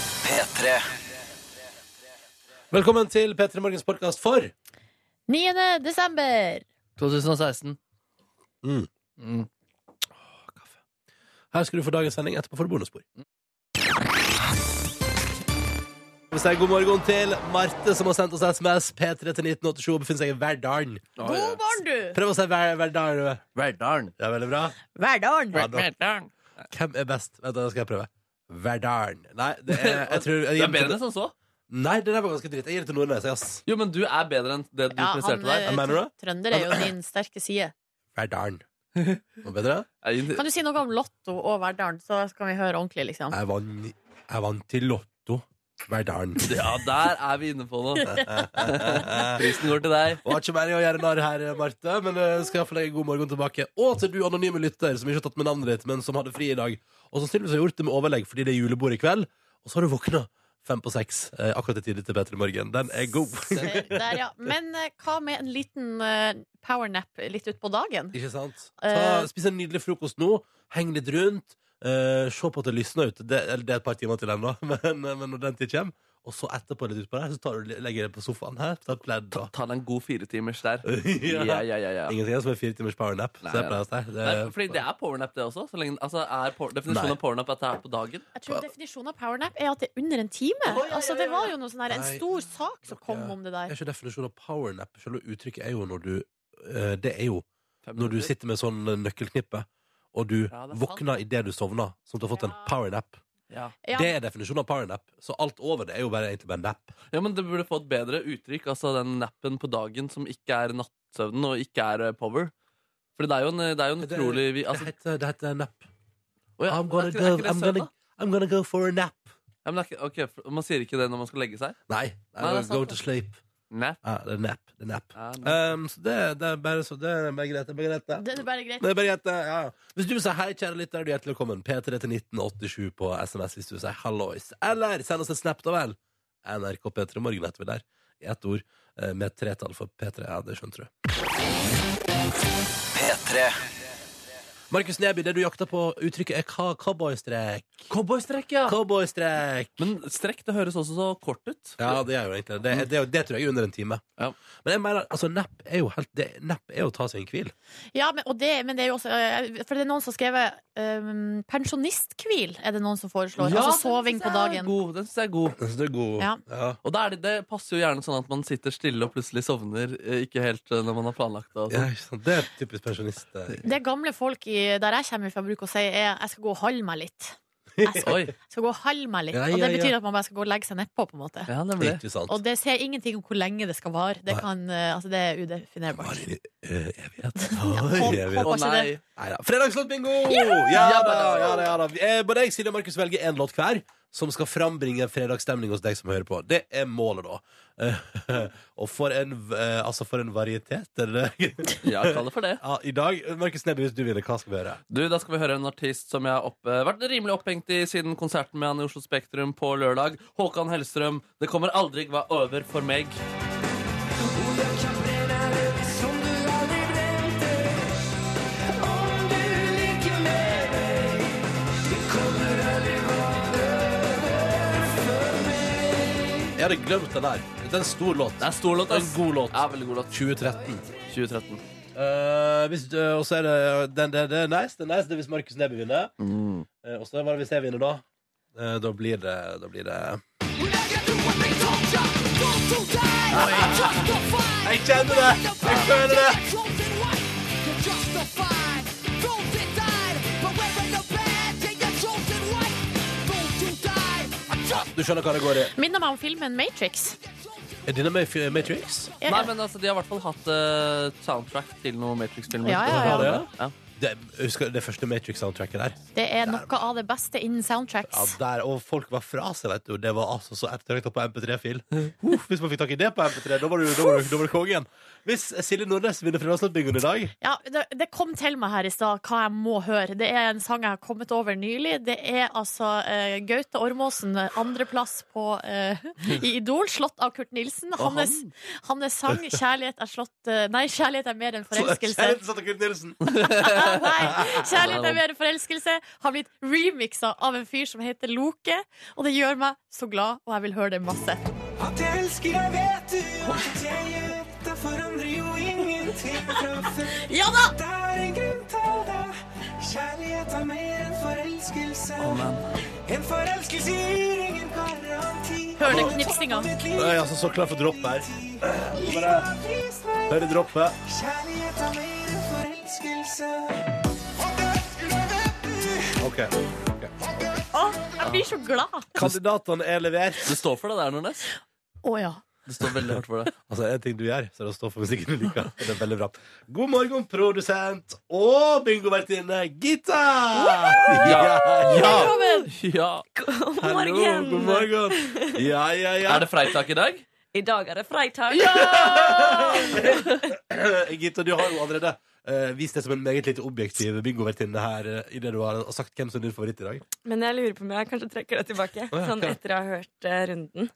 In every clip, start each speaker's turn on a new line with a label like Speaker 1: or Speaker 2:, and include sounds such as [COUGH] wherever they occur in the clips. Speaker 1: P3
Speaker 2: Velkommen til P3 Morgens podkast for
Speaker 3: 9. desember.
Speaker 4: 2016.
Speaker 2: Mm.
Speaker 4: Mm.
Speaker 2: Her skal du få dagens sending. Etterpå får du bonusspor. Vi sier god morgen til Marte, som har sendt oss SMS. P3 til 1987 og befinner seg i Verdalen.
Speaker 3: God morgen, du!
Speaker 2: Prøv å si Ver- Verdalen.
Speaker 4: Verdalen.
Speaker 2: Det er veldig bra.
Speaker 3: Hverdagen.
Speaker 2: Ja, da.
Speaker 4: Verdalen.
Speaker 2: Hvem er best? Vent, da skal jeg prøve. Verdalen. Nei, det
Speaker 4: [LAUGHS]
Speaker 2: er jeg tror, jeg
Speaker 4: Du
Speaker 2: gir
Speaker 4: er bedre enn som så.
Speaker 2: Nei, det der var ganske dritt. Jeg gir det til Nordnes. ass.
Speaker 4: Jo, men du er bedre enn det du
Speaker 3: Ja, han,
Speaker 4: presterte
Speaker 3: eh,
Speaker 4: der.
Speaker 2: Hva mener du?
Speaker 3: Trønder er jo din sterke side.
Speaker 2: Verdalen. Noe bedre?
Speaker 4: Jeg gir-
Speaker 3: Kan du si noe om Lotto og Verdalen, så skal vi høre ordentlig, liksom?
Speaker 2: Jeg vant, jeg vant til Lotto. Verdalen.
Speaker 4: Ja, der er vi inne på noe.
Speaker 2: [LAUGHS]
Speaker 4: Prisen går til deg.
Speaker 2: Og har ikke meningen å gjøre narr her, Marte, men eh, skal iallfall legge god morgen tilbake. Og til du anonyme lytter som ikke har tatt med navnet ditt, men som hadde fri i dag. Og som tydeligvis har gjort det med overlegg fordi det er julebord i kveld. Og så har du våkna fem på seks eh, akkurat i tide til Petter i morgen. Den er
Speaker 3: [LAUGHS]
Speaker 2: god.
Speaker 3: Se Der, ja. Men eh, hva med en liten eh, powernap litt utpå dagen?
Speaker 2: [LAUGHS] ikke sant?
Speaker 3: Eh.
Speaker 2: Ta, spis en nydelig frokost nå. Heng litt rundt. eh, se på at det lysner ute. Det, eller det er et par timer til ennå, [LAUGHS] men, eh, men når den tid kommer. Og så etterpå litt utpå der, så tar du, legger du deg på sofaen her. Ta et pledd og [LAUGHS]
Speaker 4: Ta deg en god firetimers der.
Speaker 2: Ja.
Speaker 4: Ja, ja, ja, ja.
Speaker 2: Ingenting er som en fire timers powernap.
Speaker 4: Nei,
Speaker 2: Så jeg
Speaker 4: nei.
Speaker 2: pleier å si. Det
Speaker 4: Nei,
Speaker 2: er-
Speaker 4: fordi det er powernap, det også. Så lenge, altså, er por
Speaker 2: eh, Nei.
Speaker 4: definisjonen av powernap at det er på dagen?
Speaker 3: Jeg tror Definisjonen av powernap er at det er under en time. Altså, det var jo noe sånn her, en
Speaker 2: Nei.
Speaker 3: stor sak som kom
Speaker 2: Ja.
Speaker 3: om det der.
Speaker 2: er ikke definisjonen av powernap. Selve uttrykket er jo når du eh, Det er jo
Speaker 4: Fem
Speaker 2: når du
Speaker 4: minutter.
Speaker 2: sitter med sånn nøkkelknippe, og du
Speaker 4: Ja, det er sant.
Speaker 2: våkner idet du sovner, sånn at du har fått en
Speaker 3: Ja.
Speaker 2: powernap.
Speaker 4: ja.
Speaker 3: Ja.
Speaker 2: Det er definisjonen av powernap. Så alt over det er jo bare egentlig bare en nap.
Speaker 4: ja, men det burde få et bedre uttrykk. Altså den nappen på dagen som ikke er nattsøvnen og ikke er eh, power. For det er jo en, det er jo en
Speaker 2: Det-
Speaker 4: utrolig vi- altså,
Speaker 2: det, heter, det heter nap.
Speaker 4: å ja,
Speaker 2: I'm gonna
Speaker 4: er ikke- er
Speaker 2: go,
Speaker 4: ikke det
Speaker 2: I'm
Speaker 4: søvn,
Speaker 2: gonna,
Speaker 4: da?
Speaker 2: I'm gonna go for a nap.
Speaker 4: Ja, men det er ikke, ok, for- Man sier ikke det når man skal legge seg?
Speaker 2: Nei, I'm
Speaker 4: Nei, det er sant,
Speaker 2: going
Speaker 4: det.
Speaker 2: to sleep.
Speaker 4: Nap.
Speaker 2: Ja, det er nap. Det er nap.
Speaker 4: Ja, nap.
Speaker 2: Um, så det, det er bare så Det er bare greit. Det er bare greit, det.
Speaker 3: Det er bare greit.
Speaker 2: Det er bare greit, det, ja. Hvis du sier hei, kjære lytter, er du hjertelig velkommen. P3 til 1987 på SMS hvis du sier hallois. Eller send oss en snap, da vel. NRK P3 Morgen heter vi der. I ett ord. eh, Med et tretall for P3. Ja, det skjønte du.
Speaker 1: P3
Speaker 2: Markus Neby, det du jakter på, uttrykket er hva? Cowboystrek.
Speaker 4: Cowboystrekk, ja!
Speaker 2: Cowboystrek!
Speaker 4: Men strekk, det høres også så kort ut.
Speaker 2: Ja, det er jo egentlig det. Det, det, er jo- det tror jeg er under en time.
Speaker 4: Ja.
Speaker 2: Men jeg mener, altså, nepp er jo helt det, Nepp er jo å ta seg en hvil.
Speaker 3: Ja, men, og det, men det er jo også eh, For det er noen som har skrevet um, pensjonisthvil, er det noen som foreslår.
Speaker 4: Ja,
Speaker 3: altså
Speaker 4: den
Speaker 3: soving
Speaker 4: synes
Speaker 3: på
Speaker 4: jeg er
Speaker 3: dagen.
Speaker 4: God, den synes jeg er god.
Speaker 2: Jeg synes det er god.
Speaker 3: Ja.
Speaker 2: Ja.
Speaker 4: Og da er det, det passer jo gjerne sånn at man sitter stille og plutselig sovner eh, ikke helt eh, når man har planlagt det. Og
Speaker 2: Ja,
Speaker 4: sånn.
Speaker 2: ikke sant? Det er typisk pensjonist. eh.
Speaker 3: Det gamle folk i, der jeg kommer fra, bruker å si er jeg skal gå og holde meg litt. Jeg skal,
Speaker 4: Oi,
Speaker 3: jeg skal gå og holde meg litt.
Speaker 2: Ja,
Speaker 3: og
Speaker 2: ja, ja.
Speaker 3: det betyr at man bare skal gå og legge seg nedpå, på en måte.
Speaker 4: ja, nemlig.
Speaker 2: Ikke sant?
Speaker 3: Og det sier ingenting om hvor lenge det skal vare. Det,
Speaker 2: Nei.
Speaker 3: kan, eh, altså, det er
Speaker 2: Var
Speaker 3: udefinerbart.
Speaker 2: i eh, evighet.
Speaker 3: håp-
Speaker 2: Oi, evighet.
Speaker 4: Å
Speaker 3: Var ikke
Speaker 4: nei.
Speaker 3: det-
Speaker 2: Neida. Fredagslåtbingo! Ja da, ja da, ja da. Eh, Både jeg, Silje og Markus velger én låt hver som skal frambringe fredagsstemning hos deg som hører på. Det er målet, da. [LAUGHS] Eh, og for en, v- eh, altså for en varietet, er det det? [LAUGHS]
Speaker 4: Ja, kall det for det.
Speaker 2: ja, I dag, Markus Neby, hvis du vinner, hva skal vi gjøre?
Speaker 4: Du, Da skal vi høre en artist som jeg har opp, eh, vært rimelig opphengt i siden konserten med han i Oslo Spektrum på lørdag. Håkan Hellstrøm. Det kommer aldri hva over for meg.
Speaker 2: Jeg hadde glemt den der. Det er en stor låt.
Speaker 4: Det er stor låt.
Speaker 2: Det er
Speaker 4: ass.
Speaker 2: en god låt.
Speaker 4: Ja, veldig god låt.
Speaker 2: 2013.
Speaker 4: 2013.
Speaker 2: Eh, hvis, eh, og så er det den, den, Det er nice, det er nice det er hvis Markus Neby vinner. Eh, og så hva er det hvis jeg vinner, da? Eh, da blir det Da blir det Jeg kjenner det! Jeg føler det! Du skjønner hva det går i.
Speaker 3: Minner meg om filmen Matrix.
Speaker 2: Er denne med i Matrix?
Speaker 3: Jeg-
Speaker 4: Nei, men altså, De har i hvert fall hatt eh, soundtrack til noen Matrix-filmer.
Speaker 3: Ja, ja,
Speaker 2: ja.
Speaker 4: Har det? ja.
Speaker 2: Det, husker du det første Matrix-soundtracket der?
Speaker 3: Det er noe av det beste innen
Speaker 2: Ja,
Speaker 3: soundtracks.
Speaker 2: der, Og folk var fra seg, vet du. Det var altså så ettertrakta på MP3-fil. Uff, Hvis man fikk tak i det på MP3, da var du, da var du, da var du kongen. Hvis Silje Nordnes vinner Fredagslåtbingoen i dag
Speaker 3: Ja, det, det kom til meg her i stad hva jeg må høre. Det er en sang jeg har kommet over nylig. Det er altså eh, Gaute Ormåsen, andreplass på eh, i Idol, slått av Kurt Nilsen.
Speaker 4: Og
Speaker 3: Hans, hans sang 'Kjærlighet er slått eh, Nei, 'Kjærlighet er mer enn
Speaker 2: så- sånn
Speaker 3: forelskelse'.
Speaker 2: Kjæresten satt og Kurt Nilsen.
Speaker 3: Nei, kjærlighet er mer enn forelskelse har blitt remixa av en fyr som heter Loke. Og det gjør meg så glad, og jeg vil høre det masse.
Speaker 1: At jeg elsker deg, vet du. At jeg gjør. Det forandrer jo ingenting fra før.
Speaker 3: Ja da!
Speaker 1: Det er en grunn til det. Kjærlighet er mer enn forelskelse. En forelskelse gir ingen garanti.
Speaker 3: Hører det knipsinga?
Speaker 2: Jeg er altså så klar for dropp her.
Speaker 1: Kjærlighet
Speaker 2: Hører droppet.
Speaker 1: er mer enn forelskelse.
Speaker 2: Ok.
Speaker 3: Å, jeg blir så glad.
Speaker 2: Kandidatene er levert.
Speaker 4: Du står for det der, Nordnes.
Speaker 3: Å ja.
Speaker 4: Du står veldig hardt for det.
Speaker 2: Altså, en ting du gjør, så er det å stå for musikken du liker. Det er veldig bra. God morgen, produsent og bingovertinne Gita! Ja, ja.
Speaker 3: Velkommen!
Speaker 4: ja.
Speaker 5: God
Speaker 2: Hallo,
Speaker 5: morgen!
Speaker 2: god morgen. Ja, ja, ja.
Speaker 4: Er det Freitag i dag?
Speaker 5: I dag er det freitag.
Speaker 2: Gita, Eh, du har jo allerede eh, vist deg som en meget lite objektiv bingovertinne her eh, i det du har sagt hvem som er din favoritt i dag.
Speaker 5: Men jeg lurer på om jeg kanskje trekker det tilbake.
Speaker 2: ja,
Speaker 5: Sånn
Speaker 2: ja.
Speaker 5: etter jeg har hørt eh, runden.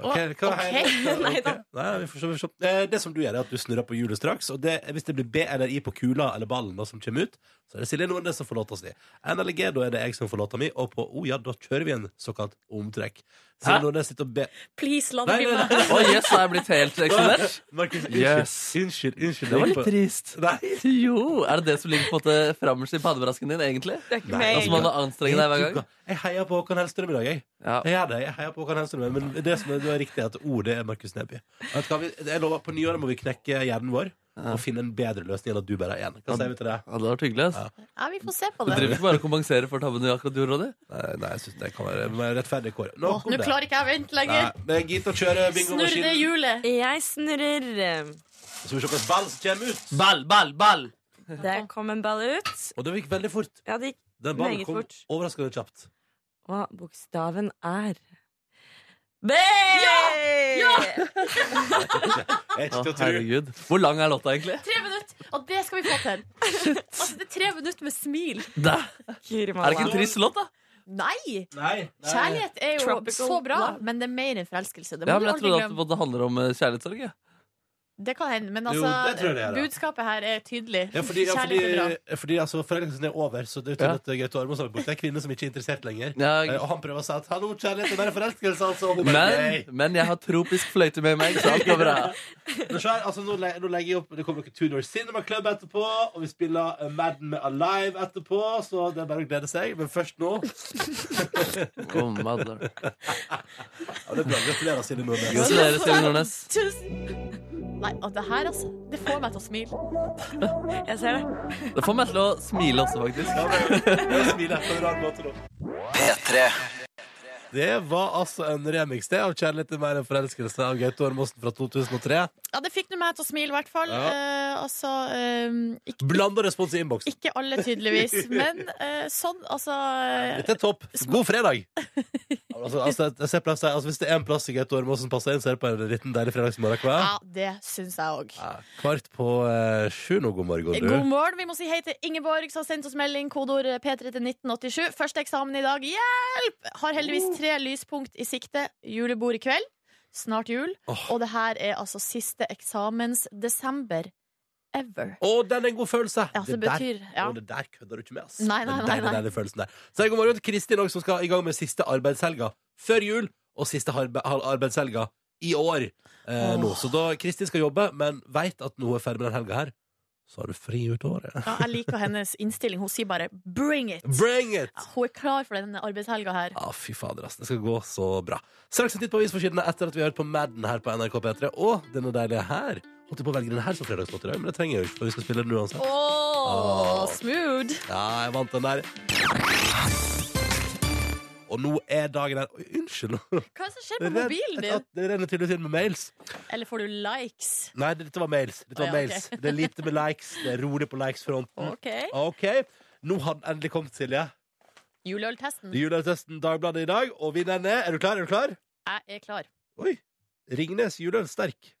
Speaker 2: Ok, hva er-
Speaker 5: ok. Nei da.
Speaker 2: Ok. Nei, vi får se, vi får se. Eh, Det som du gjør, er at du snurrer på hjulet straks. Og det, hvis det blir B eller I på kula eller ballen da, som kommer ut, så er det Silje Nordnes som får låta si. N eller G, da er det jeg som får låta mi. Og på O, ja, da kjører vi en såkalt omtrekk. Silje
Speaker 4: Hæ?
Speaker 2: Nordnes sitter og ber
Speaker 3: Please, la det
Speaker 2: Nei,
Speaker 3: bli
Speaker 2: nei,
Speaker 3: meg.
Speaker 2: nei.
Speaker 4: Å, yes, da er jeg blitt helt eksponert.
Speaker 2: [LAUGHS] Markus, unnskyld.
Speaker 4: Yes.
Speaker 2: Unnskyld. unnskyld.
Speaker 4: Det var
Speaker 2: Jeg gikk
Speaker 4: litt
Speaker 2: på-
Speaker 4: trist.
Speaker 2: Nei.
Speaker 4: Jo, Er det det som ligger på en måte frammerst i padebrasken din, egentlig?
Speaker 5: Det er ikke
Speaker 2: Nei,
Speaker 5: meg.
Speaker 4: Altså, man må anstrenge deg hver gang?
Speaker 2: Jeg heier på Håkon Hellstrøm i dag, jeg.
Speaker 4: Ja.
Speaker 2: Jeg gjør det, jeg heier på Håkon Hellstrøm Men det som er, det er riktig, er at ordet er Markus Neby. Vet du hva, vi- Jeg lover, På nyåret må vi knekke hjernen vår
Speaker 4: Ja.
Speaker 2: og finne en bedre løsning enn at du bare er én. Hva sier vi til det?
Speaker 4: Ja, det hadde vært hyggelig. ass.
Speaker 3: Ja, vi får se på
Speaker 4: Du
Speaker 3: det.
Speaker 4: driver ikke bare og kompenserer for tabben du akkurat gjorde, Ronny?
Speaker 2: Nei, nei, jeg synes det kan være men rettferdig kår.
Speaker 3: Å,
Speaker 2: Nok om
Speaker 3: Nå
Speaker 2: det.
Speaker 3: klarer ikke jeg å vente
Speaker 2: Nei,
Speaker 3: lenger.
Speaker 2: men Gita kjører
Speaker 3: Snurr det
Speaker 2: bingomaskinen.
Speaker 3: hjulet.
Speaker 5: Jeg snurrer.
Speaker 2: Så skal vi se hvilken ball som kommer ut.
Speaker 4: Ball, ball, ball!
Speaker 5: Der kom en ball ut.
Speaker 2: Og det gikk veldig fort.
Speaker 5: Ja, det gikk.
Speaker 2: Den ballen
Speaker 5: Meget
Speaker 2: kom
Speaker 5: fort.
Speaker 2: overraskende kjapt.
Speaker 5: Og bokstaven er B!
Speaker 3: Ah.
Speaker 2: Jeg
Speaker 4: Å,
Speaker 2: ikke til å tro.
Speaker 4: herregud. Hvor lang er låta, egentlig?
Speaker 3: Tre minutter, og det skal vi få til. Altså, det er tre minutter med smil.
Speaker 4: Da.
Speaker 5: Kuri
Speaker 4: Er det ikke en
Speaker 5: malla.
Speaker 4: trist låt, da?
Speaker 3: Nei!
Speaker 2: Nei, nei.
Speaker 3: Kjærlighet er jo
Speaker 5: Tropical
Speaker 3: så bra,
Speaker 5: love.
Speaker 3: men det er mer enn forelskelse. Det må
Speaker 4: Ja,
Speaker 3: du
Speaker 4: men Jeg
Speaker 3: aldri
Speaker 4: trodde at
Speaker 3: glemme.
Speaker 4: det handler om eh, kjærlighetssorg. jeg.
Speaker 3: Det kan hende, men
Speaker 2: Jo,
Speaker 3: altså,
Speaker 2: det tror jeg det er, da.
Speaker 3: budskapet her er tydelig.
Speaker 2: Ja, fordi, ja, fordi,
Speaker 3: Kjærlighet er bra.
Speaker 2: fordi altså, Forelgelsen er over, så det er
Speaker 4: Ja.
Speaker 2: tydelig at Gaute Ormås har vært borte. Det er kvinner som ikke er interessert lenger. Eh,
Speaker 4: Jeg,
Speaker 2: Og han prøver å si at 'hallo, kjærlighet, det er bare forelskelse', altså. Og hun bare,
Speaker 4: men,
Speaker 2: nei.
Speaker 4: men jeg har tropisk fløyte med meg, så alt går bra.
Speaker 2: Men så er- altså, nå, le- nå legger jeg opp Det kommer noen Tudor Cinema Club etterpå, og vi spiller eh, Madden med Alive etterpå, så det er bare å glede seg. Men først nå
Speaker 4: Oh, my lord.
Speaker 2: Ja, det er bra. Gratulerer, Silje Nordnes.
Speaker 4: Gratulerer, Silje Nordnes.
Speaker 3: Tusen Nei, og det her, altså. Det får meg til å smile.
Speaker 5: Jeg ser det.
Speaker 4: Det får meg til å smile også, faktisk.
Speaker 2: Ja, men- jeg smiler på en rar måte nå. Det var altså en remix det av 'Kjærlighet til mer enn forelskelse' av Gaute Ormåsen fra 2003.
Speaker 3: Ja, det fikk nå meg til å smile, i hvert fall.
Speaker 2: Ja.
Speaker 3: Eh, altså eh, ikke,
Speaker 2: Blanda respons i innboksen.
Speaker 3: ikke
Speaker 2: [LAUGHS]
Speaker 3: alle, tydeligvis. Men eh, sånn, altså eh,
Speaker 2: Dette er topp. God fredag! Altså, altså, jeg ser plass, altså, hvis det er en plass i Gaute Ormåsen passer inn, så er det på en liten deilig fredagsmorgen. hva?
Speaker 3: Ja, det syns jeg òg.
Speaker 2: Ja, Kvart på eh, sju nå, god morgen,
Speaker 3: Eh, God
Speaker 2: du.
Speaker 3: morgen. Vi må si hei til Ingeborg som har sendt oss melding. Kodeord P3 til 1987. Første eksamen i dag. Hjelp! Har
Speaker 2: Oh.
Speaker 3: heldigvis tre lyspunkt i sikte. Julebord i kveld. Snart jul.
Speaker 2: Åh.
Speaker 3: Og det her er altså siste eksamens desember ever.
Speaker 2: Å, den er en god følelse!
Speaker 3: Ja, så
Speaker 2: Det
Speaker 3: det
Speaker 2: der
Speaker 3: betyr ja.
Speaker 2: Og det der kødder du ikke med, ass.
Speaker 3: Nei, nei,
Speaker 2: Den
Speaker 3: nei,
Speaker 2: deilige,
Speaker 3: nei.
Speaker 2: deilige følelsen der. Så god morgen til Kristin også, som skal i gang med siste arbeidshelga før jul, og siste harbe- har- arbeidshelga i år. Eh, nå. Så da Kristin skal jobbe, men veit at nå er ferdig med den helga her, så har du fri ut året.
Speaker 3: ja, Jeg liker hennes innstilling. Hun sier bare 'bring it'.
Speaker 2: Bring it!
Speaker 3: Ja, Hun er klar for denne arbeidshelga her.
Speaker 2: Ja, fy fader, ass. Det skal gå så bra. Straks en titt på avisforsidene etter at vi har hørt på Madden her på NRK P3, og denne deilige her. Holdt jeg på å velge den her som fredagslåt i dag, men det trenger jeg jo ikke, for vi skal spille den uansett.
Speaker 3: Åh, smooth!
Speaker 2: Ja, jeg vant den der. Og nå er dagen her Oi, Unnskyld. nå.
Speaker 3: Hva er det som skjer
Speaker 2: Det
Speaker 3: med mobilen
Speaker 2: renner-
Speaker 3: din?
Speaker 2: det renner tydeligvis inn med mails.
Speaker 3: Eller får du likes?
Speaker 2: Nei, dette var mails. Dette var
Speaker 3: Å, ja,
Speaker 2: mails. Det er lite med likes. Det er rolig på likes-fronten.
Speaker 3: OK.
Speaker 2: OK. Nå har den endelig kommet, Silje.
Speaker 3: Juleøltesten.
Speaker 2: Juleøltesten Dagbladet i dag, og vinneren er Er du klar? Er du klar?
Speaker 3: Jeg er klar.
Speaker 2: Oi! Ringnes juleøl sterk.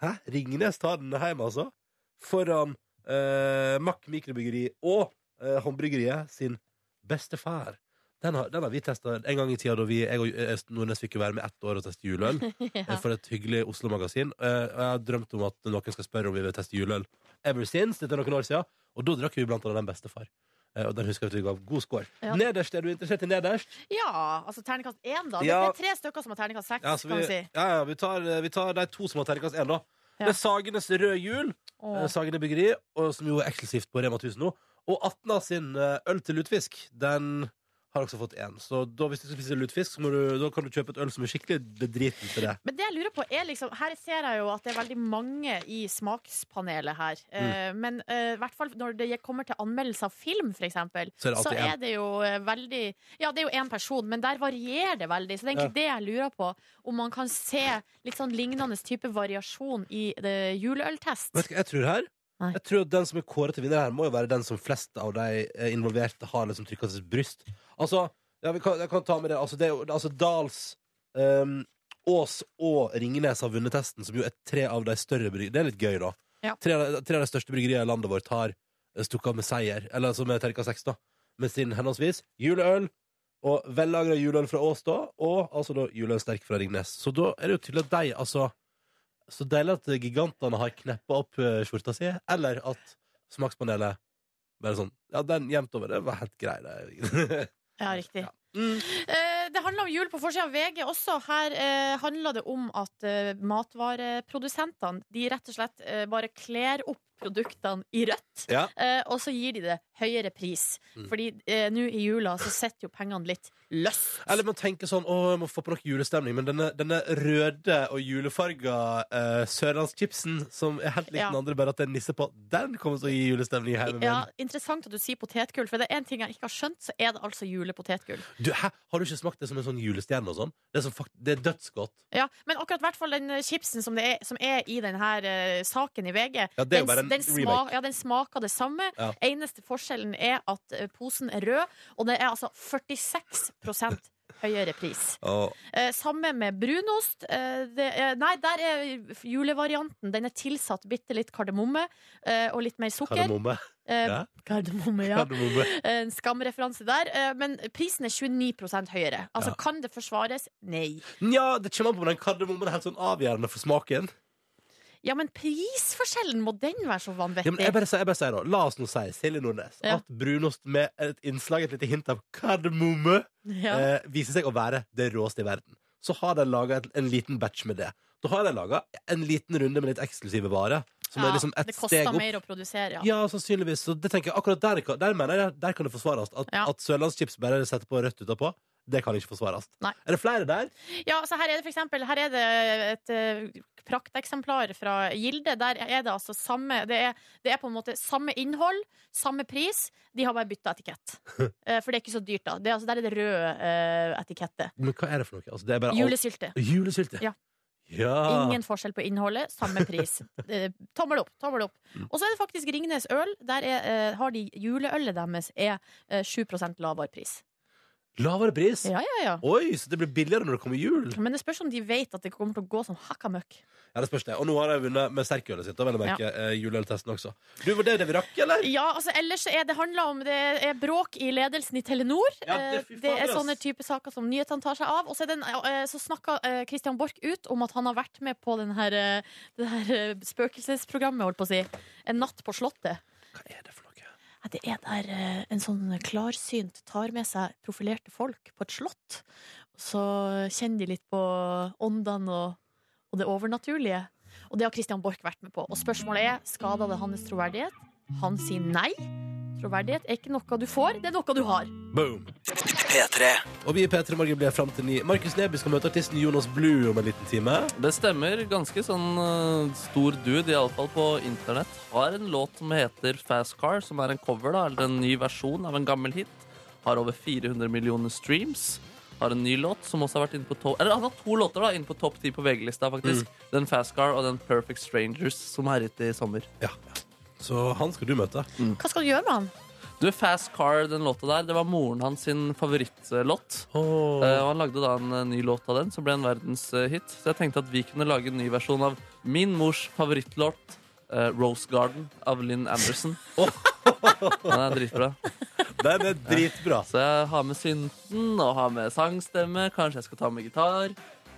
Speaker 2: Hæ? Ringnes tar den hjem, altså? Foran eh, Mack mikrobryggeri og eh, håndbryggeriet sin bestefar. Den har, den har vi testa en gang i tida da vi, jeg og eh, Nordnes fikk jo være med ett år og teste juleøl. eh, For et hyggelig Oslo-magasin. Eh, Og jeg har drømt om at noen skal spørre om vi vil teste juleøl. Ever since, dette er noen år siden. Og da drakk vi blant annet den bestefar. Eh, Og den husker jeg at vi ga god score.
Speaker 3: Ja.
Speaker 2: Nederst, er du interessert i nederst?
Speaker 3: Ja, altså terningkast én, da. Det-
Speaker 2: Ja.
Speaker 3: Det er tre stykker som har terningkast seks,
Speaker 2: Ja, så
Speaker 3: kan
Speaker 2: vi,
Speaker 3: vi si.
Speaker 2: ja, ja, vi, tar, eh, vi tar de to som har terningkast én, da.
Speaker 3: Ja.
Speaker 2: Det er Sagenes Rød Jul,
Speaker 3: Åh.
Speaker 2: eh, Sagene Byggeri, og, som jo er eksklusivt på Rema 1000 nå. Og Atna sin eh, øl til lutefisk, den har også fått én. Så da, hvis du skal spise lutefisk, så må du, da kan du kjøpe et øl som er skikkelig bedriten til det.
Speaker 3: Men det jeg lurer på er liksom, her ser jeg jo at det er veldig mange i smakspanelet her.
Speaker 2: Mm.
Speaker 3: Eh, men eh, i hvert fall når det kommer til anmeldelse av film, for eksempel,
Speaker 2: Så er det alltid
Speaker 3: så er det jo eh, veldig Ja, det er jo én person, men der varierer det veldig. Så det er egentlig det jeg lurer på. Om man kan se litt sånn lignende type variasjon i det juleøltest.
Speaker 2: Vet du hva jeg tror her?
Speaker 3: Nei.
Speaker 2: Jeg tror at Den som er kåret til vinner her, må jo være den som flest av de eh, involverte har liksom trykka sitt bryst. Altså, ja, vi kan, jeg kan ta med det. Altså, det er jo- altså Dals, ehm, Ås og Ringnes har vunnet testen, som jo er tre av de større bryggeriene. Det er litt gøy, da.
Speaker 3: Ja.
Speaker 2: Tre, av de- tre av de største bryggeriene i landet vårt har eh, stukket av med seier, eller altså med terka seks, da. Med sin henholdsvis juleøl og vellagra juleøl fra Ås, da, og altså da juleøl sterk fra Ringnes. Så da er det jo tydelig at de, altså så deilig at gigantene har kneppa opp eh, skjorta si, eller at smakspanelet bare sånn Ja, den gjemt over. Det var helt grei, det.
Speaker 3: [LAUGHS] Ja, riktig.
Speaker 2: Ja. Mm.
Speaker 3: Eh, det handler om jul på forsida av VG også. Her eh, handler det om at eh, matvareprodusentene de rett og slett eh, bare kler opp produktene i rødt.
Speaker 2: Ja.
Speaker 3: Eh, og så gir de det høyere pris.
Speaker 2: Mm.
Speaker 3: Fordi eh, nå i jula så sitter jo pengene litt løst.
Speaker 2: Eller man tenker sånn Å, jeg må få på nok julestemning, men denne, denne røde og julefarga eh, sørlandschipsen, som er helt lik
Speaker 3: Ja.
Speaker 2: den andre, bare at det er nisse på, den kommer til å gi julestemning i hjemmet min.
Speaker 3: ja, Interessant at du sier potetgull, for det er en ting jeg ikke har skjønt, så er det altså julepotetgull.
Speaker 2: Du, hæ? Har du ikke smakt det som en sånn julestjerne og sånn? Det er, sånn, fakt- det er dødsgodt.
Speaker 3: Ja, men akkurat hvert fall den eh, chipsen som, det er, som er i denne saken i VG,
Speaker 2: Ja, det er jo
Speaker 3: den,
Speaker 2: bare en
Speaker 3: den,
Speaker 2: remake.
Speaker 3: ja, den smaker det samme.
Speaker 2: Ja.
Speaker 3: Eneste forskjellen er at eh, posen er rød, og det er altså 46 høyere pris. Eh, samme med brunost. Eh, det er, nei, der er julevarianten. Den er tilsatt bitte litt kardemomme eh, og litt mer sukker.
Speaker 2: Kardemomme.
Speaker 3: Eh,
Speaker 2: ja.
Speaker 3: kardemomme, ja. Eh,
Speaker 2: Kardemomme.
Speaker 3: En skamreferanse der. Eh, men prisen er 29 høyere. Altså,
Speaker 2: Ja.
Speaker 3: kan det forsvares? Nei.
Speaker 2: Nja, det kommer an på om den kardemommen er helt sånn avgjørende for smaken.
Speaker 3: Ja, men prisforskjellen, må den være så vanvittig?
Speaker 2: Ja, men jeg bare, sier- jeg bare sier da, La oss nå si, Silje Nordnes,
Speaker 3: Ja.
Speaker 2: at brunost med et innslag, et lite hint av kardemomme,
Speaker 3: Ja.
Speaker 2: eh, viser seg å være det råeste i verden. Så har de laga en liten batch med det. Da har de laga en liten runde med litt eksklusive varer. Som
Speaker 3: Ja,
Speaker 2: er liksom et
Speaker 3: det
Speaker 2: steg
Speaker 3: koster
Speaker 2: opp.
Speaker 3: mer å produsere, ja.
Speaker 2: Ja, sannsynligvis. Så det tenker jeg akkurat der, kan- der mener jeg der kan det forsvares. At,
Speaker 3: Ja.
Speaker 2: at sørlandschips bare setter på rødt utapå, det kan ikke forsvares.
Speaker 3: Nei.
Speaker 2: Er det flere der?
Speaker 3: Ja, så her er det for eksempel Her er det et eh, prakteksemplar fra Gilde. Der er det altså samme det er, det er på en måte samme innhold, samme pris. De har bare bytta etikett. Eh, for det er ikke så dyrt, da. Det er, altså, der er det røde eh, etikettet.
Speaker 2: Men hva er det for noe? Altså, det er bare alt-
Speaker 3: Julesylte.
Speaker 2: Julesylte.
Speaker 3: Ja.
Speaker 2: Ja.
Speaker 3: Ingen forskjell på innholdet, samme pris. Eh, Tommel opp. tommel opp Og så er det faktisk Ringnes øl. Der er, eh, har de juleølet deres er eh, 7 lavere pris.
Speaker 2: Lavere pris?
Speaker 3: Ja, ja, ja.
Speaker 2: Oi, så det blir billigere når det kommer jul?
Speaker 3: Men det spørs om de vet at det kommer til å gå sånn som hakka møkk.
Speaker 2: Ja, det spørs det. Og nå har jeg vunnet med sterkølet sitt. Da vil jeg merke eh, juleøltesten også. Du, Var det det vi rakk, eller?
Speaker 3: Ja, altså ellers så er det handla om Det er bråk i ledelsen i Telenor.
Speaker 2: Ja, det er
Speaker 3: Eh,
Speaker 2: fy faen,
Speaker 3: det er
Speaker 2: ass.
Speaker 3: sånne type saker som nyhetene tar seg av. Og så, er den, eh, så snakka eh, Christian Borch ut om at han har vært med på den her, eh, det her eh, spøkelsesprogrammet, holdt på å si. En natt på Slottet.
Speaker 2: Hva er det for noe?
Speaker 3: Ja, Det er der eh, en sånn klarsynt tar med seg profilerte folk på et slott. Så kjenner de litt på åndene og, og det overnaturlige. Og det har Christian Borch vært med på. Og spørsmålet er skada det hans troverdighet. Han sier nei. Troverdighet er ikke noe du får, det er noe du har.
Speaker 2: Boom! Og vi i P3 Morgen blir fram til ni. Markus Neby skal møte artisten Jonas Blue om en liten time.
Speaker 4: Det stemmer. Ganske sånn eh, stor dude, iallfall på internett. Har en låt som heter Fast Car, som er en cover, da, eller en ny versjon av en gammel hit. Har over 400 millioner streams. Har en ny låt som også har vært inne på topp Eller han har to låter da, inne på topp ti på VG-lista, faktisk. Den Fast Car og den Perfect Strangers, som herjet i sommer.
Speaker 2: Ja. Så han skal du møte.
Speaker 3: Hva skal du gjøre med han?
Speaker 4: Du, Fast Car, den låta der, det var moren hans sin favorittlåt.
Speaker 2: Åh.
Speaker 4: Eh, Og han lagde da en eh, ny låt av den, som ble en verdenshit. Så jeg tenkte at vi kunne lage en ny versjon av min mors [LAUGHS] favorittlåt, eh, Rose Garden, av Lynn Anderson. Den er dritbra.
Speaker 2: Den er dritbra.
Speaker 4: Så jeg har med synten og har med sangstemme. Kanskje jeg skal ta med gitar.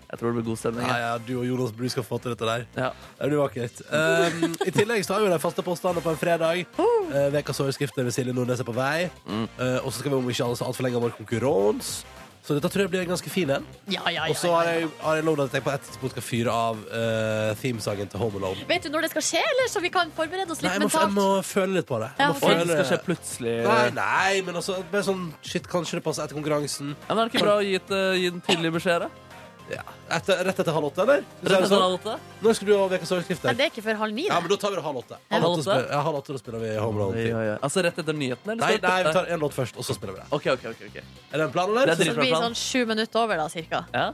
Speaker 4: Jeg tror det blir god stemning.
Speaker 2: Ja,
Speaker 4: jeg.
Speaker 2: ja, du og Jonas Bru skal få til dette der.
Speaker 4: Ja.
Speaker 2: Det blir vakkert. Um, I tillegg så har vi de faste postene på en fredag. Uh, Vekas overskrifter ved Silje Nordnes er på vei. Uh, og så skal vi om ikke alle så altfor lenge ha vår konkurranse. Så dette tror jeg blir en ganske fin en.
Speaker 3: Ja, ja, ja,
Speaker 2: Og så
Speaker 3: ja,
Speaker 2: har
Speaker 3: ja.
Speaker 2: jeg, har jeg lovd at jeg på et tidspunkt skal fyre av uh, themesangen til Home Alone.
Speaker 3: Vet du når det skal skje, eller? Så vi kan forberede oss
Speaker 2: Nei, jeg må,
Speaker 3: litt
Speaker 2: jeg
Speaker 3: mentalt.
Speaker 2: må føle litt på det. Jeg
Speaker 3: Ja,
Speaker 2: må
Speaker 3: ok.
Speaker 4: Oi, det
Speaker 2: føle...
Speaker 4: skal skje plutselig.
Speaker 2: Nei, nei, men altså bare sånn, Shit, kanskje det passer etter konkurransen.
Speaker 4: Ja, men er det ikke bra å gi, et, eh, gi den tidlig beskjed, da?
Speaker 2: Ja. Etter, rett etter halv åtte, eller? Skal vi si
Speaker 4: Rett
Speaker 2: det
Speaker 4: etter
Speaker 2: sånn?
Speaker 4: halv åtte?
Speaker 2: Nå skal du ha Ukas overskrifter.
Speaker 3: Nei, det er ikke før halv ni.
Speaker 2: Ja,
Speaker 3: det.
Speaker 2: men da tar vi det halv åtte.
Speaker 4: Halv
Speaker 2: Halv åtte,
Speaker 4: åtte?
Speaker 2: spiller, ja, halv åtte da spiller vi Home Alone.
Speaker 4: Oi,
Speaker 2: til.
Speaker 4: oi, oi. Altså rett etter nyhetene? eller
Speaker 2: Nei,
Speaker 4: skal-
Speaker 2: nei, vi tar en låt først, og så spiller vi det.
Speaker 4: Ok, ok, ok. ok.
Speaker 2: Er det en plan, eller?
Speaker 4: Det er
Speaker 3: Så det
Speaker 4: dritbra
Speaker 3: blir
Speaker 4: plan.
Speaker 3: sånn sju minutter over, da, cirka.
Speaker 4: Ja?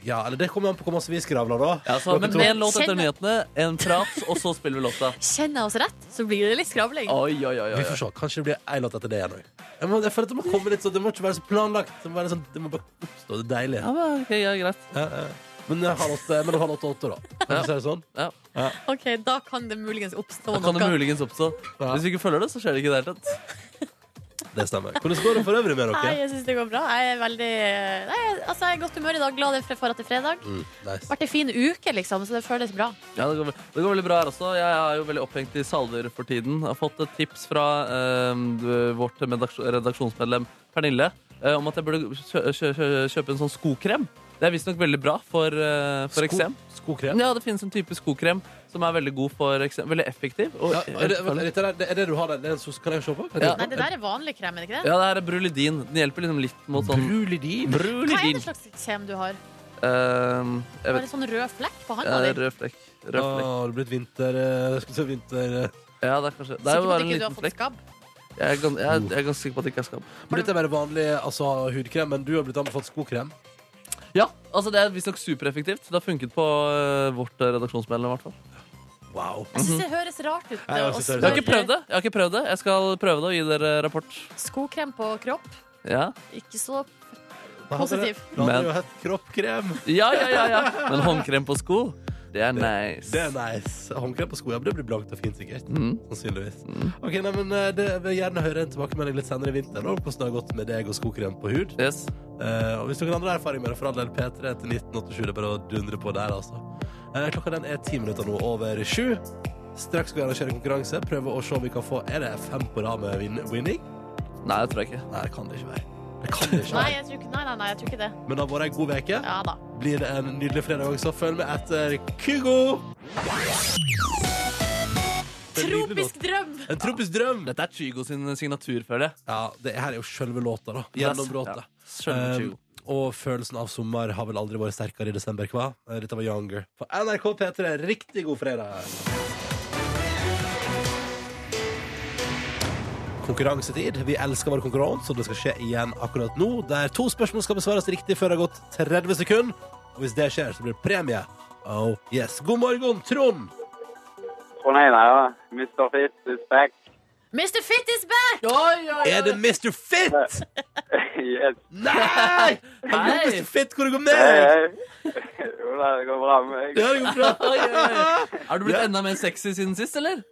Speaker 2: Ja, eller det kommer an på hvor masse vi skravler, da.
Speaker 4: Ja, så,
Speaker 2: Dere
Speaker 4: men
Speaker 2: to-
Speaker 4: med en låt etter
Speaker 3: Kjenn-
Speaker 4: nyhetene, en prat, og så spiller vi låta.
Speaker 3: Kjenner jeg oss rett, så blir det litt skravling.
Speaker 4: Oi, oi, oi, oi.
Speaker 2: Vi får se. Kanskje det blir en låt etter det igjen òg. Jeg, må- jeg føler at det må komme litt sånn Det må ikke være så planlagt. Det må, være sånn, det må bare oppstå. Det er deilig.
Speaker 4: Ja, men, ok, ja, greit.
Speaker 2: Ja, ja. Men eh, halv åtte, mellom halv åtte og åtte, da. Kan vi si det sånn?
Speaker 4: Ja.
Speaker 3: Ok, Da kan det muligens oppstå
Speaker 4: Da kan det
Speaker 3: noe.
Speaker 4: muligens oppstå.
Speaker 2: Ja.
Speaker 4: Hvis vi ikke følger det, så skjer det ikke i det hele tatt.
Speaker 2: Det stemmer. Hvordan går det for øvrig med
Speaker 3: Nei,
Speaker 2: dere?
Speaker 3: jeg syns det går bra. Jeg er veldig Nei, altså, jeg er i godt humør i dag. Glad for at det er fredag.
Speaker 2: Mm, nice.
Speaker 3: Vært en fin uke, liksom, så det føles bra.
Speaker 4: Ja, det går, det går veldig bra her også. Jeg er jo veldig opphengt i salver for tiden. Jeg har fått et tips fra eh, vårt medaks- redaksjonsmedlem Pernille eh, om at jeg burde kjø kjø kjø kjøpe en sånn skokrem. Det er visstnok veldig bra for, eh, for eksem.
Speaker 2: Sko, skokrem?
Speaker 4: Ja, det finnes en type skokrem som er veldig god for eksem. Veldig effektiv. Og,
Speaker 2: Ja, er, det, er, det, er, det, er det du har der? Det er en sos- Kan jeg se på? Kan jeg
Speaker 4: Ja.
Speaker 2: se
Speaker 3: Nei,
Speaker 2: på?
Speaker 3: det der er vanlig krem, er det ikke det?
Speaker 4: ja, det her er brulidin. Den hjelper liksom litt mot sånn
Speaker 2: Brulidin?
Speaker 3: Hva er
Speaker 4: Brulidin.
Speaker 3: det slags krem du har?
Speaker 4: Eh, jeg
Speaker 3: Har
Speaker 4: vet Eh,
Speaker 3: en sånn rød flekk på
Speaker 4: ja,
Speaker 3: handa di?
Speaker 4: Rød flekk. Rød
Speaker 2: Å,
Speaker 4: flekk.
Speaker 2: det er blitt vinter eh, [LAUGHS] jeg Skulle si vinter eh.
Speaker 4: Ja, det er kanskje Det er
Speaker 3: Sikker
Speaker 4: jo
Speaker 3: på at
Speaker 4: bare en
Speaker 3: ikke du
Speaker 4: liten
Speaker 3: har fått
Speaker 4: flekk.
Speaker 3: skabb?
Speaker 4: Jeg er, gans, jeg, er, jeg er ganske sikker på at det ikke er skabb.
Speaker 2: Men dette er bare vanlig altså, hudkrem, men du har blitt anbefalt skokrem.
Speaker 4: Ja, altså det er visstnok supereffektivt. Det har funket på eh, vårt eh, redaksjonsmedlem. i hvert fall.
Speaker 2: Wow.
Speaker 3: Jeg
Speaker 4: Mhm.
Speaker 3: syns det høres rart ut. eh,
Speaker 2: Nei, jeg
Speaker 3: å
Speaker 2: synes det høres
Speaker 4: Jeg har ikke
Speaker 3: smøre
Speaker 4: prøvd det. Jeg har ikke prøvd det. Jeg skal prøve det og gi dere rapport.
Speaker 3: Skokrem på kropp.
Speaker 4: Ja,
Speaker 3: Ikke så
Speaker 2: Da hadde det-
Speaker 3: Positiv.
Speaker 2: Da hadde
Speaker 4: Men-
Speaker 2: det jo hett kroppkrem.
Speaker 4: ja, ja. ja, ja. Men håndkrem på sko, det er nice.
Speaker 2: Det er nice. Håndkrem på sko, ja, men det blir blankt og fint sikkert.
Speaker 4: Mm.
Speaker 2: Sannsynligvis. Ok, nei, men eh, det, Jeg vil gjerne høre en tilbakemelding litt senere i vinter om hvordan det har gått med deg og skokrem på hud.
Speaker 4: Yes.
Speaker 2: Eh, og hvis noen andre har erfaring med det, for all del P3 til 1987. Det er bare å dundre på der, altså. Eh, klokka den er ti minutter nå over sju. Straks skal vi arrangere konkurranse. Prøve å se om vi kan få Er det fem på rad med vin winning?
Speaker 4: Nei, det tror jeg ikke.
Speaker 2: Nei, det kan det ikke være. Det kan det ikke
Speaker 3: Nei,
Speaker 2: være.
Speaker 3: jeg tror ikke, nei, nei, nei, jeg tror ikke det.
Speaker 2: Men det har vært ei god uke.
Speaker 3: Ja da.
Speaker 2: Blir det en nydelig fredag også. Følg med etter Kygo. Det er en nydelig
Speaker 3: Tropisk
Speaker 2: låt.
Speaker 3: drøm!
Speaker 2: En tropisk drøm.
Speaker 4: Dette er Kygo sin signatur, føler jeg.
Speaker 2: Ja, det her er jo sjølve låta, da. Gjennombråtet.
Speaker 4: Ja, skjønner
Speaker 2: Um,
Speaker 4: Kygo.
Speaker 2: og følelsen av sommer har vel aldri vært sterkere i desember, hva? Eh, Dette var Younger på NRK P3. Riktig god fredag! Konkurransetid. Vi elsker vår konkurranse, og det skal skje igjen akkurat nå. Der to spørsmål skal besvares riktig før det har gått 30 sekunder. Og hvis det skjer, så blir det premie. Oh yes. God morgen, Trond!
Speaker 6: Trondheim er da. Mr. Fitz is back.
Speaker 3: Mr. Fit is back!
Speaker 2: Er det Mr. Fit?
Speaker 6: [LAUGHS] yes.
Speaker 2: Nei! Hallo, Mr. Fit, hvor det går
Speaker 6: Hei,
Speaker 2: med?
Speaker 6: hei. Jo da, det går bra med meg.
Speaker 2: Ja, det går bra.
Speaker 3: [LAUGHS]
Speaker 4: Oi, oi, oi. Er du blitt enda mer sexy siden sist, eller?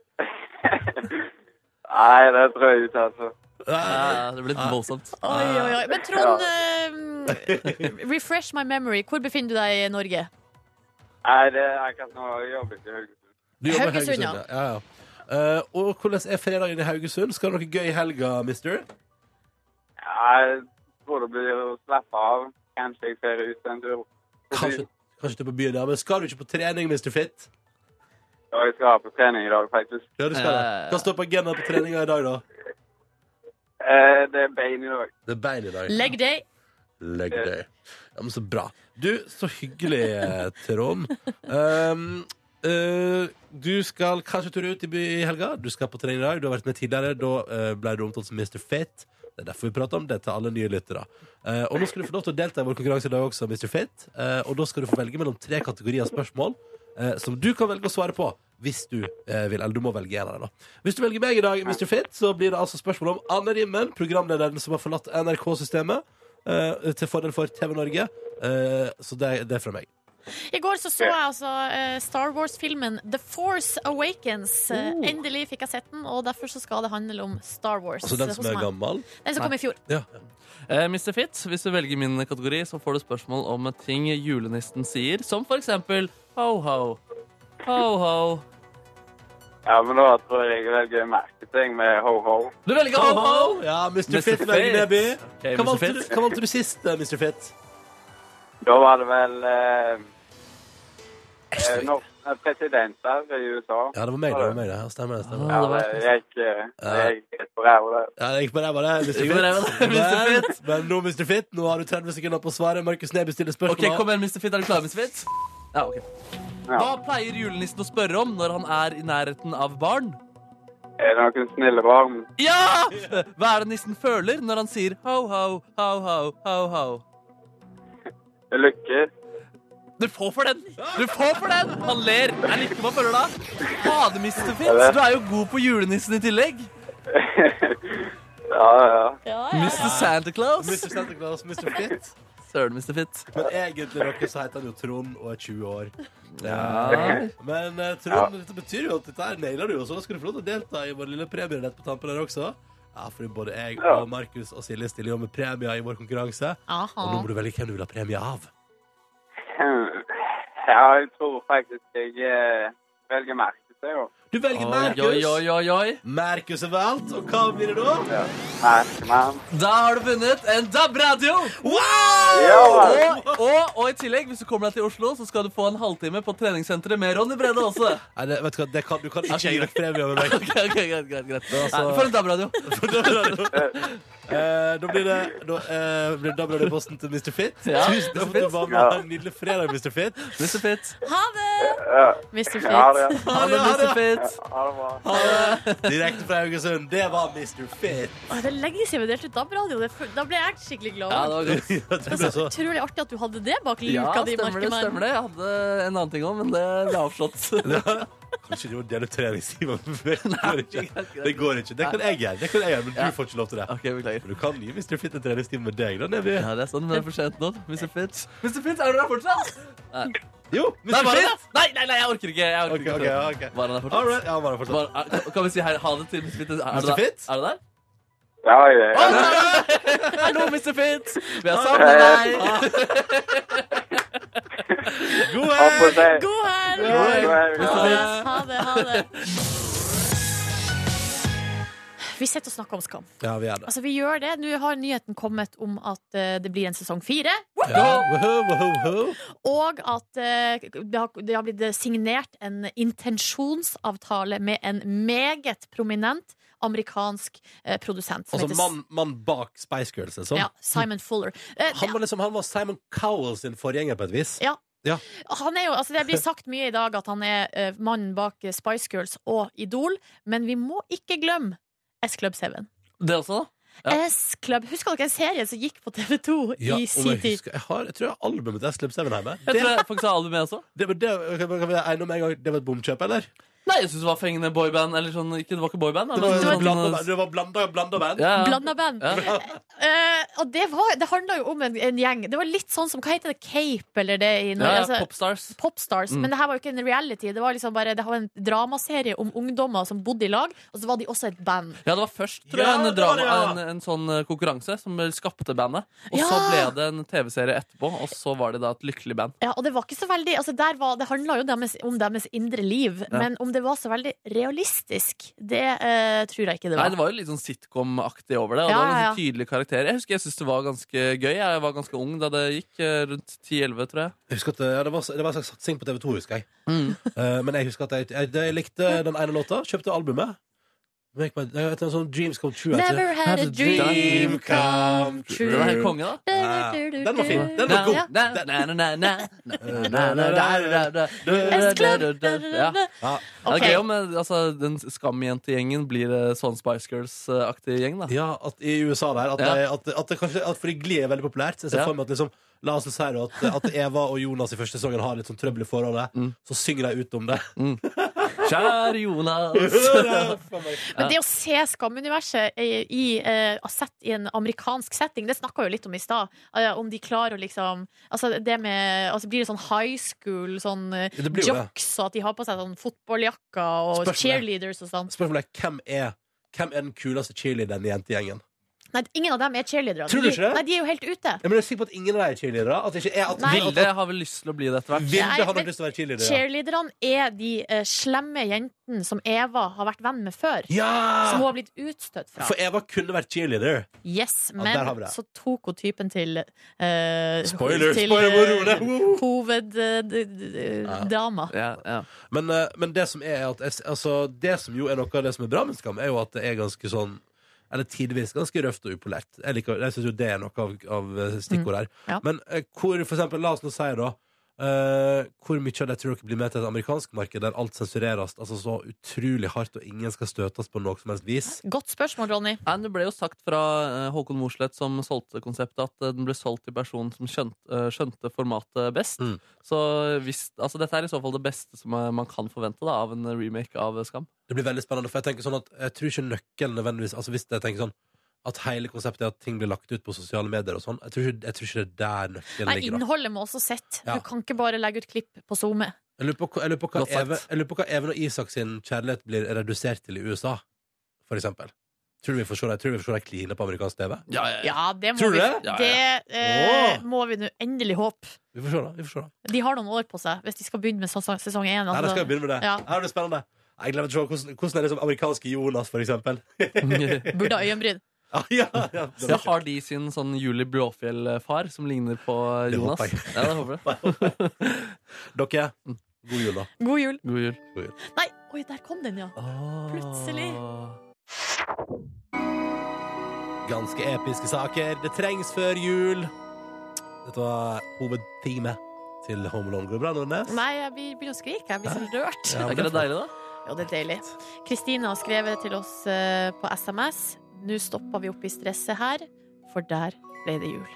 Speaker 6: Nei, det tror jeg ikke, altså.
Speaker 2: Eh,
Speaker 4: Ja, Ah, det er blitt voldsomt.
Speaker 3: Oi, oi, oi. Men Trond, eh, refresh my memory. Hvor befinner du deg i Norge?
Speaker 6: Nei, det er akkurat nå jeg jobber ikke i Haugesund.
Speaker 2: Du jobber i
Speaker 3: Haugesund, ja.
Speaker 2: ja. ja, ja. Eh, og hvordan er fredagen i Haugesund? Skal dere noe gøy i helga, mister?
Speaker 6: Jeg tror det blir å slappe av. Kanskje jeg ser ut en tur.
Speaker 2: Kanskje, kanskje du er på byen, ja. Men skal du ikke på trening, Mr. Fit?
Speaker 6: Ja, jeg skal på trening i dag, faktisk.
Speaker 2: Ja, du skal
Speaker 3: Eh.
Speaker 2: det.
Speaker 4: Ja, ja, ja.
Speaker 2: Hva står på agendaen på treninga i dag, da?
Speaker 6: Eh, det er bein i dag.
Speaker 2: Det er bein i dag.
Speaker 3: Leg day.
Speaker 2: Leg day. Ja, men så bra. Du, så hyggelig, eh, Trond. Um, eh, du skal kanskje ture ut i by i helga. Du skal på trening i dag. Du har vært med tidligere. Da eh, ble du omtalt som Mr. Fit. Det er derfor vi prater om det til alle nye lyttere. Eh, og nå skal du få lov til å delta i vår konkurranse i dag også, Mr. Fit. Eh, og da skal du få velge mellom tre kategorier av spørsmål eh, som du kan velge å svare på. Hvis du eh, vil, eller du må velge en av dem. da. Hvis du velger meg i dag, Mr. Fit, så blir det altså spørsmål om Anne Rimmen, programlederen som har forlatt NRK-systemet eh, til fordel for TV Norge. Eh, så det, det er fra meg.
Speaker 3: I går så, så jeg altså eh, Star Wars-filmen The Force Awakens. Eh,
Speaker 2: Oh.
Speaker 3: Endelig fikk jeg sett den, og derfor så skal det handle om Star Wars.
Speaker 2: Altså den som
Speaker 3: hos
Speaker 2: er
Speaker 3: meg.
Speaker 2: gammel?
Speaker 3: Den som kom i fjor.
Speaker 2: Ja.
Speaker 4: Eh, Mr. Fitz, hvis du velger min kategori, så får du spørsmål om ting julenissen sier, som for eksempel ho-ho. Ho-ho.
Speaker 6: Ja, men da tror jeg jeg velger merketing med ho-ho.
Speaker 4: Du velger ho-ho!
Speaker 2: Ja, Mr.
Speaker 4: Mr.
Speaker 2: Fit velger
Speaker 4: Fit.
Speaker 2: Neby.
Speaker 4: Ok,
Speaker 2: Hva
Speaker 4: Mr.
Speaker 2: valgte du-
Speaker 4: Fit.
Speaker 2: hva valgte du sist, eh, Mr. Fit?
Speaker 6: Da var det vel eh, eh, no, eh, presidenter i USA.
Speaker 2: Ja, det var meg, det. var meg det. Ja, Stemmer. stemmer.
Speaker 6: Ja,
Speaker 4: det var-
Speaker 6: det gikk eh, det gikk helt på ræva, det.
Speaker 2: Ja, det gikk på ræva, det. Mr.
Speaker 4: Gikk på ræva,
Speaker 2: Fit.
Speaker 4: det, Mr.
Speaker 2: Men-
Speaker 4: Fit.
Speaker 2: Men nå, Mr. Fit, nå har du 30 sekunder på å svare. Markus Neby stiller spørsmål.
Speaker 4: Ok, kom igjen, Mr. Fitz. Er du klar, Mr. Fitz? Ja, ok. Hva pleier julenissen å spørre om når han er i nærheten av barn?
Speaker 6: Er det noen snille barn?
Speaker 4: Ja! Hva er det nissen føler når han sier ho-ho, ho-ho, ho-ho?
Speaker 6: Lykke?
Speaker 4: Du får for den! Du får for den! Han ler. Jeg liker man føler da. Fader, Mr. Fitz, du er jo god på julenissen i tillegg.
Speaker 6: Ja, ja. [LAUGHS]
Speaker 4: Mr. Santa Claus.
Speaker 2: Mr. Santa Claus, Mr. Fit.
Speaker 4: Søren, Mr. Fitz.
Speaker 2: Men egentlig dere så heter han jo Trond og er 20 år.
Speaker 4: Ja.
Speaker 2: Men eh, Trond, dette betyr jo at dette her nailer du jo, så da skal du få lov til å delta i vår lille premie rett på tampen her også. Ja, fordi både jeg
Speaker 6: Ja.
Speaker 2: og Markus og Silje stiller jo med premier i vår konkurranse. Og nå
Speaker 3: Aha.
Speaker 2: må du velge hvem du vil ha premie av.
Speaker 6: Ja, jeg tror faktisk jeg eh, velger merketing, jo.
Speaker 2: Du velger
Speaker 4: Oi, oi,
Speaker 2: Markus.
Speaker 4: oi, oi, oi.
Speaker 2: Markus er valgt, og hva blir det da?
Speaker 6: Ja. Merkemann.
Speaker 4: Da har du vunnet en DAB-radio!
Speaker 2: Wow!
Speaker 6: Ja!
Speaker 4: Og, og, og i tillegg, hvis du kommer deg til Oslo, så skal du få en halvtime på treningssenteret med Ronny Brede også.
Speaker 2: Nei, det, vet du hva, det kan, du kan ikke
Speaker 4: Ok,
Speaker 2: gi vekk premie med meg.
Speaker 4: [LAUGHS]
Speaker 6: [LAUGHS]
Speaker 4: Ok, ok, greit, greit, greit.
Speaker 2: Det var så-
Speaker 4: Nei, For en DAB-radio.
Speaker 2: Eh, da blir det Da eh, blir det dabla-posten til Mr. Fit.
Speaker 4: Ja.
Speaker 2: Tusen takk for at du var med.
Speaker 6: Ja.
Speaker 2: Ha en nydelig fredag, Mr. Fit.
Speaker 4: Mr. Fitz.
Speaker 3: Ha det!
Speaker 6: Ja,
Speaker 3: Mr. Fitz.
Speaker 6: ja, det.
Speaker 4: Ha det, Mr. Fitz.
Speaker 6: Ha det bra.
Speaker 2: Direkte fra Haugesund. Det var Mr. Fit. [LAUGHS]
Speaker 3: Å, det er lenge siden vi delte ut DAB-radio. Det er fu- Da ble jeg skikkelig glad.
Speaker 4: Ja, det var godt.
Speaker 2: Ja, det ble så-
Speaker 3: Utrolig artig at du hadde det bak luka
Speaker 4: Ja,
Speaker 3: di,
Speaker 4: stemmer det, stemmer det. Jeg hadde en annen ting òg, men det ble avslått. [LAUGHS]
Speaker 2: Kanskje de må dele treningstimer med meg. [LAUGHS] Det går ikke. Det
Speaker 4: Ok,
Speaker 2: går ikke. Det kan jeg gjøre, Det kan jeg gjøre, men
Speaker 4: Ja.
Speaker 2: du får ikke lov til det.
Speaker 4: beklager.
Speaker 2: Men du kan gi Mr. Fit en treningstime med deg, da, Neby.
Speaker 4: Ja, det er sånn, men det er for sent nå. Mr. Fitz, Mr. Fitz, er du der fortsatt?
Speaker 2: Jo, Mr.
Speaker 4: Nei, bare
Speaker 2: Fit!
Speaker 4: det! Nei, nei, nei, jeg orker ikke. Jeg orker
Speaker 2: Ok,
Speaker 4: ikke.
Speaker 2: ok, ok.
Speaker 4: Var han der
Speaker 2: All
Speaker 4: fortsatt?
Speaker 2: right. Ja, bare fortsett.
Speaker 4: Var, er, ah, kan vi si hei, ha det til Mr. Fitz? Er, du
Speaker 2: Mr.
Speaker 4: der?
Speaker 2: Fitz?
Speaker 4: er du der?
Speaker 6: Ja, jeg,
Speaker 4: Å, der er du! Hallo, Mr. Fitz! Vi har savnet
Speaker 6: Hei.
Speaker 4: deg!
Speaker 2: Ah. God
Speaker 6: Ha på
Speaker 2: helg!
Speaker 6: seg.
Speaker 3: God helg!
Speaker 6: God helg.
Speaker 4: Mr. Fitz.
Speaker 3: Ha det, ha det. Vi sitter og snakker om Skam.
Speaker 2: Ja, vi er det.
Speaker 3: Altså, vi gjør det. Nå har nyheten kommet om at eh, det blir en sesong fire,
Speaker 2: Ja. Woho, woho, woho.
Speaker 3: og at eh, det har, det har blitt signert en intensjonsavtale med en meget prominent amerikansk eh, produsent. som
Speaker 2: Altså
Speaker 3: heter-
Speaker 2: mann mann bak Spice Girls, liksom.
Speaker 3: Ja, Simon Fuller. Eh,
Speaker 2: Han var, liksom, han var Simon Cowell sin forgjenger på et vis.
Speaker 3: Ja.
Speaker 2: Ja.
Speaker 3: Han er jo, altså det blir sagt mye i dag at han er eh, mannen bak eh, Spice Girls og Idol, men vi må ikke glemme S-Club 7.
Speaker 4: Det også, da? Ja.
Speaker 3: S-Club, Husker dere en serie som gikk på TV2
Speaker 2: Ja,
Speaker 3: i
Speaker 2: om jeg,
Speaker 3: sin tid?
Speaker 2: husker, jeg, har, jeg tror jeg har albumet til Slum Seven hjemme.
Speaker 4: Jeg tror jeg faktisk har albumet også.
Speaker 2: Det, men det, ok, men kan vi egne om en gang, det var et bomkjøp, eller?
Speaker 4: Nei, jeg syns det var fengende boyband. Eller sånn, ikke, det var ikke boyband.
Speaker 2: Det
Speaker 4: men
Speaker 2: var,
Speaker 4: sånn,
Speaker 2: blanda, det var blanda, blanda band.
Speaker 4: ja, ja.
Speaker 3: Blanda band.
Speaker 4: Ja.
Speaker 3: Eh, og det, var- det handla jo om en, en gjeng. Det var litt sånn som Hva heter det? Cape, eller det i
Speaker 4: Ja,
Speaker 3: Norge?
Speaker 4: ja,
Speaker 3: altså,
Speaker 4: Popstars.
Speaker 3: Popstars, men det her var jo ikke en reality. Det var liksom bare Det var en dramaserie om ungdommer som bodde i lag, og så var de også et band.
Speaker 4: Ja, det var først tror
Speaker 2: Ja,
Speaker 4: jeg, en,
Speaker 2: det var det,
Speaker 4: drama,
Speaker 2: ja.
Speaker 4: en, en sånn eh, konkurranse som skapte bandet. Og så ble
Speaker 3: Ja.
Speaker 4: det en TV-serie etterpå, og så var det da et lykkelig band.
Speaker 3: Ja, og det var ikke så veldig altså der var, Det handla jo deres, om deres indre liv, men om det var så veldig realistisk, det eh, tror jeg ikke det
Speaker 4: Nei,
Speaker 3: var.
Speaker 4: Det var jo litt sånn sitcom-aktig over det.
Speaker 3: Ja,
Speaker 4: Og det var
Speaker 3: ja,
Speaker 4: ganske tydelige karakterer Jeg husker jeg syntes det var ganske gøy. Jeg var ganske ung da det gikk. eh, Rundt 10-11, tror jeg.
Speaker 2: Jeg husker at eh, det var, det var en slags satsing på TV2, husker jeg.
Speaker 4: Mm.
Speaker 2: Eh, men jeg husker at jeg, jeg, jeg likte den ene låta, kjøpte albumet. Men jeg gikk med- jeg vet, en sånn Dreams Come True. heter det.
Speaker 3: Never had a dream come true.
Speaker 4: Det var helt konge, da.
Speaker 2: Ja, den var fin. Den var god.
Speaker 4: Na, na, na, na, na, na, na, na, na, na, Ja.
Speaker 2: Ja.
Speaker 4: Ja,
Speaker 3: [LAUGHS] Ok.
Speaker 4: Det er gøy om eh, altså, den skamjentegjengen blir eh, sånn Spice Girls-aktig gjeng. da
Speaker 2: Ja, at i USA der At,
Speaker 4: Ja.
Speaker 2: det, at, at det kanskje at Fordi Glee er veldig populært. Så jeg ser
Speaker 4: Ja.
Speaker 2: for meg at liksom La oss si da Mm. at, at Eva og Jonas i første sesongen har litt sånn trøbbel i forholdet. Så synger de ut om det.
Speaker 4: Kjære
Speaker 3: [LAUGHS]
Speaker 4: Jonas.
Speaker 3: Men det å se Skamuniverset eh, i, eh, sett i en amerikansk setting, det snakka jo litt om i stad. Eh, om de klarer å liksom Altså det med altså Blir det sånn high school, sånn eh,
Speaker 2: Ja, [LAUGHS] det blir jo det.
Speaker 3: jocks, og at de har på seg sånn fotballjakker og
Speaker 2: Spørsmålet.
Speaker 3: cheerleaders og sånn?
Speaker 2: Spørsmålet er hvem er Hvem er den kuleste cheerleaderen i jentegjengen?
Speaker 3: Nei, ingen av dem er cheerleadere.
Speaker 2: Tror du
Speaker 3: De-
Speaker 2: ikke det?
Speaker 3: Nei, de er jo helt ute.
Speaker 2: Jeg er sikker på at ingen av dem er cheerleadere. At det ikke er at
Speaker 3: Nei.
Speaker 2: Vilde,
Speaker 4: Vilde har vel lyst til å bli det etter hvert.
Speaker 2: Vilde
Speaker 3: Nei,
Speaker 2: har
Speaker 3: men-
Speaker 2: nok lyst til å være cheerleader. ja.
Speaker 3: Cheerleaderne er de eh, slemme jentene som Eva har vært venn med før. Som hun
Speaker 2: Ja!
Speaker 3: har blitt utstøtt fra.
Speaker 2: For Eva kunne vært cheerleader.
Speaker 3: Yes,
Speaker 2: Ja, der har vi
Speaker 3: men
Speaker 2: det.
Speaker 3: så tok hun typen til eh,
Speaker 2: Spoiler,
Speaker 3: til,
Speaker 2: spoiler, hvor
Speaker 3: eh,
Speaker 2: rolig. Woo!
Speaker 3: Hoved eh, d- d- d-
Speaker 2: Ja.
Speaker 3: Dama
Speaker 4: Ja, ja.
Speaker 2: Men, eh, men det som er at jeg- altså, Det som jo er noe av det som er bra med Skam, er jo at det er ganske sånn eller tidvis ganske røft og upolert. Jeg, liker, jeg synes jo det er noe av, av eh, stikkord her.
Speaker 3: Mm, ja.
Speaker 2: Men eh, hvor, for eksempel, la oss nå si da eh, Hvor mye av det tror dere blir med til et amerikansk marked der alt sensureres altså så utrolig hardt, og ingen skal støtes på noe som helst vis?
Speaker 3: Godt spørsmål, Ronny.
Speaker 4: Nei, Det ble jo sagt fra eh, Håkon Mosleth, som solgte konseptet, at eh, den ble solgt til personen som skjønte, eh, skjønte formatet best.
Speaker 2: Mm.
Speaker 4: Så hvis, altså, dette er i så fall det beste som eh, man kan forvente da, av en remake av eh, Skam.
Speaker 2: Det blir veldig spennende, for jeg tenker sånn at jeg tror ikke nøkkelen nødvendigvis Altså hvis jeg tenker sånn at hele konseptet er at ting blir lagt ut på sosiale medier og sånn, jeg tror ikke, jeg tror ikke det er der nøkkelen
Speaker 3: Nei,
Speaker 2: ligger. da.
Speaker 3: innholdet må også sett.
Speaker 2: Ja.
Speaker 3: Du kan ikke bare legge ut klipp på SoMe.
Speaker 2: Jeg lurer på, hva- jeg lurer på hva
Speaker 4: Godt sagt.
Speaker 2: Even, jeg lurer på hva Even og Isak sin kjærlighet blir redusert til i USA, for eksempel. Tror du vi får se det? Tror du vi får se det kline på amerikansk TV?
Speaker 3: Ja, det må
Speaker 2: Tror du
Speaker 3: vi,
Speaker 2: det?
Speaker 4: Ja, ja.
Speaker 3: det eh,
Speaker 2: Åh.
Speaker 3: må vi nå endelig håpe.
Speaker 2: Vi får se det. vi får se det.
Speaker 3: De har noen år på seg hvis de skal begynne med sesong sesong én.
Speaker 2: Nei, da
Speaker 3: altså.
Speaker 2: skal vi begynne med det.
Speaker 3: Ja.
Speaker 2: Her blir det spennende. Jeg gleder meg til å se hvordan, hvordan er det som amerikanske Jonas, for eksempel. [LAUGHS]
Speaker 4: [LAUGHS]
Speaker 3: Burde ha øyenbryn.
Speaker 2: Ja, ja, ja.
Speaker 4: Ja, har de sin sånn Julie Bråfjell-far som ligner på eh,
Speaker 2: Det
Speaker 4: Jonas?
Speaker 2: håper jeg.
Speaker 4: Ja, det håper jeg.
Speaker 2: [LAUGHS] Dere, god jul, da.
Speaker 3: God jul.
Speaker 4: God jul.
Speaker 3: Nei, oi, der kom den, ja. Plutselig.
Speaker 2: Ganske episke saker. Det trengs før jul. Dette var hovedteamet til Home Alone. Går det bra, Nordnes?
Speaker 3: Nei, jeg blir- begynner å skrike. Jeg blir så rørt.
Speaker 2: Ja,
Speaker 4: Er
Speaker 2: men
Speaker 4: ikke
Speaker 2: det
Speaker 4: det deilig, da?
Speaker 3: Ja, det er deilig. Kristine har skrevet til oss eh, på SMS. Nå stoppa vi opp i stresset her, for der ble det jul.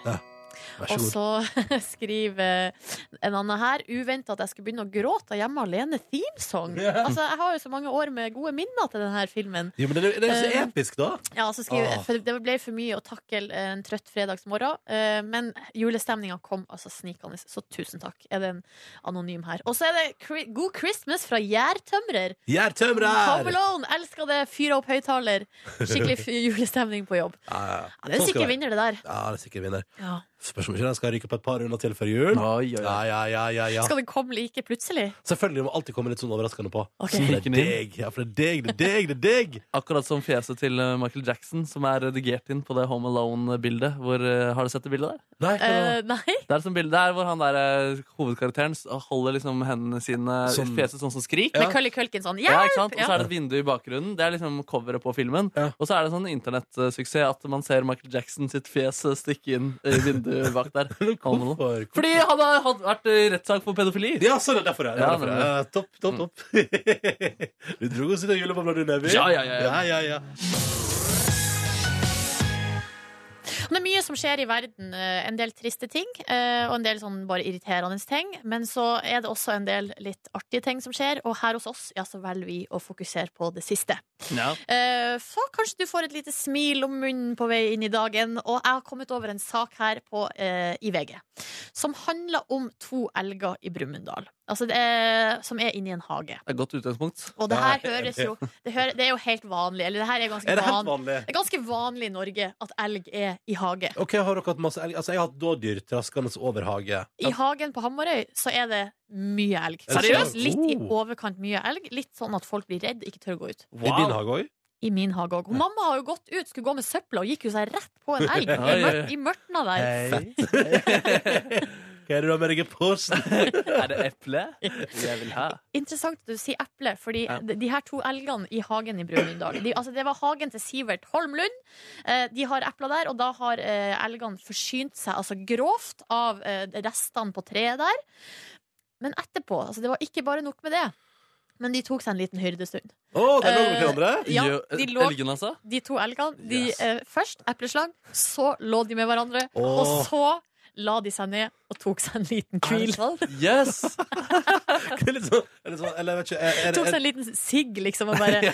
Speaker 2: Vær så
Speaker 3: Og
Speaker 2: god.
Speaker 3: så [LAUGHS] skriver en annen her uventa at jeg skulle begynne å gråte av hjemme alene theme song.
Speaker 2: Ja.
Speaker 3: Altså, jeg har jo så mange år med gode minner til denne filmen.
Speaker 2: Jo, men det, er- det er så
Speaker 3: Eh,
Speaker 2: episk, da.
Speaker 3: Ja, så skriver,
Speaker 2: Åh.
Speaker 3: for det ble for mye å takle en trøtt fredagsmorgen, eh, men julestemninga kom altså snikende, så tusen takk. Er det en anonym her. Og så er det Cri- God Christmas fra Gjærtømrer. Home
Speaker 2: Gjærtømrer!
Speaker 3: Alone! Elsker det! Fyre opp høyttaler. Skikkelig f- julestemning på jobb.
Speaker 2: Ja, ja.
Speaker 3: Ja, det er
Speaker 2: Sånn
Speaker 3: en
Speaker 2: skal
Speaker 3: sikker
Speaker 2: det være.
Speaker 3: vinner, det der.
Speaker 2: Ja, det er sikkert vinner.
Speaker 3: Ja.
Speaker 2: Spørs om ikke den skal ryke på et par runder til før jul.
Speaker 4: Oi, oi,
Speaker 2: Ja,
Speaker 4: oi.
Speaker 2: ja, ja, ja, ja.
Speaker 3: Skal den komme like plutselig?
Speaker 2: Selvfølgelig må alltid komme litt sånn overraskende på.
Speaker 3: Ok.
Speaker 2: For det er
Speaker 4: Sniken inn.
Speaker 2: deg, ja, for det er deg, det er deg, det er deg!
Speaker 4: Akkurat som fjeset til eh, Michael Jackson, som er redigert inn på det Home Alone-bildet. Hvor, eh, Har du sett det bildet der?
Speaker 2: Nei, hva da?
Speaker 3: [LAUGHS] Eh, nei?
Speaker 4: Det er som bildet der hvor han der eh, hovedkarakteren s- holder liksom hendene sine
Speaker 2: Som-
Speaker 4: i fjeset sånn som skrik.
Speaker 3: Med Cully Culkin sånn.
Speaker 4: Ja,
Speaker 3: Ja!
Speaker 4: ikke sant? Og så er det et vindu i bakgrunnen. Det er liksom coveret på filmen.
Speaker 2: Ja.
Speaker 4: Og så er det sånn internettsuksess at man ser Michael Jackson sitt fjes eh, stikke inn i vinduet bak
Speaker 2: [LAUGHS]
Speaker 4: der. Home Alone.
Speaker 2: Hvorfor?
Speaker 4: Fordi han har hatt- vært i rettssak for pedofili.
Speaker 2: Ja, sånn er det derfor. det er
Speaker 4: Ja,
Speaker 2: derfor,
Speaker 4: det er
Speaker 2: det er. Topp, topp, topp. [LAUGHS] Du dro oss ut av julebobla, du, Neby.
Speaker 4: Ja, ja, ja,
Speaker 2: ja,
Speaker 4: ja.
Speaker 2: ja, ja.
Speaker 3: Det er mye som skjer i verden. eh, En del triste ting, eh, og en del sånn bare irriterende ting. Men så er det også en del litt artige ting som skjer, og her hos oss ja, så velger vi å fokusere på det siste.
Speaker 4: Ja.
Speaker 3: Eh, Så kanskje du får et lite smil om munnen på vei inn i dagen. Og jeg har kommet over en sak her på, eh, i VG som handler om to elger i Brumunddal. Altså det er, som er inni en hage.
Speaker 4: Det er et godt utgangspunkt.
Speaker 3: Og det her
Speaker 2: Nei,
Speaker 3: høres
Speaker 2: ok.
Speaker 3: jo det, hører, det er jo helt vanlig. Eller det her er ganske,
Speaker 2: Er det helt
Speaker 3: van,
Speaker 2: vanlig?
Speaker 3: det er ganske vanlig i Norge at elg er i hage.
Speaker 2: Ok, har dere hatt masse elg? Altså, jeg har hatt dådyr traskende over hage.
Speaker 3: I hagen på Hamarøy så er det mye elg.
Speaker 2: Er det
Speaker 3: Seriøst,
Speaker 2: sant?
Speaker 3: litt i
Speaker 2: Oh.
Speaker 3: overkant mye elg. Litt sånn at folk blir redd, ikke tør å gå ut.
Speaker 2: I din hage òg?
Speaker 3: I min hage òg. Mamma har jo gått ut, skulle gå med søpla, og gikk jo seg rett på en elg.
Speaker 4: Oi,
Speaker 3: I,
Speaker 4: oi, oi.
Speaker 3: mør I mørtna der.
Speaker 2: Hva er det du har med deg i posen?
Speaker 4: Er det eple? Jeg vil ha.
Speaker 3: Interessant at du sier eple, fordi
Speaker 4: Ja.
Speaker 3: de, de her to elgene i hagen i Brumunddal de, altså Det var hagen til Sivert Holmlund. Eh, de har epler der, og da har eh, elgene forsynt seg altså grovt av eh, restene på treet der. Men etterpå altså Det var ikke bare nok med det. Men de tok seg en liten hyrdestund.
Speaker 2: Å, det lå med hverandre?
Speaker 3: Ja,
Speaker 4: Gjø-
Speaker 3: de lå
Speaker 4: Elgene, altså?
Speaker 3: de to elgene. De,
Speaker 4: Yes.
Speaker 3: eh, først epleslang, så lå de med hverandre,
Speaker 2: Åh.
Speaker 3: og så la de seg ned og tok seg en liten hvil.
Speaker 2: Yes! Det er [LAUGHS] litt sånn, er det sånn Eller jeg vet ikke er,
Speaker 3: Tok
Speaker 2: er,
Speaker 3: seg en liten sigg, liksom, og
Speaker 4: [LAUGHS]
Speaker 3: bare Æ,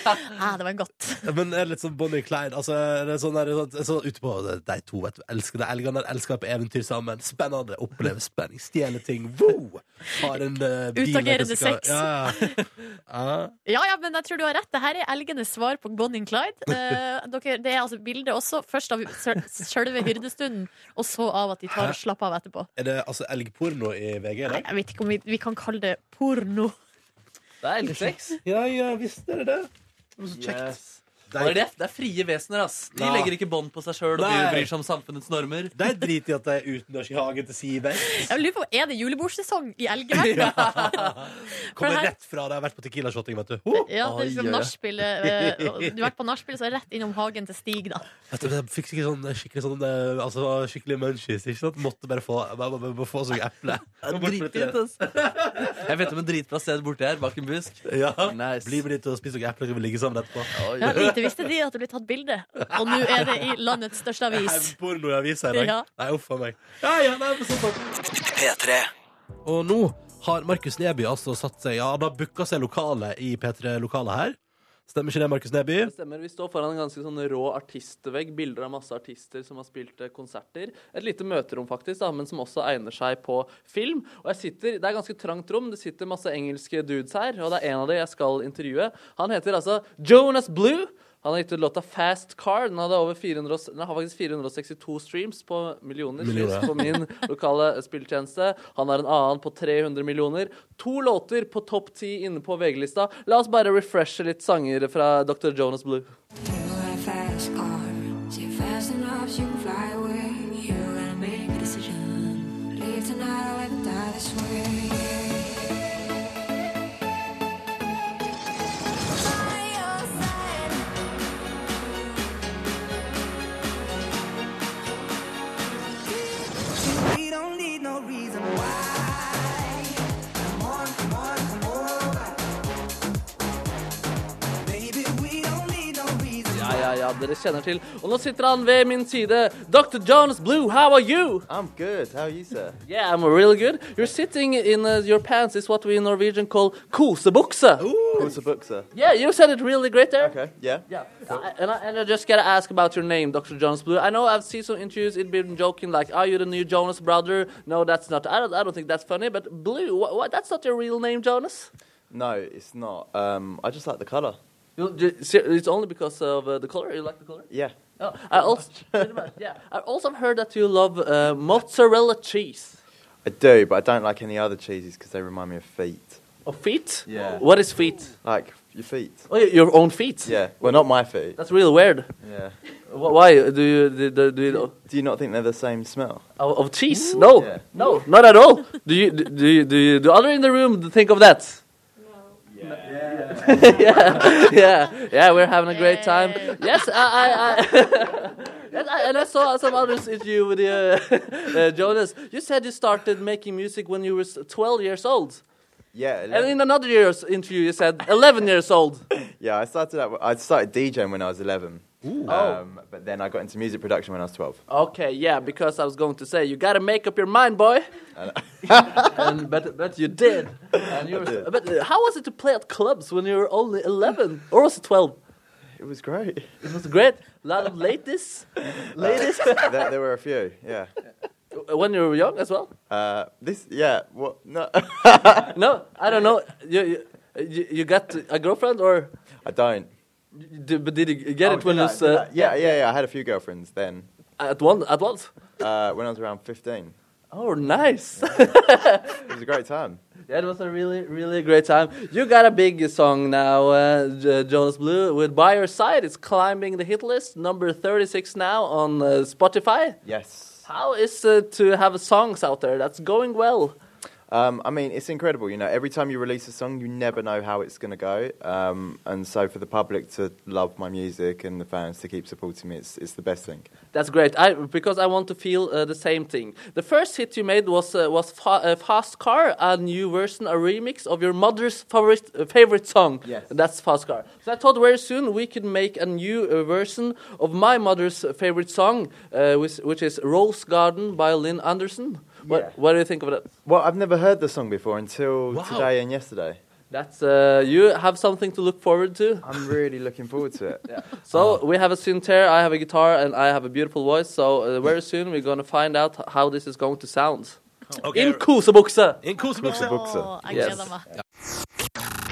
Speaker 3: det var godt.
Speaker 2: er, Men er det litt sånn Bonnie Clyde? Altså, er det sånn, er det sånn, er det sånn ute på De to vet du, elsker det elgene der, elsker å være på eventyr sammen. Spennende. Oppleve spenning. Stjele ting. Wow! Har en eh, bil der
Speaker 3: Utagerende
Speaker 2: du skal-
Speaker 3: sex.
Speaker 2: Ja, ja. ja.
Speaker 3: Ja, ja, men jeg tror du har rett. Dette er elgenes svar på Bonnie and
Speaker 4: [LAUGHS]
Speaker 3: Clyde. Eh, dere, det er altså bildet også, først av sel- selve hyrdestunden, og så av at de tar og slapper av etterpå.
Speaker 2: Er det altså elgporno i VG i
Speaker 3: Nei,
Speaker 2: dag?
Speaker 3: jeg vet ikke om vi, vi kan kalle det porno.
Speaker 4: [LAUGHS] Det er elgsex.
Speaker 2: Ja, ja, visst er det det. Det var så kjekt.
Speaker 4: Yes.
Speaker 2: De,
Speaker 4: Og Det er, det, det er frie vesener, ass. De
Speaker 2: Ja.
Speaker 4: legger ikke bånd på seg sjøl og
Speaker 2: Nei.
Speaker 4: bryr, bryr seg om samfunnets normer.
Speaker 2: de driter i at de er utendørs i hagen til Siver.
Speaker 3: Jeg lurer på, Er det julebordsesong i elgeverdenen?
Speaker 2: Kommer
Speaker 3: her-
Speaker 2: rett fra det jeg har vært på Tequila-shotting, vet du. Ho!
Speaker 3: Ja, det er liksom
Speaker 4: Oi, oi, oi.
Speaker 3: nachspielet, eh, og Du har vært på nachspielet, så er det rett innom hagen til Stig, da.
Speaker 2: Vet du, Jeg fikk sikkert sånn skikkelig sånn eh, Altså skikkelig munchies. Ikke sant? Måtte bare få, bare, bare, bare få sånn eple.
Speaker 4: Dritfint, ass. Jeg vet om en dritbra sted borti her, bak en busk.
Speaker 2: Ja.
Speaker 4: Nice.
Speaker 2: Bli med dit og spis noen epler, så vi ligger sammen etterpå.
Speaker 4: Oi,
Speaker 3: Ja, lite visste de at det ble tatt bilde, og nå er det i landets største avis.
Speaker 2: Porno i avisa i dag.
Speaker 3: Ja.
Speaker 2: Nei, uff a meg. Ja, ja, nei, men sånn, sånn. Og nå har Markus Neby altså satt seg Ja, da booka seg lokale i P3-lokalet her. Stemmer ikke det, Markus Neby?
Speaker 4: Det stemmer. Vi står foran en ganske sånn rå artistvegg. Bilder av masse artister som har spilt eh, konserter. Et lite møterom, faktisk, da, men som også egner seg på film. Og jeg sitter, Det er ganske trangt rom. Det sitter masse engelske dudes her, og det er en av de jeg skal intervjue. Han heter altså Jonas Blue. Han har gitt ut låta Fast Car. Den, hadde over 400, og- den har faktisk 462 streams på millioner,
Speaker 2: Millioner, ja.
Speaker 4: streams på min lokale spilltjeneste. Han har en annen på 300 millioner. To låter på topp ti inne på VG-lista. La oss bare refreshe litt sanger fra Dr. Jonas Blue.
Speaker 7: You got a fast car, so you're fast enough so you can fly away. You gotta make a decision. Leave tonight or let it die this way.
Speaker 1: We don't need no reason why.
Speaker 4: Ja, ja, ja, dere kjenner til. Og nå sitter han ved min side. Dr. Jonas Blue, how are you?
Speaker 8: I'm good. How are you, sir?
Speaker 4: Yeah, I'm really good. You're sitting in uh, your pants is what we in Norwegian call kosebukse.
Speaker 8: What's the book, sir?
Speaker 4: Yeah, you said it really great there.
Speaker 8: Okay. Yeah.
Speaker 4: Yeah, I- and, I, and I just gotta ask about your name, Dr. Jonas Blue. I know I've seen some interviews, it's been joking, like, are you the new Jonas brother? No, that's not, I don't, I don't think that's funny, but Blue, what, what, that's not your real name, Jonas?
Speaker 8: No, it's not. Um, I just like the color.
Speaker 4: You, ju- ser- it's only because of uh, the color, you like the color?
Speaker 8: Yeah.
Speaker 4: Oh, I also, yeah, I also heard that you love uh, mozzarella cheese.
Speaker 8: I do, but I don't like any other cheeses because they remind me of feet.
Speaker 4: Or Oh, feet?
Speaker 8: Yeah.
Speaker 4: What is feet?
Speaker 8: Like your feet.
Speaker 4: Oh, y- your own feet?
Speaker 8: Yeah. Well, not my feet.
Speaker 4: That's really weird.
Speaker 8: Yeah.
Speaker 4: Wh- Why? Do you, do, do, do you,
Speaker 8: Do you not think they're the same smell?
Speaker 4: Of, of cheese? No,
Speaker 8: Yeah.
Speaker 4: no, not at all. Do you do do you, do, you, do other in the room think of that? No. [LAUGHS] Yeah. yeah, yeah, we're having a great time. Yes, I, I, I, [LAUGHS] yes, I and I saw some others interview with you, [LAUGHS] uh, uh, Jonas. You said you started making music when you were s- 12 years old,
Speaker 8: Yeah.
Speaker 4: and in another year's interview you said 11 years old.
Speaker 8: yeah. I started out. I started DJing when I was 11.
Speaker 4: Oh.
Speaker 8: Um, but then I got into music production when I was 12.
Speaker 4: Okay, yeah, because I was going to say you gotta make up your mind,
Speaker 8: [LAUGHS]
Speaker 4: boy. and but but you did. And you were,
Speaker 8: did.
Speaker 4: But uh, how was it to play at clubs when you were only eleven or was it twelve?
Speaker 8: It was great.
Speaker 4: It was great. lot of ladies, ladies.
Speaker 8: [LAUGHS] there, there were a few. Yeah.
Speaker 4: when you were young as well.
Speaker 8: Uh, this. Yeah. What? No. [LAUGHS]
Speaker 4: No, I don't know. You you, you, you got a girlfriend or?
Speaker 8: I don't.
Speaker 4: you Did, but did you get
Speaker 8: Oh,
Speaker 4: it when
Speaker 8: did
Speaker 4: you
Speaker 8: I-
Speaker 4: was
Speaker 8: did I-
Speaker 4: uh,
Speaker 8: yeah, yeah, yeah. I had a few girlfriends then.
Speaker 4: at one at once?
Speaker 8: Uh, when I was around 15.
Speaker 4: Oh, nice.
Speaker 8: It was a great time.
Speaker 4: Yeah, it was a really, really great time. You got a big song now, uh, J- Jonas Blue, with By Your Side. It's climbing the hit list, number 36 now on uh, Spotify.
Speaker 8: Yes.
Speaker 4: How is it to have songs out there that's going well?
Speaker 8: Um, I mean, it's incredible. You know, every time you release a song, you never know how it's going to go. Um, and so, for the public to love my music and the fans to keep supporting me, it's, it's the best thing.
Speaker 4: That's great. I, because I want to feel uh, the same thing. The first hit you made was uh, was fa- uh, Fast Car, a new version, a remix of your mother's favorite uh, favorite song.
Speaker 8: Yes.
Speaker 4: That's Fast Car. So I thought very soon we could make a new uh, version of my mother's favorite song, uh, which, which is Rose Garden by Lynn Anderson. What,
Speaker 8: Yeah.
Speaker 4: what do you think of that?
Speaker 8: Well, I've never heard the song before until
Speaker 2: Wow.
Speaker 8: today and yesterday.
Speaker 4: That's uh, you have something to look forward to.
Speaker 8: I'm really looking forward to it. Uh-huh.
Speaker 4: So we have a synthesizer, I have a guitar, and I have a beautiful voice. So uh, very soon we're gonna find out h- how this is going to sound. In kosebukse.
Speaker 2: In kosebukse.
Speaker 3: Å, jeg
Speaker 4: Yes.
Speaker 3: gleder meg.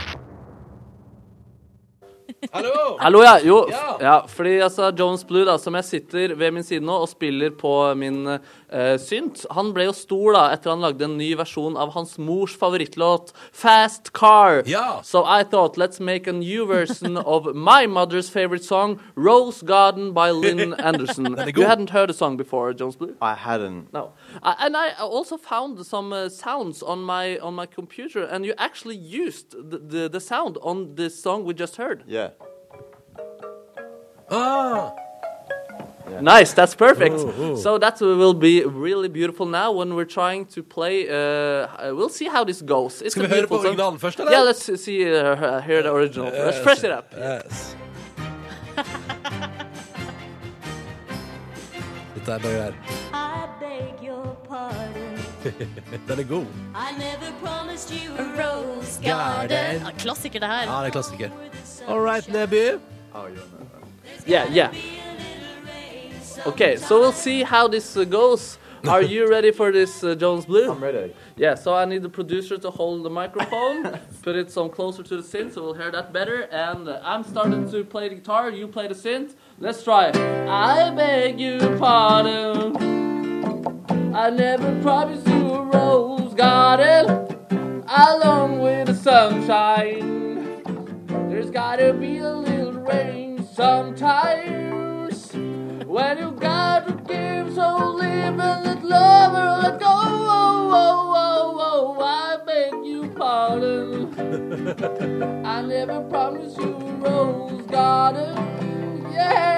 Speaker 2: Hallo!
Speaker 4: Hallo, ja. Jo,
Speaker 2: Ja.
Speaker 4: f- ja, fordi altså Jones Blue, da, som jeg sitter ved min side nå og spiller på min eh, synt, han ble jo stor da etter han lagde en ny versjon av hans mors favorittlåt, Fast Car.
Speaker 2: Ja.
Speaker 4: So I thought let's make a new
Speaker 2: [LAUGHS]
Speaker 4: version of my mother's favorite song, Rose Garden by
Speaker 2: [LAUGHS]
Speaker 4: Lynn Anderson.
Speaker 2: er god.
Speaker 4: you hadn't heard a song before, Jones Blue?
Speaker 8: [LAUGHS] I hadn't.
Speaker 4: No, I, and I also found some uh, sounds on my on my computer, and you actually used the, the, the sound on the song we just heard.
Speaker 8: Yeah.
Speaker 2: Ah,
Speaker 4: Nice, that's perfect. So that will be really beautiful now when we're trying to play. Uh, uh, we'll see how this goes. It's
Speaker 2: Skal
Speaker 4: a
Speaker 2: vi høre på
Speaker 4: beautiful song.
Speaker 2: originalen først, eller?
Speaker 4: Yeah, let's see uh, hear the original. Let's press it up.
Speaker 2: Yes. Dette er bare greier.
Speaker 9: I beg your pardon.
Speaker 2: [LAUGHS] Den er god.
Speaker 9: I never promised you a rose
Speaker 2: Garden.
Speaker 9: garden.
Speaker 3: Ja, Klassiker, det her.
Speaker 2: Ja, det er klassiker. All right, Nebby.
Speaker 4: Yeah, yeah. Okay, so we'll see how this uh,
Speaker 2: [LAUGHS]
Speaker 4: goes. Are you ready for this, uh, Jones Blue?
Speaker 8: I'm ready.
Speaker 4: Yeah, so I need the producer to hold the
Speaker 2: [LAUGHS]
Speaker 4: microphone, put it some closer to the synth so we'll hear that better. And uh, I'm starting to play the guitar, you play the synth. Let's try. I beg you pardon. I never promised you a rose garden along with the sunshine. There's gotta be a little rain sometimes. When you gotta give so live and let love or let go. Oh, oh, oh, oh, I beg you [LAUGHS] pardon. I never promised you a rose garden. Yeah.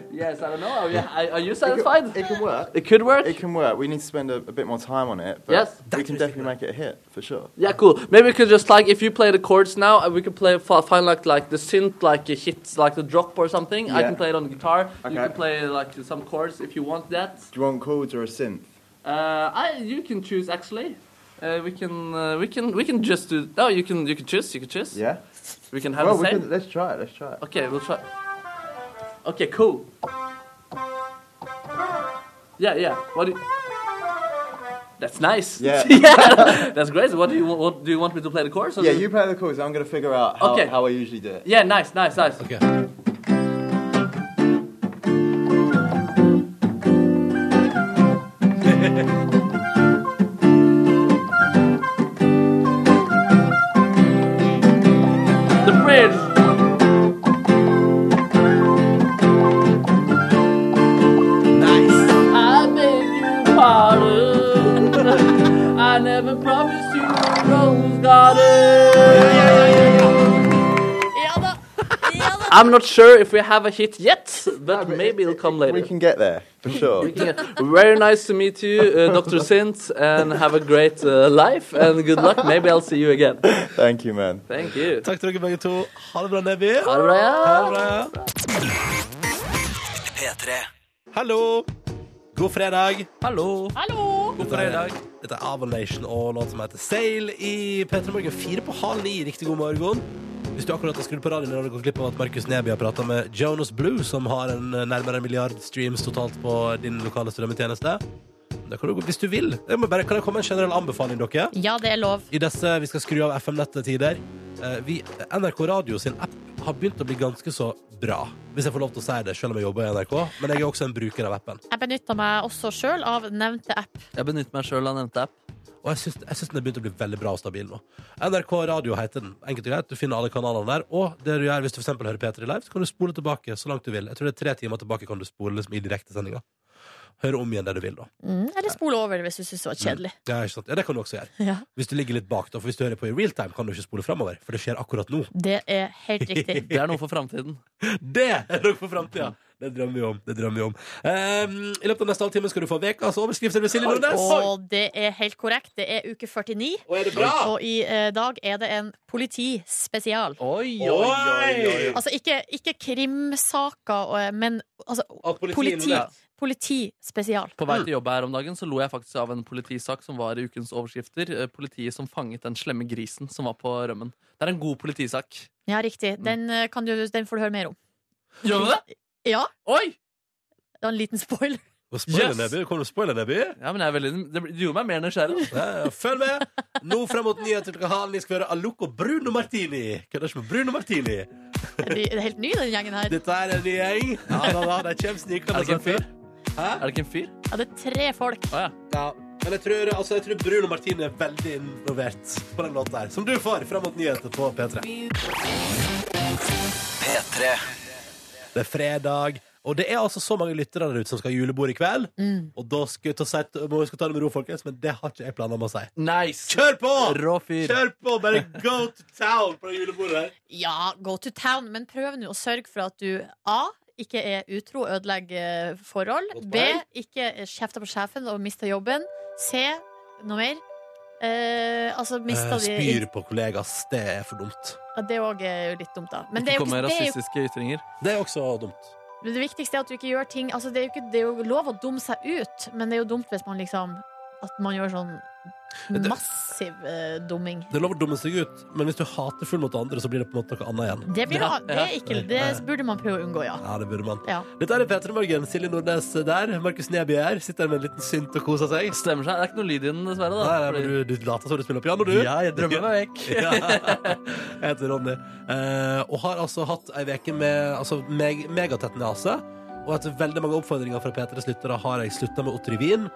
Speaker 4: [LAUGHS] yes, I don't know. Are you, are are you satisfied?
Speaker 8: It can work.
Speaker 4: It could work.
Speaker 8: It can work. We need to spend a, a bit more time on it, but
Speaker 4: Yes.
Speaker 8: we can definitely make it a hit for sure.
Speaker 4: Yeah, cool. Maybe we could just like if you play the chords now, uh, we could play fi- find like like the synth like a hit like the drop or something. I
Speaker 8: Yeah.
Speaker 4: can play it on the guitar. You
Speaker 8: Okay.
Speaker 4: can play like some chords if you want that.
Speaker 8: Do you want chords or a synth?
Speaker 4: Uh, I you can choose actually. Uh, we can uh, we can we can just do no you can you can choose you can choose
Speaker 8: Yeah.
Speaker 4: we can have
Speaker 8: Well,
Speaker 4: the
Speaker 8: we
Speaker 4: same
Speaker 8: can, let's try it. Let's try it.
Speaker 4: okay we'll try okay cool yeah yeah what do you... that's nice [LAUGHS]
Speaker 8: Yeah.
Speaker 4: that's great what do you what do you want me to play the chorus or
Speaker 8: Yeah,
Speaker 4: do-
Speaker 8: you play the chords. I'm going to figure out how,
Speaker 4: Okay.
Speaker 8: how I usually do it.
Speaker 4: yeah nice nice nice
Speaker 2: Okay.
Speaker 4: the bridge. Nice. I beg you pardon. I never promised you a rose garden.
Speaker 3: Ja da! Ja da.
Speaker 4: I'm not sure if we have a hit yet, but
Speaker 8: but
Speaker 4: maybe it'll come
Speaker 8: We
Speaker 4: later.
Speaker 8: can get there for
Speaker 4: [LAUGHS]
Speaker 8: sure.
Speaker 4: Yeah. Very nice to meet you, uh, Dr. Sint, and have a great uh, life and good luck. Maybe I'll see you again.
Speaker 8: Thank you,
Speaker 10: [LAUGHS]
Speaker 8: man.
Speaker 4: Thank you.
Speaker 2: Takk til dere begge to. Ha det bra, Nebby.
Speaker 4: Ha det bra, ja.
Speaker 2: Hallo. God fredag. Hallo.
Speaker 3: Hallo!
Speaker 2: God fredag. Dette er Avalation og låt som heter Sail i P3 Morgen. Fire på halv ni. Riktig god morgen. Hvis du akkurat har skrudd på radioen, har du gått glipp av at Markus Neby har prata med Jonas Blue, som har en eh, nærmere en milliard streams totalt på din lokale strømmetjeneste. Det kan du, gå- hvis du vil. Jeg må bare, kan det komme en generell anbefaling, dere?
Speaker 3: Ja, det er lov.
Speaker 2: I disse vi skal skru av FM-nettet-tider. Eh, vi- NRK Radio sin app har begynt å bli ganske så bra. Hvis jeg får lov til å si det, selv om jeg jobber i NRK. Men jeg er også en bruker av appen.
Speaker 3: Jeg benytta meg også sjøl av nevnte app.
Speaker 4: Jeg benytter meg sjøl av nevnte app.
Speaker 2: Og jeg syns, jeg syns den er begynt å bli veldig bra og stabil nå. NRK Radio heter den. Enkelt og greit. Du finner alle kanalene der. Og det du gjør hvis du for eksempel hører P3 Live, så kan du spole tilbake så langt du vil. Jeg tror det er tre timer tilbake kan du spole liksom, i direktesendinga. høre om igjen det du vil, da.
Speaker 3: Mm, eller spole over hvis du syns det var kjedelig.
Speaker 2: Ja, ikke sant? ja, det kan du også gjøre.
Speaker 3: Ja.
Speaker 2: Hvis du ligger litt bak, da. For hvis du hører på i real time, kan du ikke spole framover. For det skjer akkurat nå.
Speaker 3: Det er helt riktig.
Speaker 4: Det er noe for framtiden.
Speaker 2: Det er nok for framtida! Det drømmer vi om. det drømmer vi om Ehm, I løpet av neste halvtime skal du få ukas overskrifter med Silje Nordnes.
Speaker 3: Og [LAUGHS] det er helt korrekt. Det er uke 49.
Speaker 2: Og er det bra?
Speaker 3: Og i eh, dag er det en politispesial.
Speaker 4: Oi,
Speaker 2: Oi, oi, oi.
Speaker 3: Altså ikke, ikke krimsaker, og- men altså,
Speaker 2: At politiet
Speaker 3: politi,
Speaker 2: gjorde
Speaker 3: politispesial.
Speaker 4: På vei til jobb her om dagen så lo jeg faktisk av en politisak som var i ukens overskrifter. Eh, Politiet som fanget den slemme grisen som var på rømmen. Det er en god politisak.
Speaker 3: Ja, riktig. Den, eh, kan du, den får du høre mer om.
Speaker 4: Gjør du det?
Speaker 3: Ja,
Speaker 4: Oi!
Speaker 3: det var en liten spoiler.
Speaker 2: Og spoiler,
Speaker 4: Yes!
Speaker 2: Nebby. Kommer det spoiler, Nebby?
Speaker 4: Ja, men jeg er veldig, det gjorde meg mer nysgjerrig.
Speaker 2: Ja, Følg med! Nå frem mot nyheter klokka halv ni skal vi høre Alok og Bruno Martini. Kødder ikke med Bruno Martini.
Speaker 3: Er de- det er helt ny, den gjengen her.
Speaker 2: Dette er en ny gjeng. Ja, da, da, de kommer
Speaker 4: Er
Speaker 2: snikende
Speaker 4: det ikke en
Speaker 2: som en
Speaker 4: fyr?
Speaker 2: Hæ?
Speaker 4: Er det ikke en fyr?
Speaker 3: Ja, det er tre folk.
Speaker 4: Å ja.
Speaker 2: Ja. Men jeg tror, altså, jeg tror Bruno Martini er veldig involvert på den låten der. Som du får frem mot nyheter på P3. Det er fredag. Og det er altså så mange lyttere der ute som skal ha julebord i kveld. Og da skal jeg ta, si- må vi skal ta det med ro, folkens, men det har ikke jeg planer om å si.
Speaker 4: Nice!
Speaker 2: Kjør på!
Speaker 4: Rå fyr.
Speaker 2: Kjør på! Bare go to town på det julebordet her.
Speaker 3: Ja, go to town, men prøv nå å sørge for at du A. Ikke er utro, ødelegger eh, forhold.
Speaker 2: Godt
Speaker 3: B.
Speaker 2: poeng.
Speaker 3: Ikke kjefter på sjefen og mister jobben. C. Noe mer? Eh, altså, mista
Speaker 2: Eh,
Speaker 3: de
Speaker 2: Spyr på kollegas. Det er for dumt.
Speaker 3: ja, Det òg er jo litt dumt, da. Men det, er
Speaker 4: Ikke
Speaker 3: jo
Speaker 4: kom
Speaker 3: ikke,
Speaker 4: med
Speaker 3: det, er
Speaker 4: rasistiske ytringer.
Speaker 2: Det er også dumt.
Speaker 3: jo, det viktigste er at du ikke gjør ting altså, det, er jo ikke, det er jo lov å dumme seg ut, men det er jo dumt hvis man liksom At man gjør sånn
Speaker 2: Det-
Speaker 3: massiv eh, dumming.
Speaker 2: Det er lov å dumme seg ut, men hvis du hater full mot andre, så blir det på en måte noe annet igjen.
Speaker 3: Det, blir,
Speaker 4: Ja,
Speaker 3: det, er ikke, det burde man prøve å unngå, ja.
Speaker 2: Ja, det burde man.
Speaker 3: ja.
Speaker 2: Dette er P3 Morgen. Silje Nordnes er der. Markus Neby er her. Sitter her med en liten synt og koser seg.
Speaker 4: Stemmer seg. Det er ikke noe lyd i den, dessverre.
Speaker 2: Nei,
Speaker 4: da
Speaker 2: nei, men du, du later som du spiller piano, du.
Speaker 4: Ja, jeg drømmer meg vekk.
Speaker 2: [LAUGHS] Ja. Jeg heter Ronny. Eh, og har altså hatt ei uke med altså, meg, megatett nese. Og etter veldig mange oppfordringer fra P3s lyttere har jeg slutta med Otrivin.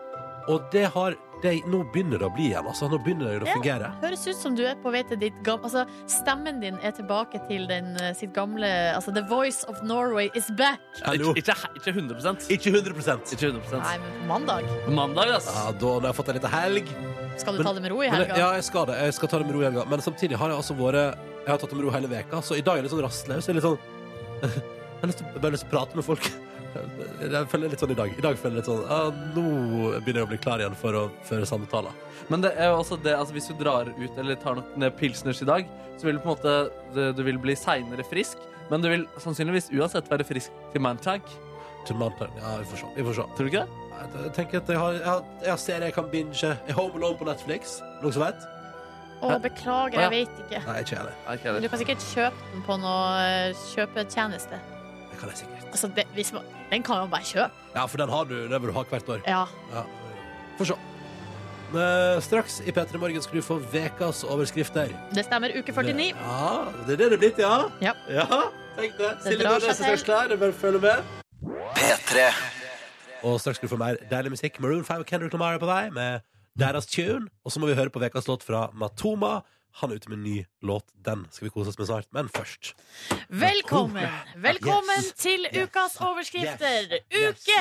Speaker 2: Og det har det, Nå begynner det å bli igjen. Altså, nå begynner det å
Speaker 3: Ja.
Speaker 2: fungere.
Speaker 3: Høres ut som du er på vei til ditt gamle Altså, stemmen din er tilbake til den, eh, sitt gamle Altså, the voice of Norway is back!
Speaker 2: Hallo.
Speaker 4: Ikke, ikke, ikke 100
Speaker 2: Ikke 100
Speaker 4: Ikke 100
Speaker 3: Nei, men på mandag
Speaker 4: Mandag, ass.
Speaker 2: ja, Da har jeg fått ei lita helg.
Speaker 3: skal du
Speaker 2: Men-
Speaker 3: ta det med ro i
Speaker 2: Men,
Speaker 3: helga.
Speaker 2: jeg- ja, jeg skal det. Jeg skal ta det med ro i helga. Men samtidig har jeg altså vært Jeg har tatt det med ro hele veka, så i dag er jeg litt sånn rastløs. Jeg er litt sånn [LAUGHS] Jeg har lyst til, bare lyst til å prate med folk. [LAUGHS] Jeg føler litt sånn i dag. I dag føler jeg litt sånn ah, Nå begynner jeg å bli klar igjen for å føre samtaler.
Speaker 4: Men det er jo også det, altså hvis du drar ut eller tar nok ned pilsners i dag, så vil du på en måte du, du vil bli seinere frisk. Men du vil sannsynligvis uansett være frisk til mandag.
Speaker 2: Til mandag. Ja, vi får se. Vi får se.
Speaker 4: Tror du ikke det?
Speaker 2: Jeg, jeg tenker at jeg har, jeg har, jeg har serier jeg kan binge. Jeg har Home Alone på Netflix. Noen som vet?
Speaker 3: Å, beklager,
Speaker 4: Å, ja.
Speaker 3: jeg vet ikke.
Speaker 2: Nei, ikke jeg heller.
Speaker 4: Nei, ikke jeg
Speaker 3: Men du
Speaker 4: heller.
Speaker 3: kan sikkert kjøpe den på noe eh, kjøpetjeneste.
Speaker 2: Det kan jeg sikkert.
Speaker 3: Altså, det, hvis man, den kan man bare kjøpe.
Speaker 2: Ja, for den har du. Den vil du ha hvert år.
Speaker 3: Ja.
Speaker 2: Ja. Få se. Eh, Straks i P3 Morgen skal du få ukas overskrifter.
Speaker 3: Det stemmer. Uke 49.
Speaker 2: Det, ja, det er det det er blitt, ja?
Speaker 3: Ja.
Speaker 2: tenk det.
Speaker 3: Det
Speaker 2: Silje
Speaker 3: drar
Speaker 2: Nordnes er
Speaker 3: seg til.
Speaker 2: straks klar. Det er Bare å følge med. Og straks skal du få mer deilig musikk. Maroon 5 og Kendrick Lamar er på vei med deres tune. Og så må vi høre på ukas låt fra Matoma. Han er ute med en ny låt. Den skal vi kose oss med snart. Men først
Speaker 3: Velkommen! Velkommen
Speaker 2: Yes.
Speaker 3: til
Speaker 2: Yes.
Speaker 3: ukas overskrifter.
Speaker 2: Yes. Yes.
Speaker 3: Uke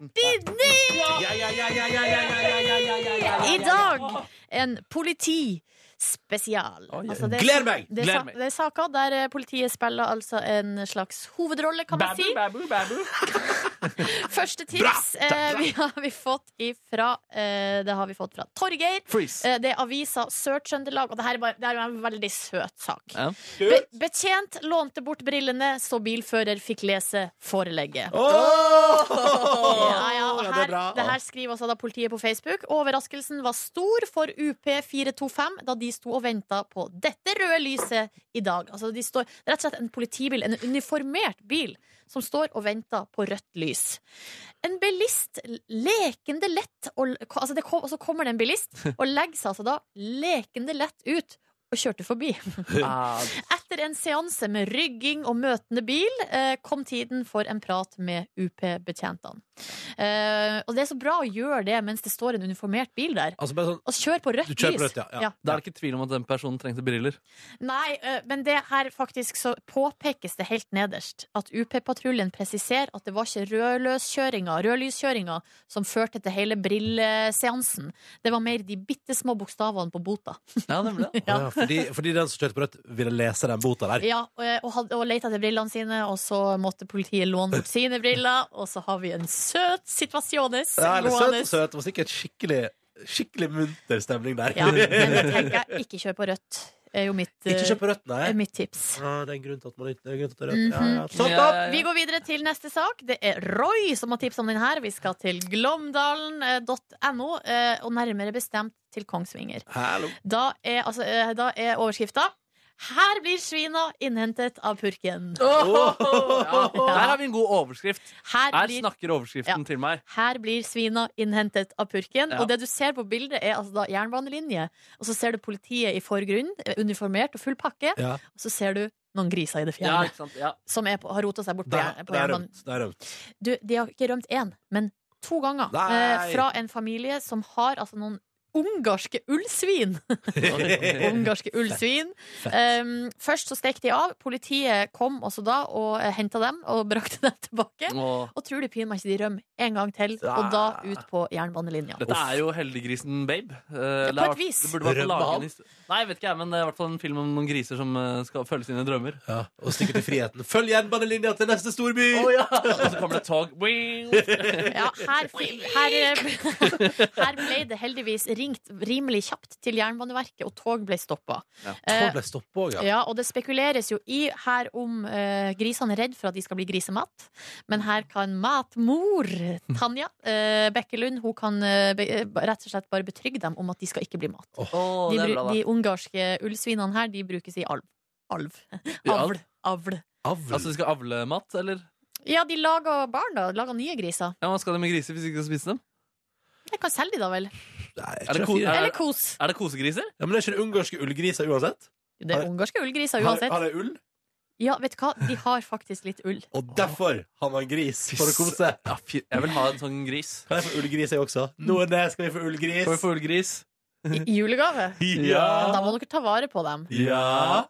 Speaker 3: 49!
Speaker 2: Ja, ja, ja, ja, ja, ja, ja, ja, ja, ja, ja, ja.
Speaker 3: I dag en politispesial.
Speaker 4: Oi,
Speaker 3: Altså, det er-
Speaker 2: Gleder meg!
Speaker 3: Det er,
Speaker 4: Gleder
Speaker 3: sa-
Speaker 4: meg.
Speaker 3: det er saker der eh, politiet spiller altså en slags hovedrolle, kan man si. Første tips eh, vi har vi fått ifra eh, Det har vi fått fra Torgeir.
Speaker 4: Freeze.
Speaker 3: Eh, det er avisa Sør-Trøndelag, og det her er, bare, det her er en veldig søt sak.
Speaker 4: Ja.
Speaker 3: Be betjent lånte bort brillene, så bilfører fikk lese forelegget. Ja, ja, og
Speaker 2: Ja, det er
Speaker 3: her,
Speaker 2: bra.
Speaker 3: det her skriver altså da politiet på Facebook. Overraskelsen var stor for UP425 da de sto og venta på dette røde lyset i dag. Altså, de står, det er rett og slett en politibil, en uniformert bil, som står og venter på rødt lys. En bilist lekende lett og, altså det kom, Og så kommer det en bilist og legger seg altså da lekende lett ut og kjørte forbi.
Speaker 4: Ah,
Speaker 3: Etter en seanse med rygging og møtende bil eh, kom tiden for en prat med UP-betjentene. Eh, og det er så bra å gjøre det mens det står en uniformert bil der.
Speaker 2: Altså bare sånn
Speaker 3: Og kjør på rødt
Speaker 2: Du kjører på
Speaker 3: lys.
Speaker 2: rødt, ja, ja.
Speaker 4: Det er ikke tvil om at den personen trengte briller.
Speaker 3: Nei, eh, men det her faktisk så påpekes det helt nederst at UP-patruljen presiserer at det var ikke rødløskjøringa, rødlyskjøringa som førte til hele brilleseansen. Det var mer de bitte små bokstavene på bota.
Speaker 4: Ja, nemlig.
Speaker 2: Ja. fordi, fordi den som kjørte på rødt, ville lese den bota der.
Speaker 3: Ja, og, eh, og, hadde- og leita etter brillene sine, og så måtte politiet låne bort sine briller, og så har vi en søt situasjones
Speaker 2: Ja, eller søt
Speaker 3: gående.
Speaker 2: og søt. Det var sikkert skikkelig, skikkelig munter stemning der.
Speaker 3: Ja, men det tenker jeg. Ikke kjør på rødt, er jo mitt,
Speaker 2: [LAUGHS] Ikke kjøp på rødt,
Speaker 3: eh,
Speaker 2: nei.
Speaker 3: er mitt tips.
Speaker 2: Ja, det er en grunn til at man ikke det er en grunn til at det er rødt.
Speaker 3: Mhm.
Speaker 2: ja, ja.
Speaker 4: Ja,
Speaker 2: Stopp,
Speaker 4: ja,
Speaker 2: stopp!
Speaker 4: ja.
Speaker 3: Vi går videre til neste sak. Det er Roy som har tips om den her. Vi skal til glomdalen.no, eh, og nærmere bestemt til Kongsvinger.
Speaker 2: Hallo.
Speaker 3: Da er, altså, eh, da er overskrifta 'Her blir svina innhentet av purken'.
Speaker 4: Ja. Der har vi en god overskrift.
Speaker 3: Her
Speaker 4: Her
Speaker 3: blir
Speaker 4: snakker overskriften
Speaker 3: Ja.
Speaker 4: til meg.
Speaker 3: her blir svina innhentet av purken.
Speaker 4: Ja.
Speaker 3: Og det du ser på bildet, er altså da jernbanelinje. Og så ser du politiet i forgrunnen, eh, uniformert og full pakke.
Speaker 2: Ja.
Speaker 3: Og så ser du noen griser i det
Speaker 4: Ja,
Speaker 3: fjerne
Speaker 4: ikke sant? Ja.
Speaker 3: som er på, har rota seg bort på,
Speaker 2: Der,
Speaker 3: jern, på
Speaker 2: der er
Speaker 3: jernbanen.
Speaker 2: rømt. Der er rømt.
Speaker 3: Du, de har ikke rømt én, men to ganger.
Speaker 2: Nei.
Speaker 3: Eh, fra en familie som har altså noen ungarske
Speaker 2: [LAUGHS]
Speaker 3: ullsvin. [LAUGHS] ungarske ullsvin. Um, først så stekk de av. Politiet kom også da og eh, henta dem og [LAUGHS] brakte dem
Speaker 2: Mm.
Speaker 3: tilbake.
Speaker 4: Og
Speaker 3: Og tror du pinadø meg ikke de rømmer en gang til, og da ut på jernbanelinja.
Speaker 4: Dette er jo Heldiggrisen Babe. Eh, det
Speaker 3: på et
Speaker 4: har vært-
Speaker 3: vis.
Speaker 4: Det burde vært
Speaker 2: Rømme
Speaker 4: laget
Speaker 2: han?
Speaker 4: en his- Nei, jeg vet ikke jeg, men det er i hvert fall en film om noen griser som eh, skal følge sine
Speaker 3: [LAUGHS]
Speaker 4: drømmer.
Speaker 2: Ja, og stikke til friheten. Følg jernbanelinja til neste storby!
Speaker 4: Og så kommer det et tog. Wing!
Speaker 3: Ja, her, fi- her, eh, [LAUGHS] her ble det heldigvis ringt rimelig kjapt til Jernbaneverket, og tog ble stoppa.
Speaker 4: Ja,
Speaker 2: Tog ble stoppet også, ja.
Speaker 3: Eh, Ja, og det spekuleres jo i her om eh, grisene er redd for at de skal bli grisemat. Men her kan matmor Tanja eh, Bekkelund Hun kan eh, be, eh, rett og slett bare betrygge dem om at de skal ikke bli mat.
Speaker 4: Å,
Speaker 3: De,
Speaker 4: det er
Speaker 3: bru-
Speaker 4: bra, da.
Speaker 3: de ungarske ullsvinene her de brukes i alv. Alv.
Speaker 4: alv?
Speaker 3: Avl. Avl.
Speaker 2: Avl.
Speaker 4: Altså, de skal avle mat, eller?
Speaker 3: Ja, de lager barn, da. Lager nye griser.
Speaker 4: Ja, Hva skal de med griser hvis de ikke skal spise dem?
Speaker 3: Jeg kan selge de, da vel.
Speaker 2: Nei,
Speaker 4: Er det
Speaker 2: ikke
Speaker 4: ko-
Speaker 2: fire.
Speaker 4: er,
Speaker 3: Eller kos.
Speaker 4: er det kosegriser?
Speaker 2: ja, men er ikke det ungarske ullgriser uansett?
Speaker 3: Det
Speaker 2: Har-
Speaker 3: er ungarske ullgriser
Speaker 2: Har,
Speaker 3: uansett.
Speaker 2: har de ull?
Speaker 3: Ja, vet du hva? De har faktisk litt ull.
Speaker 2: Og derfor har man gris for å kose.
Speaker 4: Ja, fy, jeg vil ha en sånn gris.
Speaker 2: Kan jeg få ullgris, jeg også? Nordnes, skal vi få ullgris?
Speaker 4: Får vi få ullgris?
Speaker 3: I i julegave.
Speaker 2: Ja.
Speaker 3: Da må dere ta vare på
Speaker 4: [LAUGHS]
Speaker 3: dem.
Speaker 2: Ja.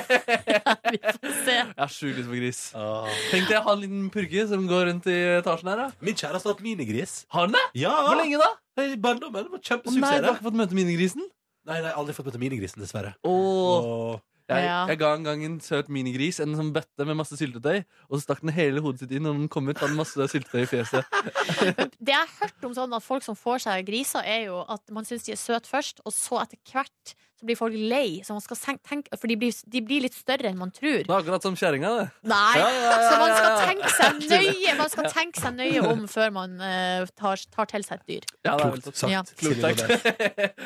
Speaker 3: Vi får se.
Speaker 4: Jeg har sjukt lyst på gris.
Speaker 2: Ah.
Speaker 4: Tenk deg å ha en liten purke som går rundt i etasjen her. da
Speaker 2: Min kjæreste har hatt minigris.
Speaker 4: Har den det?
Speaker 2: Ja.
Speaker 4: Hvor lenge da?
Speaker 2: I barndommen. det var
Speaker 4: Å nei,
Speaker 2: Kjempesuksess.
Speaker 4: Du har
Speaker 2: det.
Speaker 4: ikke fått møte minigrisen?
Speaker 2: Nei, nei, aldri fått møte minigrisen, dessverre.
Speaker 4: Åh.
Speaker 2: Åh.
Speaker 4: Jeg,
Speaker 3: Ja.
Speaker 4: jeg ga en gang en søt minigris en sånn bøtte med masse syltetøy, og så stakk den hele hodet sitt inn, og den kom ut av masse syltetøy i fjeset.
Speaker 3: Det jeg har hørt om sånn at folk som får seg griser, er jo at man syns de er søte først, og så etter hvert så blir folk lei. Så man skal sen- tenke, for de blir, de blir litt større enn man tror.
Speaker 4: Det er akkurat som kjerringa, det.
Speaker 3: Nei!
Speaker 4: Ja, ja, ja,
Speaker 3: Så man
Speaker 4: ja,
Speaker 3: skal
Speaker 4: ja.
Speaker 3: tenke seg nøye Man skal tenke seg nøye om før man eh, tar, tar til seg et dyr.
Speaker 4: Ja, det er vel
Speaker 2: Klokt
Speaker 4: sånn.
Speaker 2: sagt.
Speaker 3: Ja.
Speaker 2: Silje Nordnes.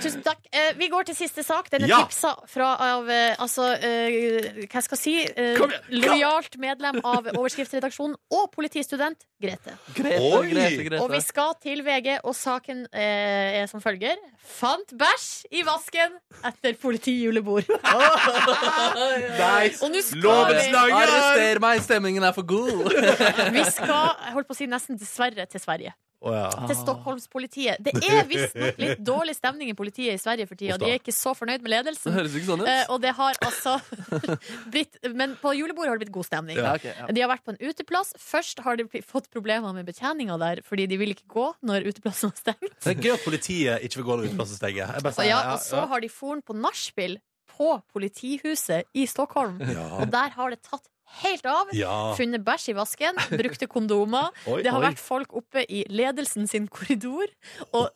Speaker 3: Tusen takk. Eh, vi går til siste sak. Den er
Speaker 2: Ja.
Speaker 3: tipsa fra av eh, altså, eh, hva skal jeg si eh,
Speaker 2: Kom igjen, kom!
Speaker 3: Lojalt medlem av overskriftsredaksjonen og politistudent Grete.
Speaker 4: Grete,
Speaker 2: Oi!
Speaker 4: Grete,
Speaker 3: Og vi
Speaker 4: Grete.
Speaker 3: skal til VG, og saken eh, er som følger. Fant bæsj i vasken etter
Speaker 2: [LAUGHS]
Speaker 3: politijulebord.
Speaker 2: Nice.
Speaker 3: Og nå skal
Speaker 2: Lovens
Speaker 3: vi,
Speaker 2: langer!
Speaker 4: Arrester meg, stemningen er for god!
Speaker 3: vi skal, jeg holdt på å si nesten dessverre, til Sverige.
Speaker 2: Å, ja.
Speaker 3: Til Stockholmspolitiet. Det er visstnok litt dårlig stemning i politiet i Sverige for tida. De er ikke så fornøyd med
Speaker 4: [LAUGHS] Det
Speaker 3: ledelsen.
Speaker 4: høres jo ikke sånn ut.
Speaker 3: Eh, og det har altså [LAUGHS] blitt Men på julebordet har det blitt god stemning.
Speaker 4: Ja, ok, ja.
Speaker 3: De har vært på en uteplass. Først har de bli- fått problemer med betjeninga der, fordi de vil ikke gå når uteplassen var stengt.
Speaker 2: Det er gøy at politiet ikke vil gå når utplassen stenger. Jeg bare
Speaker 3: Så
Speaker 2: sier,
Speaker 3: ja, og så har de foren på nachspiel på politihuset i Stockholm. Og der har det tatt helt av.
Speaker 2: ja.
Speaker 3: Funnet bæsj i vasken, brukte kondomer.
Speaker 2: Oi,
Speaker 3: Det har
Speaker 2: oi.
Speaker 3: vært folk oppe i ledelsen sin korridor og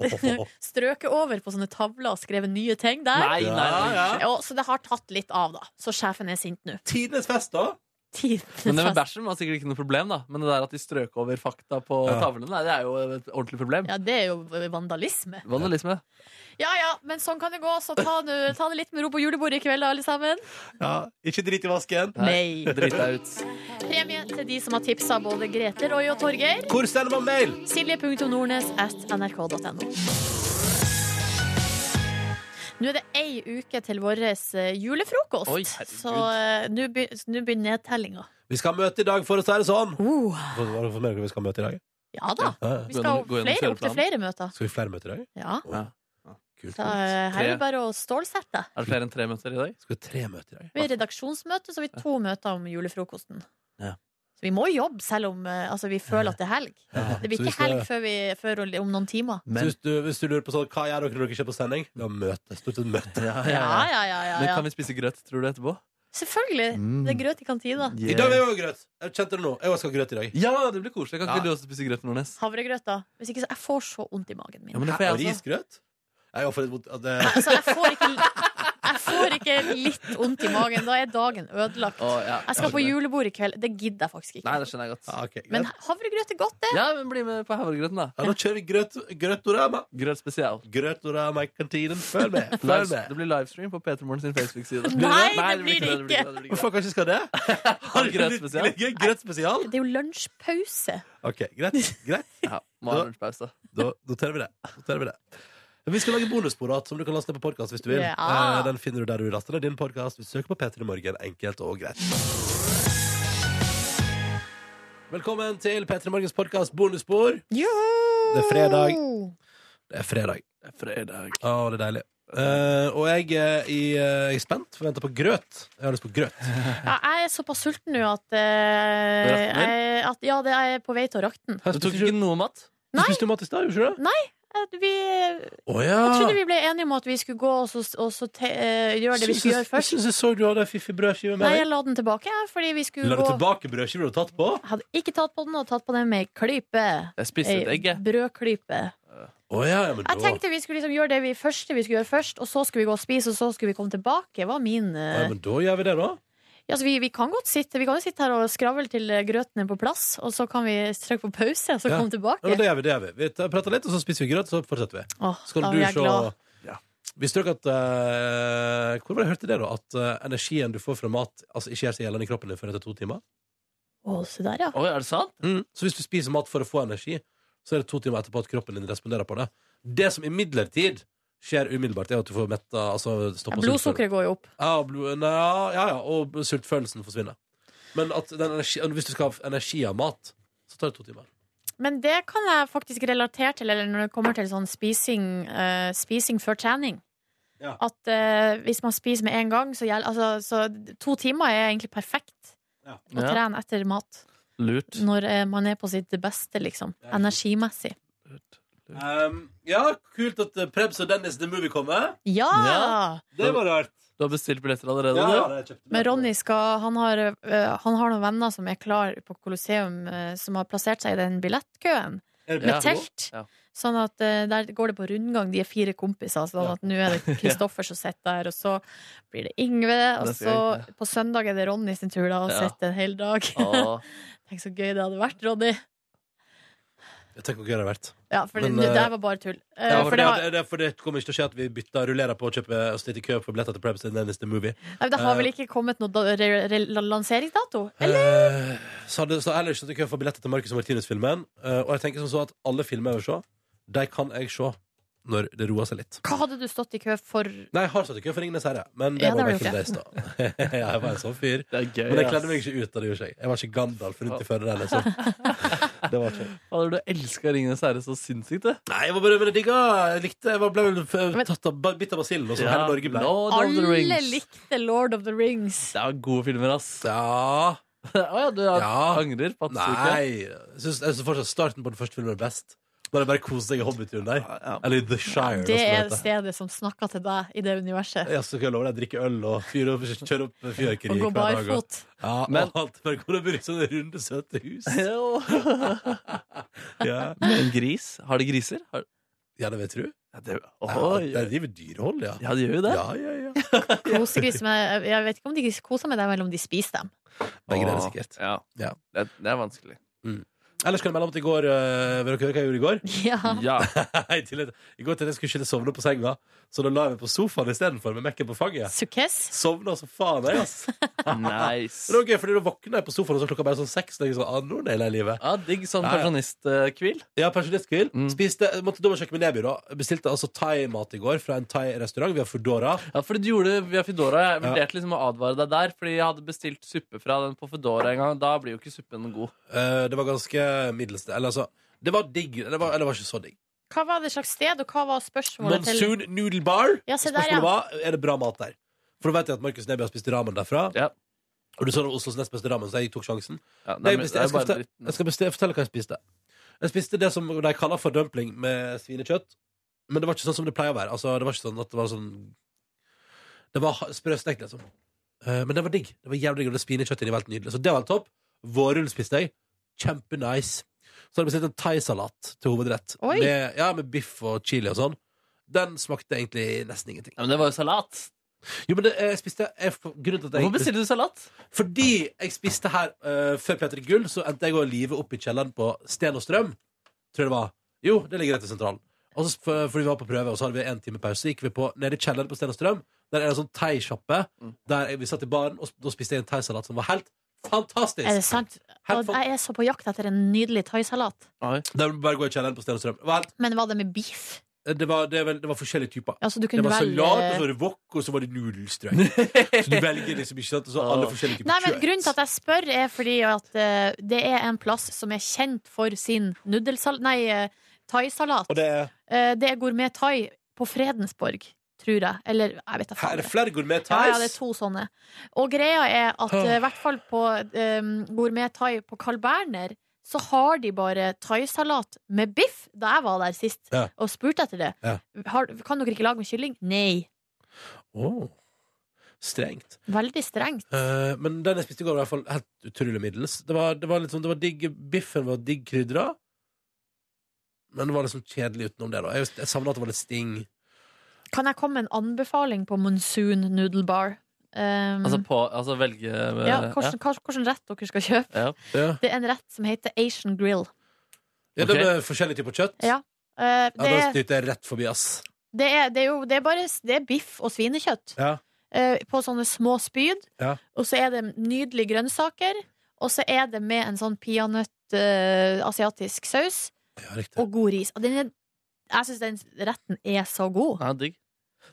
Speaker 3: strøket over på sånne tavler og skrevet nye ting der.
Speaker 4: Nei, nei, nei.
Speaker 3: Og, så det har tatt litt av, da. Så sjefen er sint nå.
Speaker 2: Tidenes fest, da.
Speaker 3: Tidenes
Speaker 4: Men det med
Speaker 3: fest.
Speaker 4: bæsjen var sikkert ikke noe problem, da. Men det der at de strøk over fakta på
Speaker 2: Ja.
Speaker 4: tavlene, nei, det er jo et ordentlig problem.
Speaker 3: Ja, det er jo vandalisme.
Speaker 4: Vandalisme.
Speaker 3: Ja ja, men sånn kan det gå, så ta, nu, ta det litt med ro på julebordet i kveld, da, alle sammen.
Speaker 2: Ja. Ikke drit i vasken.
Speaker 3: Nei.
Speaker 4: Drit deg ut.
Speaker 3: Premie til de som har tipsa både Grete, Roy og Torgeir.
Speaker 2: Hvor sender man mail?
Speaker 3: Silje.nordnes at nrk.no. Nå er det ei uke til vår eh, julefrokost,
Speaker 4: Oi, herregud.
Speaker 3: så eh, nå be- så nå begynner nedtellinga.
Speaker 2: Vi skal ha møte i dag, for å si det sånn.
Speaker 3: Uh,
Speaker 4: Oh.
Speaker 2: Hva hva- hva mener du vi skal ha møte i dag?
Speaker 3: ja da.
Speaker 2: Ja, ja.
Speaker 3: Vi
Speaker 4: Gå
Speaker 3: skal ha
Speaker 4: gjennom- gå gjennom
Speaker 3: flere, opp til
Speaker 4: kjøreplanen.
Speaker 3: flere møter.
Speaker 2: Skal vi flere møter i dag?
Speaker 3: Ja.
Speaker 2: Kult.
Speaker 3: Så eh, her er
Speaker 4: Tre.
Speaker 3: det bare å stålsette.
Speaker 4: Er det flere enn tre møter i dag?
Speaker 2: Skal vi ha tre møter i dag?
Speaker 3: Vi har redaksjonsmøte, så har vi to møter om julefrokosten.
Speaker 4: Ja.
Speaker 3: Så vi må jobbe, selv om eh, altså, vi føler at det er helg. Det blir
Speaker 2: Så hvis
Speaker 3: ikke helg før, vi, før om noen timer.
Speaker 2: Så hvis, du, hvis du lurer på sånn, hva gjør dere når dere ikke er på sending? Vi har møte. Stort sett møte.
Speaker 4: Ja,
Speaker 3: Ja,
Speaker 4: ja, ja.
Speaker 3: ja, ja. ja,
Speaker 4: Men
Speaker 3: ja.
Speaker 4: kan vi spise grøt, tror du, etterpå?
Speaker 3: Selvfølgelig.
Speaker 4: Mm.
Speaker 3: Det er grøt i kantina.
Speaker 2: I dag er det jo grøt. Jeg kjente det nå. Jeg skal ha grøt i dag.
Speaker 4: Ja, det blir koselig. Kan ikke
Speaker 2: Ja.
Speaker 4: du også spise grøt, Nordnes?
Speaker 3: Havregrøt, da. Hvis ikke, så Jeg får så vondt i magen min.
Speaker 4: Ja, men det får
Speaker 2: Hæ, og
Speaker 4: jeg også.
Speaker 2: risgrøt? Jeg er for et mot at det,
Speaker 3: [LAUGHS] Altså, jeg får ikke, jeg får ikke litt vondt i magen. Da er dagen ødelagt.
Speaker 4: Å, ja.
Speaker 3: Jeg skal på julebord i kveld. Det gidder jeg faktisk
Speaker 4: Nei,
Speaker 3: ikke.
Speaker 4: det skjønner jeg godt.
Speaker 2: ja, Ah, ok, greit.
Speaker 3: Men havregrøt er godt, det.
Speaker 4: Ja, men bli med på havregrøten, da.
Speaker 2: ja, nå kjører vi grøt, grøtorama.
Speaker 4: Grøt spesial.
Speaker 2: Grøtorama i kantinen. Følg
Speaker 4: [LAUGHS]
Speaker 2: med. Følg
Speaker 4: Live,
Speaker 2: med.
Speaker 4: det blir livestream på Peter Morgen sin Facebook-side.
Speaker 3: Nei, det blir det ikke.
Speaker 4: det blir ikke.
Speaker 2: Hvorfor kanskje skal
Speaker 4: [LAUGHS]
Speaker 2: det? Har
Speaker 4: Grøt
Speaker 2: grøt
Speaker 4: spesial.
Speaker 2: spesial? Grøt spesial?
Speaker 3: Det er jo lunsjpause.
Speaker 2: Ok, greit. greit.
Speaker 4: Ja, må ha lunsjpause.
Speaker 2: Da noterer vi det. Noterer vi det. Vi skal lage bonussporat som du kan laste ned på podcast hvis du vil.
Speaker 3: Ja.
Speaker 2: Eh, Den finner du der du laster ned din podcast. Vi søker på P3 Morgen. Enkelt og greit. Velkommen til P3 Morgens podkast Bonusspor. Det er fredag. Det er fredag.
Speaker 4: Det er fredag.
Speaker 2: Å, det er deilig. Eh, og jeg, eh, i, eh, jeg er spent, for jeg venter på grøt. Jeg har lyst på grøt.
Speaker 3: Ja, jeg er såpass sulten nå at, eh,
Speaker 4: Rakner?
Speaker 3: jeg, at Ja, det er jeg på vei til å rakne.
Speaker 4: Du tok ikke noe mat?
Speaker 2: Du spiste jo mat i stad, gjorde du ikke det?
Speaker 3: At Vi, jeg
Speaker 2: Å ja!
Speaker 3: trodde vi ble enige om at vi skulle gå og så, og så te, eh, gjøre det vi skulle gjøre
Speaker 2: jeg
Speaker 3: først.
Speaker 2: syns jeg så du hadde ei fiffig brødskive
Speaker 3: Nei,
Speaker 2: med
Speaker 3: jeg
Speaker 2: deg.
Speaker 3: la den tilbake, jeg, fordi vi skulle
Speaker 2: La du
Speaker 3: gå
Speaker 2: tilbake brødskiva du hadde tatt på?
Speaker 3: Jeg hadde ikke tatt på den, og tatt på den med ei klype.
Speaker 4: Jeg spiste et
Speaker 3: Ei
Speaker 4: egg, jeg.
Speaker 3: brødklype.
Speaker 2: Å ja, ja, men da
Speaker 3: Jeg tenkte vi skulle liksom gjøre det vi første vi skulle gjøre først, og så skulle vi gå og spise, og så skulle vi komme tilbake. Var
Speaker 2: Å,
Speaker 3: min eh,
Speaker 2: ja, men da gjør vi det, da.
Speaker 3: ja, så vi, vi kan godt sitte Vi kan jo sitte her og skravle til eh, grøten er på plass, og så kan vi trykke på pause, og så
Speaker 2: Ja. Ja,
Speaker 3: komme
Speaker 2: men
Speaker 3: tilbake.
Speaker 2: det gjør vi, det gjør vi. Vi tar- prater litt, og så spiser vi grøt, så fortsetter vi.
Speaker 3: Åh,
Speaker 2: Skal
Speaker 3: da
Speaker 2: du
Speaker 3: blir jeg
Speaker 2: se
Speaker 3: glad.
Speaker 4: Ja.
Speaker 2: Visste dere at eh, Hvor var det jeg hørte det, da? At eh, energien du får fra mat, altså, ikke gjør seg gjeldende i kroppen din før etter to timer?
Speaker 3: Å, se der, ja.
Speaker 4: Oi, er det sant?
Speaker 2: Så hvis du spiser mat for å få energi, så er det to timer etterpå at kroppen din responderer på det. Det som imidlertid skjer umiddelbart, er at du får metta altså,
Speaker 3: Ja,
Speaker 2: stoppa sultfølelsen.
Speaker 3: Blodsukkeret går jo opp.
Speaker 2: Ja, blod, nei, ja, ja, og sultfølelsen forsvinner. Men at den energi, hvis du skal ha energi av mat, så tar det to timer.
Speaker 3: Men det kan jeg faktisk relatere til Eller når det kommer til sånn spising, eh, spising før trening.
Speaker 2: Ja.
Speaker 3: At eh, hvis man spiser med en gang, så, gjel- altså, så to timer er egentlig perfekt
Speaker 2: Ja.
Speaker 3: å
Speaker 4: Ja.
Speaker 3: trene etter mat.
Speaker 4: Lurt.
Speaker 3: Når eh, man er på sitt beste, liksom.
Speaker 2: Ja.
Speaker 3: Energimessig.
Speaker 2: Um, ja, kult at eh, Prebz og Dennis The Movie kommer.
Speaker 3: Ja!
Speaker 4: Ja.
Speaker 2: Det var rart.
Speaker 4: Du har bestilt billetter allerede,
Speaker 2: Ja, ja,
Speaker 4: du?
Speaker 2: det kjøpte jeg.
Speaker 3: Men Ronny skal, han, har, eh, han har noen venner som er klar på Colosseum, eh, som har plassert seg i den billettkøen
Speaker 2: Er det
Speaker 3: med
Speaker 4: Ja.
Speaker 3: telt.
Speaker 4: Ja.
Speaker 3: Sånn at eh, Der går det på rundgang, de er fire kompiser. Sånn at nå er det [LAUGHS] Kristoffer som sitter der, og så blir det Yngve. Og
Speaker 4: Det skal
Speaker 3: så
Speaker 4: jeg
Speaker 3: på søndag er det Ronny sin tur, da, og
Speaker 4: Ja.
Speaker 3: sitter en hel dag.
Speaker 4: Å,
Speaker 3: [LAUGHS] Tenk så gøy det hadde vært, Ronny.
Speaker 2: Jeg tenker hvor gøy det har vært.
Speaker 3: Ja, for
Speaker 2: Men,
Speaker 3: det,
Speaker 2: eh,
Speaker 3: det her var bare tull. Eh,
Speaker 2: Ja,
Speaker 3: for det,
Speaker 2: det,
Speaker 3: har,
Speaker 2: det, for det kommer ikke til å skje at vi bytter rullerer på å kjøpe og sitte i kø for billetter til Prebz og Dennis The Movie.
Speaker 3: nei, det har vel ikke kommet noen da- re- re- lanseringsdato?
Speaker 2: Eh, så hadde så ellers at jeg kø for billetter til Marcus og Martinus-filmen. Eh, og jeg tenker som så at alle filmer jeg vil se, de kan jeg se når det roer seg litt.
Speaker 3: Hva hadde du stått i kø for?
Speaker 2: Nei, jeg har satt i kø for Ringnes Herre, men det
Speaker 3: Ja,
Speaker 2: var
Speaker 3: det har
Speaker 2: back
Speaker 3: du
Speaker 2: in the days, da. [LAUGHS] ja, jeg var en sånn fyr.
Speaker 4: det er gøy.
Speaker 2: Men jeg
Speaker 4: ass.
Speaker 2: kledde meg ikke ut da det gjorde seg. Jeg var ikke Gandalf rundt i føreren. Liksom. [LAUGHS] Det var ikke jeg.
Speaker 4: Fader, du elsker Ringenes herre så sinnssykt, det.
Speaker 2: Nei, jeg var bare men jeg digga. Jeg likte Jeg var- ble vel f- tatt av bitt av basillen, og så hele Norge ble.
Speaker 4: Lord of the
Speaker 3: Alle
Speaker 4: Rings.
Speaker 3: likte Lord of the Rings.
Speaker 4: Det er gode filmer, ass.
Speaker 2: Ja
Speaker 4: Å ja, du er,
Speaker 2: Ja.
Speaker 4: angrer på at du ikke
Speaker 2: Nei. Jeg syns jeg syns fortsatt starten på den første filmen er best. Da det bare koste seg i Hobbituren der.
Speaker 4: ja.
Speaker 2: Eller i The Shire.
Speaker 3: Det
Speaker 2: som
Speaker 3: er
Speaker 2: heter.
Speaker 3: stedet som snakker til deg i det universet.
Speaker 2: Ja, så skal jeg love deg å drikke øl og fyre opp, kjøre opp fyrverkeri
Speaker 3: Og gå
Speaker 2: hver dag. altså. og-
Speaker 3: barfot.
Speaker 2: Ja,
Speaker 4: Men-
Speaker 2: og alt bare går og blir sånne runde, søte hus. Ja,
Speaker 4: En gris? Har de griser? Har...
Speaker 2: ja det vet du.
Speaker 4: Ja, det...
Speaker 2: Ja,
Speaker 4: Oi,
Speaker 2: de driver dyrehold, ja.
Speaker 4: ja, de gjør jo det.
Speaker 2: Ja, ja, ja.
Speaker 3: Kosegris med Jeg vet ikke om de koser med deg, eller om de spiser dem.
Speaker 2: Begge deler
Speaker 4: Åh,
Speaker 2: sikkert.
Speaker 4: Ja.
Speaker 2: Ja.
Speaker 4: Det, det er vanskelig.
Speaker 2: Ellers kan jeg melde om at i går eh, Vil dere høre hva jeg gjorde i går?
Speaker 3: Ja.
Speaker 4: Ja.
Speaker 2: [LAUGHS] I tillegg- I går til jeg skulle ikke sovne på senga, så da la jeg meg på sofaen istedenfor med Mac-en på fanget.
Speaker 3: Sukkes?
Speaker 2: Sovna som faen, jeg, ass. Men
Speaker 4: Nice.
Speaker 2: det var gøy, fordi da våkna jeg på sofaen, og så klokka bare sånn seks. Og jeg sånn, ah, nå nailer jeg livet.
Speaker 4: Ja, digg sånn
Speaker 2: Ja, ja.
Speaker 4: pensjonisthvil.
Speaker 2: Ja, pensjonistkvil.
Speaker 4: Mm.
Speaker 2: Spiste, måtte dobbeltsjekke min nedby, da. Bestilte altså thaimat i går fra en thai-restaurant. Vi har Foodora.
Speaker 4: Ja, fordi du gjorde via Foodora. Jeg vurderte liksom å advare deg der, fordi jeg hadde bestilt suppe fra den på Foodora en gang. Da blir jo ikke suppen god.
Speaker 2: Eh, det var ganske middels. Eller altså, det var digg. Det var, eller det var ikke så digg.
Speaker 3: Hva var det slags sted, og hva var spørsmålet til
Speaker 2: Monsoon Noodle Bar.
Speaker 3: Ja, se der,
Speaker 2: Spørsmålet
Speaker 3: ja.
Speaker 2: var er det bra mat der. For da vet jeg at Markus Neby har spist ramen derfra.
Speaker 4: Ja.
Speaker 2: Og du sa det var Oslos nest beste ramen, så jeg tok sjansen.
Speaker 4: Ja,
Speaker 2: Nei,
Speaker 4: men
Speaker 2: jeg,
Speaker 4: det er
Speaker 2: jeg, skal
Speaker 4: bare
Speaker 2: fortelle,
Speaker 4: dritt. altså.
Speaker 2: jeg skal besti- fortelle hva jeg spiste. Jeg spiste det som de kaller for dumpling med svinekjøtt. Men det var ikke sånn som det pleier å være. Altså, det var ikke sånn at det var sånn Det var ha- sprøstekt, liksom. Eh, men det var digg. Det var jævlig digg, og det svinekjøttet inni var helt nydelig. Så det var helt topp. Vårrull spiste jeg. Kjempenice. Så hadde jeg bestilt en thaisalat til hovedrett.
Speaker 3: Oi.
Speaker 2: Med, ja, med biff og chili og sånn. Den smakte egentlig nesten ingenting.
Speaker 4: Ja, men det var jo salat.
Speaker 2: Jo, men det, jeg spiste jeg, Grunnen til at jeg
Speaker 4: Hvorfor bestiller du salat?
Speaker 2: fordi jeg spiste her eh, før Peter Gull, så endte jeg å live opp i kjelleren på Sten og Strøm. Tror jeg det var. Jo, det ligger rett i sentralen. Og så, for, for vi var på prøve, og så hadde vi en time pause. Så gikk vi på, ned i kjelleren på Sten og Strøm. Der er det en sånn thaisjappe. Der jeg- vi satt i baren, og s- da spiste jeg en thaisalat som var helt fantastisk.
Speaker 3: Er det sant?
Speaker 2: Helt
Speaker 3: Og
Speaker 2: fan-
Speaker 3: jeg er så på jakt etter en nydelig thaisalat.
Speaker 2: Der må du bare gå i kjelleren på Sten og Strøm. Det var, helt, eh,
Speaker 3: Men var det med beef?
Speaker 2: det var, det, er vel- det var forskjellige typer.
Speaker 3: Altså, du
Speaker 2: Det
Speaker 3: kunne
Speaker 2: var
Speaker 3: velge
Speaker 2: salat, og så var det wok, og så var det nudelstrøk. så du velger liksom ikke sant, og så alle forskjellige typer
Speaker 3: Nei, men
Speaker 2: kjøtt.
Speaker 3: Grunnen til at jeg spør, er fordi at eh, det er en plass som er kjent for sin nudelsal... Nei, eh, thaisalat.
Speaker 2: Og det er
Speaker 3: Eh, det er Gourmet Thai på Fredensborg, tror jeg. Eller jeg vet da
Speaker 2: her er
Speaker 3: faen.
Speaker 2: det flere gourmet
Speaker 3: Ja,
Speaker 2: thais.
Speaker 3: ja, det er to sånne. Og greia er at eh, i hvert fall på um, Gourmet Thai på Carl Berner, så har de bare thaisalat med biff, da jeg var der sist
Speaker 2: Ja.
Speaker 3: og spurte etter det.
Speaker 2: Ja.
Speaker 3: Har, kan dere ikke lage med kylling? Nei.
Speaker 2: Åh. Strengt.
Speaker 3: Veldig strengt.
Speaker 2: Eh, men den jeg spiste i går, var i hvert fall helt utrolig middels. Det var, det var litt sånn, det var digg Biffen var digg krydra, men det var liksom kjedelig utenom det. da Jeg, jeg savna at det var litt sting.
Speaker 3: Kan jeg komme med en anbefaling på Monsoon Noodle Bar? Um,
Speaker 4: Altså, på, altså velge eh,
Speaker 3: ja, hvordan, hva- hvordan rett dere skal kjøpe?
Speaker 4: ja.
Speaker 2: Ja,
Speaker 3: Det er en rett som heter Asian Grill.
Speaker 2: ja
Speaker 4: Ok.
Speaker 2: Det med forskjellige typer kjøtt.
Speaker 3: Ja. Eh,
Speaker 2: Ja,
Speaker 3: det,
Speaker 2: Da
Speaker 3: er,
Speaker 2: styrte jeg rett forbi, ass.
Speaker 3: det, er, det er jo det er bare det er biff og svinekjøtt.
Speaker 2: Ja.
Speaker 3: eh, på sånne små spyd.
Speaker 2: Ja.
Speaker 3: Og så er det nydelige grønnsaker. Og så er det med en sånn peanøtt-asiatisk saus
Speaker 2: Ja, riktig.
Speaker 3: og god ris. Og den er, jeg syns den retten er så god.
Speaker 4: ja, digg.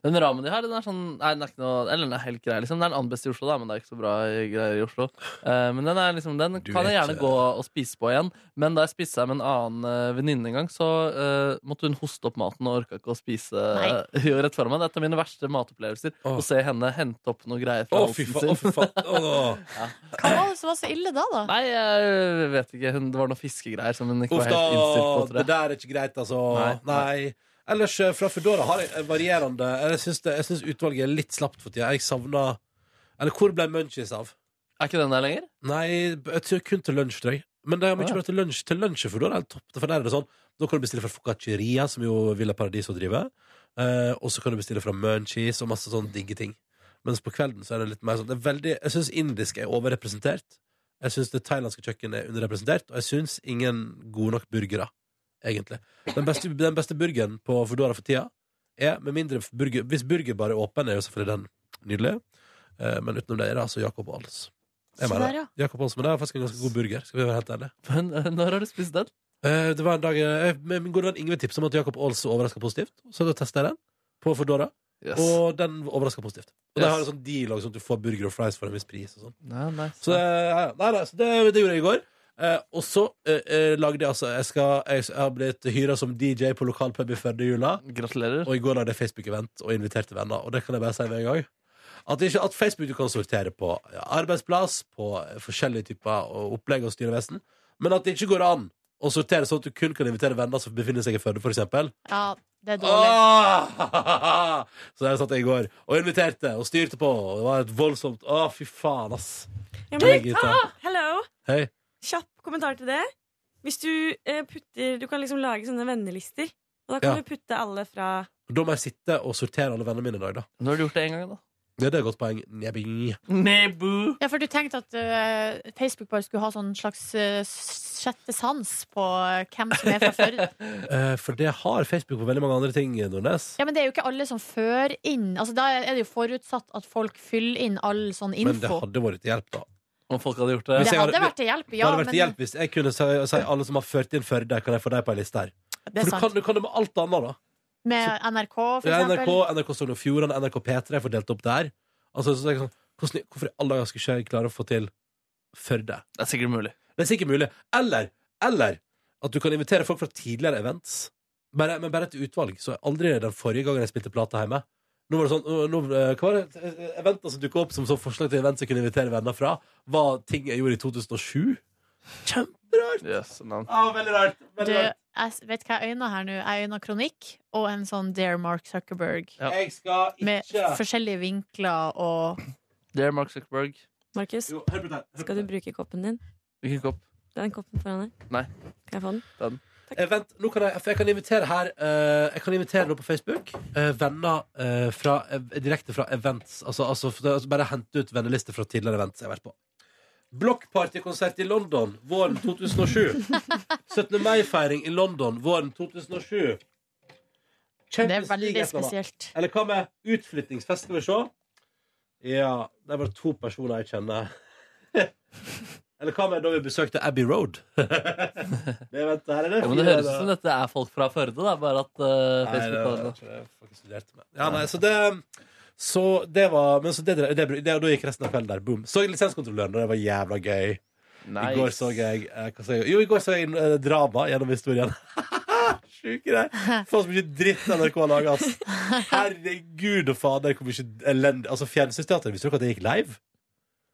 Speaker 4: Den ramen de har, den er sånn Nei, den er ikke noe Eller den er helt grei, liksom. Den er den annen beste i Oslo, da, men det er ikke så bra greier i Oslo. Eh, men den er liksom Den
Speaker 2: Du
Speaker 4: kan jeg
Speaker 2: vet,
Speaker 4: gjerne
Speaker 2: eh,
Speaker 4: gå og spise på igjen. Men da jeg spiste her med en annen eh, venninne en gang, så eh, måtte hun hoste opp maten og orka ikke å spise
Speaker 3: Nei.
Speaker 4: [LAUGHS] Jo, rett foran meg. Det er et av mine verste matopplevelser.
Speaker 2: Åh.
Speaker 4: Å se henne hente opp noe
Speaker 2: Å,
Speaker 4: greier fra
Speaker 2: fy faen. Å,
Speaker 4: halsen sin.
Speaker 2: fy
Speaker 4: [LAUGHS]
Speaker 2: faen. Å.
Speaker 3: Hva var det som var så ille da, da?
Speaker 4: Nei, jeg vet ikke. Hun, det var noen fiskegreier som hun ikke
Speaker 2: Uff
Speaker 4: var
Speaker 2: da,
Speaker 4: helt innstilt på.
Speaker 2: det
Speaker 4: Tror jeg.
Speaker 2: der er ikke greit, altså.
Speaker 4: Nei,
Speaker 2: Nei. Ellers eh, fra Foodora har jeg eh, varierende Jeg syns, det, jeg syns utvalget er litt slapt for tida. Jeg savna Eller hvor ble munchies av?
Speaker 4: Er ikke den der lenger? [LAUGHS]
Speaker 2: Nei, jeg tror kun til lunsj, tror jeg. Men det er mye
Speaker 4: Ah, ja.
Speaker 2: bra til lunsj, til lunsj for da er det helt topp. For der er det sånn Da kan du bestille fra Focacceria, som jo Villa Paradiso driver. Eh, og så kan du bestille fra Munchies og masse sånn digge ting. Mens på kvelden så er det litt mer sånn det er veldig, Jeg syns indisk er overrepresentert. Jeg syns det thailandske kjøkkenet er underrepresentert, og jeg syns ingen gode nok burgere, egentlig. Den beste, den beste burgeren på Foodora for tida er med mindre burger Hvis burger bare er åpen, er jo selvfølgelig den nydelig. Eh, men utenom det er det altså Jacob og Als. Jeg
Speaker 3: Så
Speaker 2: mener
Speaker 3: der, ja.
Speaker 2: Jakob Olsen, men det er faktisk en ganske god burger. Skal vi være helt ærlige
Speaker 4: Men, eh, når har du spist den?
Speaker 2: Eh, Det var en dag eh, med Min gode venn Ingve tipset om at Jakob Aals overraska positivt. Så da testa jeg den på Foodora,
Speaker 4: Og-
Speaker 2: og den overraska positivt. Og de
Speaker 4: Yes.
Speaker 2: har en sånn deal også, sånn at du får burger og fries for en viss pris. og sånn
Speaker 4: Nei, nei,
Speaker 2: Så, eh, nei, nei, så det, det gjorde jeg i går. Eh, og så eh, eh, lagde jeg altså Jeg, skal, jeg, jeg har blitt hyra som DJ på lokal pub i Førdejula.
Speaker 4: Gratulerer.
Speaker 2: Og i går hadde jeg Facebook-event og inviterte venner. Og det kan jeg bare si med en gang. At, det ikke, at Facebook du kan sortere på arbeidsplass, på forskjellige typer og opplegg og styrevesen, men at det ikke går an å sortere sånn at du kun kan invitere venner som befinner seg i Førde, f.eks.
Speaker 3: Ja, det er dårlig.
Speaker 2: Ah! Så der satt jeg i går og inviterte og styrte på, og det var et voldsomt Å, fy faen, ass.
Speaker 5: Ja,
Speaker 2: Jeg
Speaker 5: men, Ah,
Speaker 2: gir ta-
Speaker 5: hello!
Speaker 2: Hei.
Speaker 5: Kjapp kommentar til det. Hvis du eh, putter Du kan liksom lage sånne vennelister. Og da kan
Speaker 2: Ja.
Speaker 5: du putte alle fra
Speaker 2: Da må jeg sitte og sortere alle vennene mine i dag, da.
Speaker 4: Nå har du gjort det en gang, da.
Speaker 2: Ja, det er et godt poeng. Nebbing.
Speaker 4: Nebu.
Speaker 3: Ja, for du tenkte at eh, Facebook bare skulle ha sånn slags eh, sjette sans på eh, hvem som er fra Førde.
Speaker 2: [LAUGHS] Eh, for det har Facebook på veldig mange andre ting, Nordnes.
Speaker 3: Ja, men det er jo ikke alle som fører inn. Altså, da er det jo forutsatt at folk fyller inn all sånn
Speaker 2: Men det
Speaker 3: info.
Speaker 2: hadde vært til hjelp, da.
Speaker 4: Om folk hadde gjort
Speaker 3: Det
Speaker 4: det.
Speaker 2: Hvis
Speaker 3: hadde,
Speaker 2: jeg hadde-
Speaker 3: vært til hjelp,
Speaker 2: det
Speaker 3: ja.
Speaker 2: hadde vært
Speaker 3: Men
Speaker 2: til hjelp hvis jeg kunne si, si alle som har ført inn Førde, kan jeg få deg på ei liste her.
Speaker 3: det
Speaker 2: For du
Speaker 3: er
Speaker 2: kan,
Speaker 3: sant.
Speaker 2: du kan det med alt annet, da.
Speaker 3: Med NRK, for
Speaker 2: Ja, NRK,
Speaker 3: eksempel.
Speaker 2: NRK Sogn og Fjordane, NRK P3 er fordelt opp der. Altså, så er jeg sånn, hvordan, hvorfor i alle dager skulle ikke jeg klare å få til Førde?
Speaker 4: Det er sikkert mulig.
Speaker 2: Det er sikkert mulig. Eller, eller at du kan invitere folk fra tidligere events. Bare, men bare et utvalg. Så aldri den forrige gangen jeg spilte plate hjemme. Nå var det sånn, nå, nå, eh, hva var det eh, eventer som dukket opp som så forslag til events jeg kunne invitere venner fra? Var ting jeg gjorde i 2007? Kjemperart!
Speaker 4: Yes, navn.
Speaker 2: Ja, veldig rart.
Speaker 3: Du,
Speaker 2: Veldig rart.
Speaker 3: jeg s- vet hva jeg øyner her nå? Jeg øyner kronikk og en sånn Dare Mark Zuckerberg.
Speaker 4: Ja.
Speaker 2: Jeg skal
Speaker 3: Med
Speaker 2: ikke
Speaker 3: forskjellige vinkler og
Speaker 4: Dear Mark Zuckerberg.
Speaker 5: Markus,
Speaker 2: Jo, hør på det her, hør på
Speaker 5: skal
Speaker 2: det
Speaker 5: du bruke koppen din?
Speaker 4: Hvilken kopp?
Speaker 5: Den koppen foran deg.
Speaker 4: Nei.
Speaker 5: Kan jeg få den?
Speaker 2: Eh, vent, nå kan jeg, for jeg kan invitere her eh, Jeg kan invitere nå på Facebook eh, venner eh, fra, eh, direkte fra events. Altså, altså, for det- altså bare hente ut vennelister fra tidligere events jeg har vært på. Blokkpartykonsert i London våren
Speaker 3: [LAUGHS]
Speaker 2: 2007. 17. mai-feiring i London våren 2007.
Speaker 3: Det er
Speaker 2: Champions League
Speaker 3: veldig
Speaker 2: et eller annet.
Speaker 3: spesielt.
Speaker 2: Eller hva med utflyttingsfest? Skal vi se. Ja, det var to personer jeg kjenner. [LAUGHS] Eller hva med da vi besøkte Abbey Road? [LAUGHS] det vent, her er det
Speaker 4: Ja, men det høres ut som dette er folk fra Førde, da. Bare at eh,
Speaker 2: Nei, det
Speaker 4: Facebook
Speaker 2: var
Speaker 4: har det.
Speaker 2: ikke det folk studerte med. Ja, nei, så det så det var Men så det, det, det, da gikk resten av kvelden der. Boom. Så jeg lisenskontrolløren, og det var jævla gøy. I går så jeg eh, hva sa jeg? Jo, i går så jeg eh, drama gjennom historien. [LAUGHS] Sjuke greier. Faen så mye dritt NRK har laga,
Speaker 4: [LAUGHS]
Speaker 2: ass. Herregud og fader, hvor mye elendig Altså, Fjernsynsteatret, visste dere at det gikk live?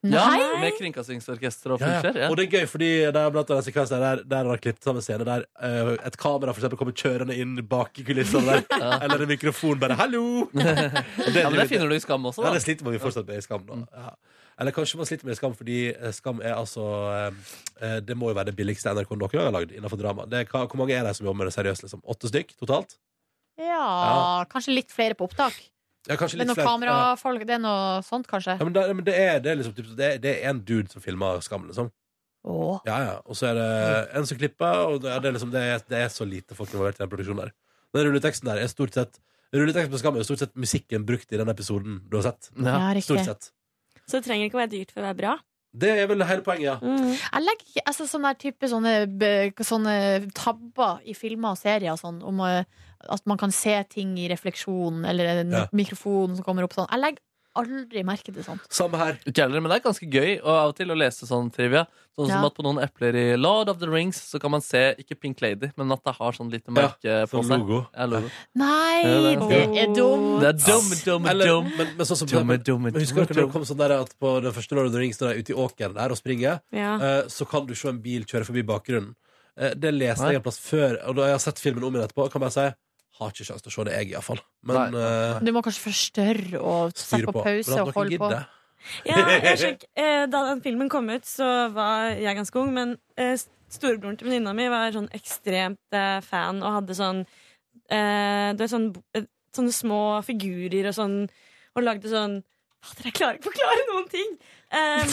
Speaker 4: Ja,
Speaker 3: Nei!
Speaker 4: med kringkastingsorkester og
Speaker 2: Ja, ja.
Speaker 4: fulskjær. Ja.
Speaker 2: Og det er gøy, fordi det er blant annet en sekvens der, der, der han har klippet sammen scene der eh, et kamera for eksempel kommer kjørende inn bak i
Speaker 4: [LAUGHS]
Speaker 2: kulissene der, eller en mikrofon bare 'hallo'.
Speaker 4: Ja, men det finner du i Skam også,
Speaker 2: Ja, det
Speaker 4: da.
Speaker 2: sliter man jo fortsatt med i Skam.
Speaker 3: Mm.
Speaker 2: Da. Ja. Eller kanskje man sliter med det i Skam fordi eh, Skam er altså eh, eh, Det må jo være det billigste NRK noen gang har lagd innenfor drama. Det, er hva, hvor mange er det som jobber med det seriøst? Liksom? Åtte stykk totalt?
Speaker 3: Ja, kanskje litt flere på opptak.
Speaker 2: Ja, kanskje
Speaker 3: Det
Speaker 2: litt
Speaker 3: er noe
Speaker 2: flere. Ja.
Speaker 3: kamerafolk, det er noe sånt, kanskje.
Speaker 2: Ja, men det, men det er det er liksom typ, det, er- det er en dude som filmer Skam, liksom.
Speaker 3: Åh.
Speaker 2: Ja, ja. Og så er det
Speaker 3: Mm.
Speaker 2: en som klipper, og det, ja, det, er liksom, det, er, det er så lite folk involvert i den produksjonen der. Den rulleteksten der er stort sett Rulleteksten på Skam er jo stort sett musikken brukt i den episoden du har sett.
Speaker 4: Ja.
Speaker 3: Ja,
Speaker 2: Stort
Speaker 3: riktig.
Speaker 2: sett.
Speaker 5: Så det trenger ikke å være dyrt for å være bra.
Speaker 2: Det er vel hele poenget,
Speaker 5: Mm.
Speaker 2: ja.
Speaker 3: Jeg legger ikke altså, sånne, her type, sånne, b- sånne tabber i filmer og serier og sånn, om eh, at man kan se ting i refleksjon, eller en
Speaker 2: Ja.
Speaker 3: mikrofon som kommer opp sånn. Jeg legger aldri merke til sånt.
Speaker 2: Samme her.
Speaker 4: Ikke heller, Men det er ganske gøy og av og til å lese sånn trivia. Sånn som
Speaker 3: Ja.
Speaker 4: at på noen epler i Lord of the Rings så kan man se ikke Pink Lady, men at det har sånn lite merke på
Speaker 2: Som
Speaker 4: seg.
Speaker 2: logo.
Speaker 4: Ja, logo.
Speaker 3: Nei,
Speaker 4: Ja, det er
Speaker 3: det
Speaker 5: sant.
Speaker 3: er dumt!
Speaker 4: Det er dum, dum,
Speaker 2: Eller,
Speaker 4: dum.
Speaker 2: men, men sånn som
Speaker 4: Dumme,
Speaker 2: men-
Speaker 4: dumme,
Speaker 2: men Husker dere
Speaker 4: dumme,
Speaker 2: når det
Speaker 4: dumme.
Speaker 2: kom sånn der at på den første Lord of the Rings, når de er ute i åkeren der og springer,
Speaker 5: Ja.
Speaker 3: Ah.
Speaker 2: eh, så kan du se en bil kjøre forbi bakgrunnen. Eh, det leste
Speaker 4: Nei.
Speaker 2: jeg en plass før, og da jeg har sett filmen om igjen etterpå, kan jeg si har ikke sjanse til å se det, jeg, iallfall. Men
Speaker 4: Nei.
Speaker 2: eh,
Speaker 3: Du må kanskje forstørre og
Speaker 2: styr
Speaker 3: sette på
Speaker 2: på.
Speaker 3: pause
Speaker 2: Men at
Speaker 3: og
Speaker 2: dere
Speaker 3: holde på.
Speaker 2: gidder.
Speaker 5: Ja, jeg skjønner. Eh, Da den filmen kom ut, så var jeg ganske ung, men eh, storebroren til venninna mi var sånn ekstremt eh, fan og hadde sånn eh, Du vet sånn eh, Sånne små figurer og sånn, og lagde sånn Fader, jeg klarer ikke å forklare noen ting! Eh,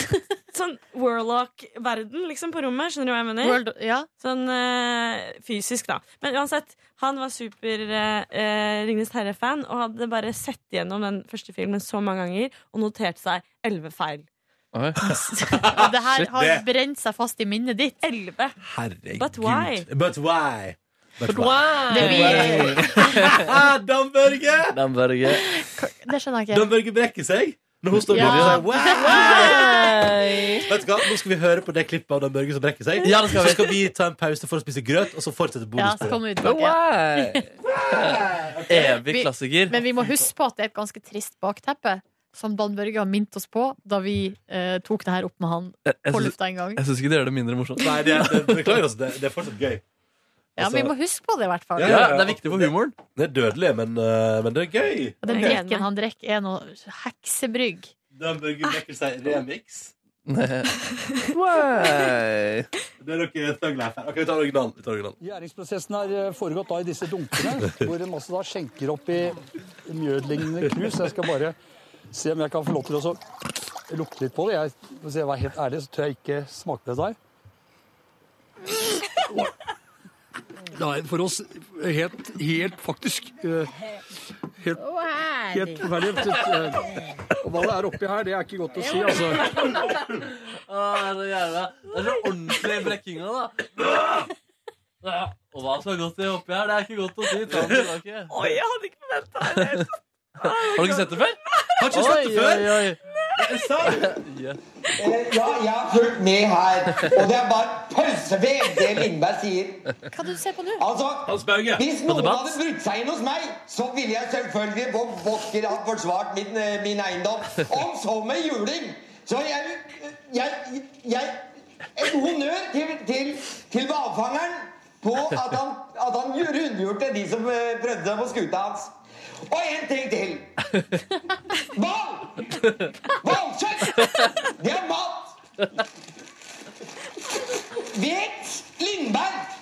Speaker 5: sånn Warlock-verden, liksom, på rommet. Skjønner du hva jeg mener?
Speaker 3: World, [LAUGHS] ja.
Speaker 5: Sånn eh, fysisk, da. Men uansett, han var super eh, eh, Ringnes Herre-fan og hadde bare sett gjennom den første filmen så mange ganger og notert seg elleve feil.
Speaker 4: Oi.
Speaker 3: Og det her
Speaker 4: Shit,
Speaker 3: har
Speaker 2: det-
Speaker 3: brent seg fast i minnet ditt.
Speaker 5: Elleve!
Speaker 2: Herregud.
Speaker 5: But why?
Speaker 2: But why? But why?
Speaker 3: Det, blir,
Speaker 2: Ah, Dan Børge!
Speaker 4: Den Børge.
Speaker 3: det skjønner jeg
Speaker 2: Dan
Speaker 3: ikke.
Speaker 2: Børge brekker seg når hun står
Speaker 3: Ja.
Speaker 2: bak og sier wow,
Speaker 3: [LAUGHS]
Speaker 2: wow. Vet du hva, Nå skal vi høre på det klippet av Dan Børge som brekker seg.
Speaker 4: Ja, det skal vi.
Speaker 2: Så skal vi ta en pause for å spise grøt, og så fortsette
Speaker 3: Ja, så
Speaker 2: bonusbordet.
Speaker 3: kommer vi
Speaker 4: Men
Speaker 3: tilbake. [LAUGHS]
Speaker 4: why? [LAUGHS] Evig
Speaker 3: Vi-
Speaker 4: klassiker.
Speaker 3: Men vi må huske på at det er et ganske trist bakteppe. Som Dan Børge har minnet oss på da vi eh, tok det her opp med han
Speaker 4: Jeg- Jeg
Speaker 3: på
Speaker 4: syns-
Speaker 3: lufta en gang.
Speaker 4: jeg syns ikke det gjør det mindre morsomt.
Speaker 2: Nei, det, det, beklager oss, det, det er fortsatt gøy.
Speaker 3: Ja, men Vi må huske på det, i hvert fall.
Speaker 2: Ja,
Speaker 4: Ja, det er viktig for humoren.
Speaker 2: Det er dødelig, men, øh, men det er gøy.
Speaker 3: Og Den
Speaker 5: Ok.
Speaker 3: drikken han drikker, er noe heksebrygg.
Speaker 2: Dan Børge brekker seg remix.
Speaker 4: Why?
Speaker 2: Det er dere tøgler her. Ok, vi tar originalen. Vi tar originalen.
Speaker 11: Gjæringsprosessen har eh, foregått da i disse dunkene, hvor en også da skjenker opp i mjødlignende krus. Jeg skal bare Se om jeg kan få lov til å så lukte litt på det. Jeg, hvis jeg var helt ærlig, så tør jeg ikke smake på det der. Nei, for oss helt, helt faktisk eh, Helt, helt forferdelig. Eh, Og hva det er oppi her, det er ikke godt å si, altså.
Speaker 4: Å, det er så jævla Det er så ordentlig brekkinga, da. Ja. Og hva som er godt i oppi her, det er ikke godt å si. Ta den tilbake.
Speaker 5: Oi, jeg hadde ikke forventa det.
Speaker 4: Har du ikke sett det før?
Speaker 2: Har ikke sett det før!
Speaker 10: Ja, jeg har fulgt med her. Og det er bare pølsevev, det Lindberg sier.
Speaker 3: Hva du ser på nå?
Speaker 10: Altså, Hvis
Speaker 3: På
Speaker 10: noen
Speaker 3: debatt.
Speaker 10: hadde brutt seg inn hos meg, så ville jeg selvfølgelig på vokker ha forsvart min, eh, min eiendom. Om så med juling! Så jeg, jeg, jeg En honnør til, til, til hvalfangeren på at han, at han rundgjorde de som eh, prøvde seg på skuta hans. Og en ting til. Hval! Hvalkjøtt! Det er mat! Vet Lindberg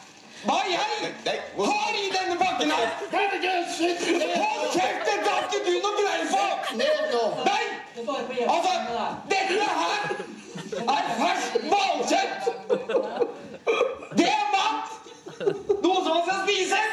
Speaker 10: hva jeg har i denne pakken her? Hold kjeft! Dette har ikke du noe greie på! Nei! Altså, dette her er ferskt hvalkjøtt! Det er mat! Noe som man skal spise!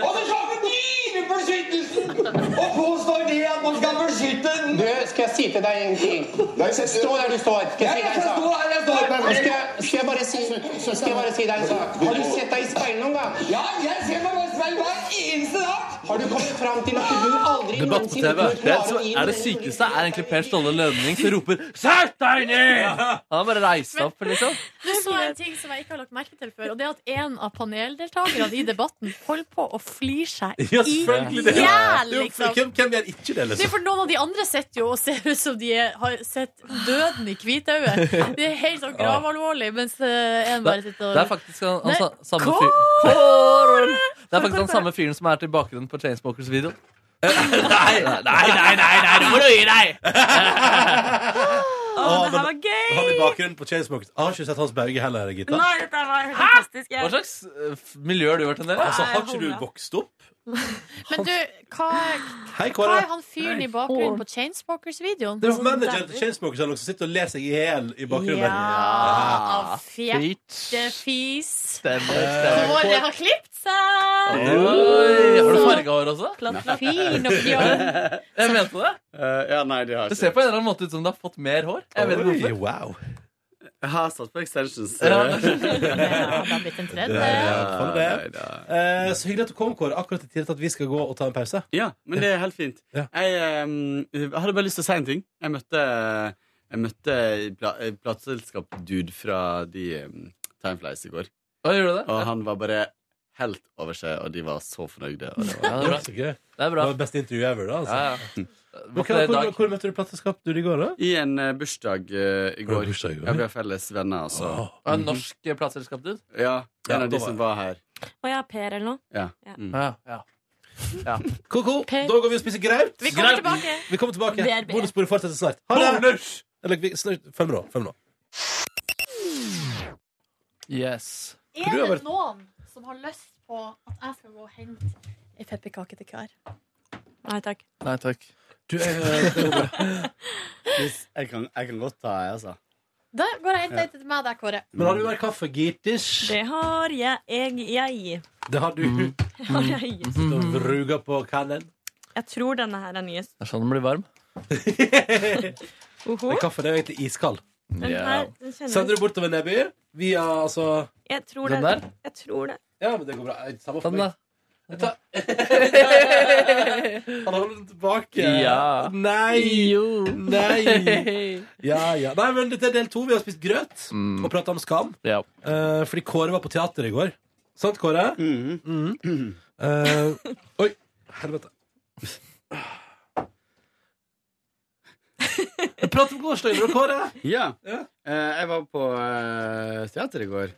Speaker 10: Og så kommer dyrebeskyttelsen og påstår det at man skal beskytte den!
Speaker 12: Du, skal jeg si til deg en ting? Stå der du står.
Speaker 10: Ja, jeg
Speaker 12: Skal jeg si deg en
Speaker 10: skal
Speaker 12: sak?
Speaker 10: stå her jeg står.
Speaker 12: Og Skal, jeg- skal, jeg bare si, så skal jeg bare si deg en sak? Har du sett deg i speilet noen gang?
Speaker 10: Ja, jeg ser meg bare i speilet hver eneste dag!
Speaker 12: Har du kommet fram til at du aldri
Speaker 4: Debatt på TV. Det, som er det sykeste er egentlig Per Ståle Lønning som roper 'Sett deg ned!' Han har bare reist seg opp, liksom.
Speaker 3: Nå så jeg en ting som jeg ikke har lagt merke til før, og det er at en av paneldeltakerne i debatten holder på å flire seg
Speaker 2: [LAUGHS] Ja,
Speaker 3: i
Speaker 2: selvfølgelig det.
Speaker 3: hjel,
Speaker 2: Jo, for
Speaker 3: liksom.
Speaker 2: Hvem, hvem gjør ikke det,
Speaker 3: Det er
Speaker 2: liksom?
Speaker 3: for Noen av de andre sitter jo og ser ut som de er, har sett døden i hvitauget. De er helt
Speaker 2: [LAUGHS]
Speaker 3: sånn gravalvorlig, mens eh, en
Speaker 4: Det,
Speaker 3: bare sitter og
Speaker 4: det er faktisk han, han, sa- samme
Speaker 3: Kåre!
Speaker 4: fyr Kåre! Det er faktisk han samme fyren som er til bakgrunnen på Chainsmokers-videoen. Nei, nei, nei, nei, nei, nå må du gi deg!
Speaker 5: Å, det her var
Speaker 2: Han i
Speaker 5: gøy!
Speaker 2: bakgrunnen på Chainsmokers. Jeg har ikke sett Hans Bauge heller, Gitta.
Speaker 5: Nei, dette var helt fantastisk.
Speaker 4: Hva
Speaker 5: Jeg.
Speaker 4: slags eh, f- miljø har du vært en del av?
Speaker 2: Altså, har
Speaker 5: Nei,
Speaker 2: ikke du
Speaker 5: hodet.
Speaker 2: vokst opp?
Speaker 3: Men du, hva,
Speaker 2: Hei,
Speaker 3: hva
Speaker 2: Kåre.
Speaker 3: er han fyren i bakgrunnen på Chainsmokers-videoen?
Speaker 2: Det er jo manageren til Chainsmokers eller noe som sitter og ler seg i hjel i bakgrunnen. Ah.
Speaker 3: Ja,
Speaker 4: Fitch.
Speaker 3: fjettefis.
Speaker 4: Stemmer,
Speaker 3: Håret
Speaker 4: stemmer.
Speaker 3: har klipt seg!
Speaker 4: Oi, har du farga hår også?
Speaker 3: Fin og fjong.
Speaker 4: Jeg mente det.
Speaker 13: Eh, ja, nei, det har
Speaker 4: Det
Speaker 13: jeg
Speaker 4: ser
Speaker 13: ikke.
Speaker 4: på en eller annen måte ut som du har fått mer hår. Jeg vet ikke
Speaker 2: Oi,
Speaker 4: hvorfor.
Speaker 2: wow.
Speaker 13: Jeg har satt på extensions. eh,
Speaker 4: [LAUGHS] Ja.
Speaker 3: Ja, det har blitt en
Speaker 2: Det er
Speaker 3: tredje.
Speaker 2: i
Speaker 13: Ja,
Speaker 2: hvert fall det.
Speaker 13: nei da.
Speaker 2: Eh, så hyggelig at du kom, Kåre. Akkurat i tide til at vi skal gå og ta en pause.
Speaker 13: Ja, men det er helt fint.
Speaker 2: Ja.
Speaker 13: Jeg, ehm, hadde bare lyst til å si en ting. Jeg møtte, jeg møtte pla- eh, plateselskap-dude fra de ehm, Timeflies i går.
Speaker 4: Hva gjør du det?
Speaker 13: Og han var bare helt over seg, og de var så fornøyde. Og det var...
Speaker 4: Ja, det er bra.
Speaker 2: Så gøy. Det
Speaker 4: Det er bra.
Speaker 2: var beste intervju ever, da. Altså.
Speaker 4: Ja, ja.
Speaker 2: Men hva,
Speaker 4: Var ikke det i
Speaker 2: hvor,
Speaker 4: dag?
Speaker 2: hvor møtte du plateselskap du i går, da?
Speaker 13: I en eh, bursdag eh, i
Speaker 2: Var
Speaker 13: går.
Speaker 2: det bursdag i går?
Speaker 13: Ja, vi har felles venner, altså.
Speaker 2: Åh.
Speaker 4: Var det en norsk plateselskap, dude?
Speaker 13: Ja,
Speaker 2: Ja,
Speaker 13: en av de
Speaker 2: da var
Speaker 13: som
Speaker 2: jeg.
Speaker 13: var her.
Speaker 5: Og jeg har Per eller noe.
Speaker 13: Ja.
Speaker 5: Ja.
Speaker 13: Mm.
Speaker 4: Ja, ja.
Speaker 2: Ko-ko,
Speaker 3: Per.
Speaker 2: da går vi og spiser graut.
Speaker 3: Vi kommer tilbake.
Speaker 2: Vi kommer tilbake.
Speaker 3: VRB.
Speaker 2: Bonussporet fortsetter snart. Ha det! Eller vi, snart, fem nå. Fem nå.
Speaker 4: Yes.
Speaker 2: Hvor du
Speaker 3: Er
Speaker 2: har
Speaker 3: det
Speaker 2: vært-
Speaker 3: noen som har lyst på at jeg skal gå og hente ei pepperkake til hver?
Speaker 5: Nei takk.
Speaker 4: Nei takk.
Speaker 2: Du, eh,
Speaker 13: Hvis- Jeg, kan, jeg kan godt ta ei, altså.
Speaker 3: Da går jeg og henter ei til meg, der, Kåre.
Speaker 2: men har du mer kaffe, Girtis?
Speaker 5: Det har jeg. Jeg, jeg.
Speaker 2: Det har du.
Speaker 4: Mm.
Speaker 5: Har jeg.
Speaker 2: Du vruger på kannen.
Speaker 5: jeg tror denne her er nyest.
Speaker 4: Det er sånn den blir varm.
Speaker 5: Oho.
Speaker 2: Men Kaffen er jo egentlig iskald.
Speaker 5: Den her, den
Speaker 2: Sender du
Speaker 5: kjennes.
Speaker 2: bortover Neby via altså
Speaker 5: Jeg tror
Speaker 4: Den
Speaker 5: det.
Speaker 4: der?
Speaker 5: Jeg tror det.
Speaker 2: Ja, men det går bra. Eh, Samme
Speaker 4: Ta
Speaker 2: for
Speaker 4: den, da.
Speaker 2: meg. Jeg tar- Han holder den tilbake.
Speaker 4: Ja.
Speaker 2: Nei!
Speaker 4: Jo.
Speaker 2: Nei!
Speaker 4: [LAUGHS]
Speaker 2: Ja, ja. Nei, men dette er del to. Vi har spist grøt
Speaker 4: Mm.
Speaker 2: og prata om skam.
Speaker 4: Ja.
Speaker 2: Eh, fordi Kåre var på teater i går. Sant, Kåre? Mhm. Eh, oi. Helvete. Prat om gårsdagen, da, Kåre.
Speaker 13: Ja.
Speaker 2: Ja.
Speaker 13: Eh, jeg var på eh, teater i går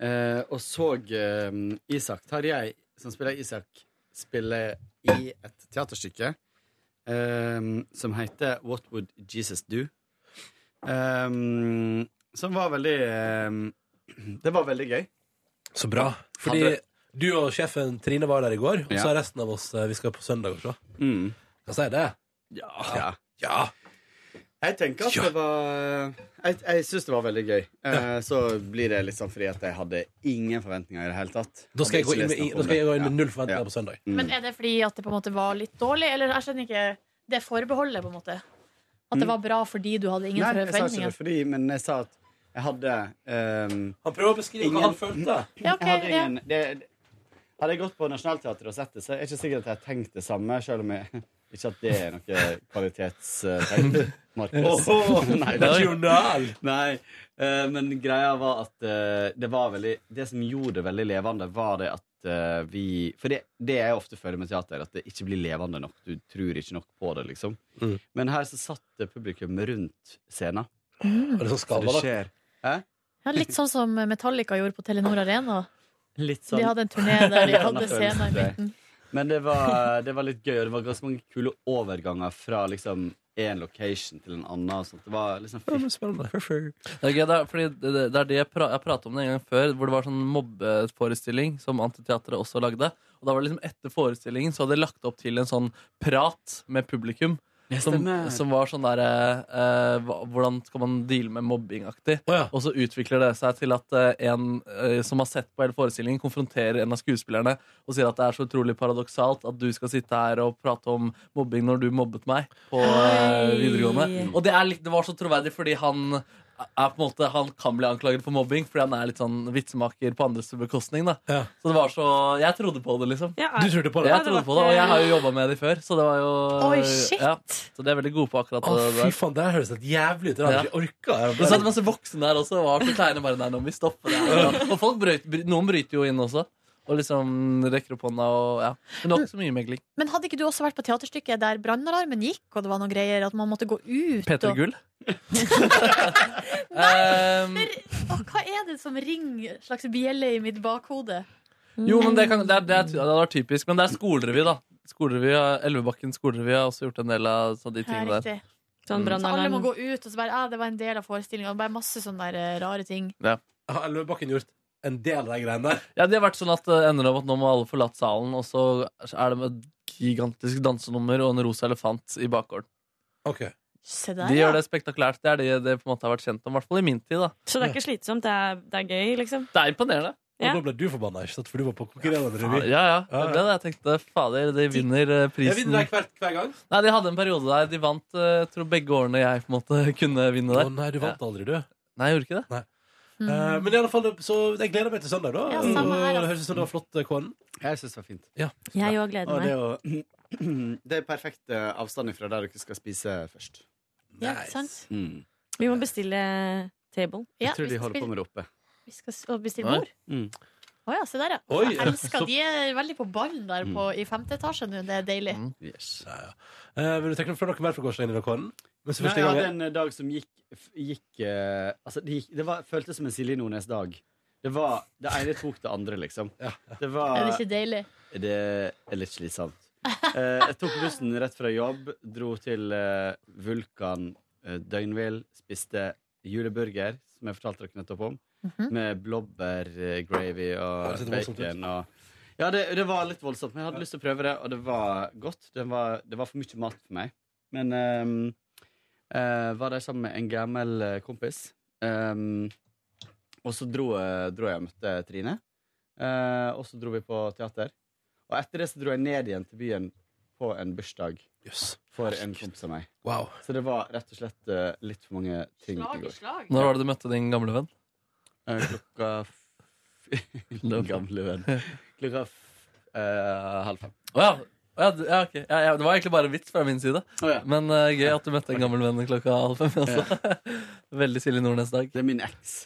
Speaker 13: eh, og så eh, Isak Tarjei, som spiller Isak, spille i et teaterstykke eh, som heter What Would Jesus Do? Eh, som var veldig eh, Det var veldig gøy.
Speaker 2: Så bra. Fordi
Speaker 13: Hadde-
Speaker 2: du og sjefen Trine var der i går, og
Speaker 13: Ja.
Speaker 2: så er resten av oss eh, Vi skal på søndag og se.
Speaker 13: Mm.
Speaker 2: Kan si det.
Speaker 13: Ja.
Speaker 2: Ja.
Speaker 13: Jeg tenker at det var eh, Jeg, jeg syns det var veldig gøy. Eh, Så blir det litt sånn fordi at jeg hadde ingen forventninger i det hele tatt.
Speaker 2: Da skal jeg gå inn med- da skal jeg gå inn med null forventninger på søndag.
Speaker 3: Men er det fordi at det på en måte var litt dårlig? Eller jeg skjønner ikke det forbeholdet, på en måte. At det var bra fordi du hadde ingen
Speaker 13: Nei, jeg sa ikke det
Speaker 3: forventninger.
Speaker 13: fordi, men jeg sa at jeg hadde ehm, Han
Speaker 2: prøver å beskrive
Speaker 13: hva han følte.
Speaker 3: Ja, ok,
Speaker 13: jeg hadde,
Speaker 3: ja.
Speaker 13: ingen, det, hadde jeg gått på Nationaltheatret og sett det, så er jeg ikke sikker at jeg har tenkt det samme, selv om jeg ikke at det er noe kvalitetstegn.
Speaker 2: [LAUGHS]
Speaker 13: Markus. [LAUGHS]
Speaker 2: Åhå, nasjonal!
Speaker 13: Nei, eh, men greia var at eh, det var veldig Det som gjorde det veldig levende, var det at eh, vi For det, det jeg ofte føler med teater, at det ikke blir levende nok. Du tror ikke nok på det, liksom.
Speaker 2: Mm.
Speaker 13: Men her så satt det publikum rundt scenen.
Speaker 3: Mm.
Speaker 2: Er det sånn
Speaker 13: Så
Speaker 2: skala, da?
Speaker 13: skjer. Hæ?
Speaker 3: Ja, litt sånn som Metallica gjorde på Telenor Arena.
Speaker 13: Litt sånn
Speaker 3: De hadde en turné der de hadde scener i midten.
Speaker 13: Men det var, det var litt gøy, og det var ganske mange kule overganger fra liksom én location til en annen. og sånt. Det var liksom
Speaker 4: Det er gøy, det er, fordi det, det- det er det jeg, pra jeg pratet om det en gang før, hvor det var sånn mobbeforestilling som Antiteatret også lagde. Og da var det liksom etter forestillingen så hadde de lagt opp til en sånn prat med publikum.
Speaker 13: Ja,
Speaker 4: Som,
Speaker 13: stemmer.
Speaker 4: som var sånn derre Hvordan skal man deale med mobbing-aktig. Og så utvikler det seg til at eh, en eh, som har sett på hele forestillingen, konfronterer en av skuespillerne og sier at det er så utrolig paradoksalt at du skal sitte her og prate om mobbing når du mobbet meg på eh,
Speaker 13: Hei.
Speaker 4: videregående. Og det, er litt, det var så troverdig fordi han er på en måte, han kan bli anklaget for mobbing fordi han er litt sånn vitsemaker på andres bekostning. Da. Så det var så Jeg trodde på det, liksom.
Speaker 2: Ja, Du trodde på det?
Speaker 4: Jeg trodde på det, Og jeg har jo jobba med det før, så det var jo
Speaker 2: Oi, shit.
Speaker 4: Ja, så de er veldig gode på akkurat
Speaker 2: Å,
Speaker 4: det
Speaker 2: fy
Speaker 4: der.
Speaker 2: faen, det her høres helt jævlig ut. Jeg hadde
Speaker 4: Ja.
Speaker 2: ikke orka. Jeg
Speaker 4: Det satt masse voksne der også og var så kleine. Bare, nei, nå må vi stoppe det her.
Speaker 2: [LAUGHS]
Speaker 4: Og folk brøyt, bry- noen bryter jo inn også. Og liksom rekker opp hånda og ja. Men det var ikke så mye megling.
Speaker 3: Men hadde ikke du også vært på teaterstykket der brannalarmen gikk, og det var noen greier at man måtte gå ut?
Speaker 4: Peter
Speaker 3: og... [LAUGHS]
Speaker 4: Gull? [LAUGHS] Ehm,
Speaker 3: Å, hva er det som ringer slags bjelle i mitt bakhode?
Speaker 4: jo, men det, kan, det, er, det, er, det hadde vært typisk. Men det er skolerevy, da. Skolerevy, Elvebakken skolerevy har også gjort en del av så de
Speaker 3: Ja,
Speaker 4: tingene
Speaker 3: riktig.
Speaker 4: der.
Speaker 5: Sånn
Speaker 3: Så alle må
Speaker 5: brannalarm.
Speaker 3: gå ut, og så bare ah, det var en del av forestillinga. Bare masse sånne der, eh, rare ting.
Speaker 4: Ja.
Speaker 2: Har Elvebakken gjort en del av de greiene der?
Speaker 4: Ja, det har vært sånn at det ender opp at nå må alle forlate salen, og så er det med et gigantisk dansenummer og en rosa elefant i bakgården.
Speaker 3: Se der,
Speaker 4: De
Speaker 3: ja.
Speaker 4: gjør det spektakulært. Det er det det på en måte har vært kjent om, i hvert fall i min tid. da
Speaker 5: Så det er ikke slitsomt, det er, det er gøy, liksom.
Speaker 4: Det er imponerende.
Speaker 5: Ja.
Speaker 2: Og da ble du forbanna, ikke sant? For du var på konkurrerende
Speaker 4: Ja,
Speaker 2: revy.
Speaker 4: ja. Det ble det. Jeg tenkte fader, de vinner eh,
Speaker 2: Jeg
Speaker 4: prisen.
Speaker 2: vinner deg hver, hver gang.
Speaker 4: Nei, De hadde en periode der de vant eh, jeg tror begge årene jeg på en måte [LAUGHS] kunne vinne der.
Speaker 2: Å nei, du vant aldri, du.
Speaker 4: Nei, jeg gjorde ikke det.
Speaker 3: Mm.
Speaker 2: Eh, men i alle fall, så jeg gleder meg til søndag, da.
Speaker 5: Mm. Ja, samme
Speaker 2: Og
Speaker 5: her, altså.
Speaker 2: det høres ut som det var flott, eh, Kåren.
Speaker 13: Jeg syns det var fint.
Speaker 5: Jeg òg gleder
Speaker 13: Og [CLEARS THROAT] det, er
Speaker 5: meg.
Speaker 13: jo, det er perfekt eh, avstand fra der dere skal spise først.
Speaker 5: Ja, ikke sant?
Speaker 13: Mm.
Speaker 5: Vi må bestille table.
Speaker 13: Jeg tror de holder på med det oppe.
Speaker 3: Vi skal s- og bestille bord.
Speaker 13: Mm.
Speaker 3: Å ja, se der, ja.
Speaker 2: Oi,
Speaker 3: jeg elsker
Speaker 2: så-
Speaker 3: De er veldig på ballen der
Speaker 13: Mm.
Speaker 3: på, i femte etasje nå. Det er deilig.
Speaker 4: Mm.
Speaker 13: Yes.
Speaker 2: Ja, ja. Eh, vil du trekke fram noe mer fra gårsdagen i dag, Kåren? Mens
Speaker 13: Nei,
Speaker 2: første
Speaker 13: jeg
Speaker 2: gang-
Speaker 13: hadde en eh, dag som gikk, f- gikk eh, Altså, det, gikk, det var, føltes som en Silje Nordnes dag. Det var Det ene tok det andre, liksom. Det var
Speaker 3: Er det ikke deilig?
Speaker 13: Det er litt slitsomt. Eh, jeg tok bussen rett fra jobb, dro til eh, Vulkan eh, døgnvill, spiste juleburger, som jeg fortalte dere nettopp om,
Speaker 14: Mhm.
Speaker 13: med blåbærgravy
Speaker 14: Det
Speaker 13: og
Speaker 14: ser voldsomt ut.
Speaker 13: bacon og Ja, det, det var litt voldsomt, men jeg hadde lyst til å prøve det, og det var godt. Det var, det var for mye mat for meg. Men ehm, eh, var der sammen med en gammel eh, kompis. Ehm, og så dro, jeg- dro jeg og møtte Trine. Eh, og så dro vi på teater. Og etter det så dro jeg ned igjen til byen på en bursdag for en kompis av meg.
Speaker 4: [LAUGHS]
Speaker 13: Så det var rett og slett eh, litt for mange ting i går.
Speaker 4: Når var det du møtte din gamle venn?
Speaker 13: Eh, klokka f [LAUGHS] Din gamle
Speaker 4: [LAUGHS]
Speaker 13: venn. Klokka f eh, halv fem.
Speaker 4: Å ja. Å ja, du- ja, ok. ja, ja. Det var egentlig bare en vits fra min side. Men eh, gøy at du møtte en gammel venn klokka halv fem. Altså. [LAUGHS] Veldig Silje Nordnes-dag.
Speaker 13: Det er min eks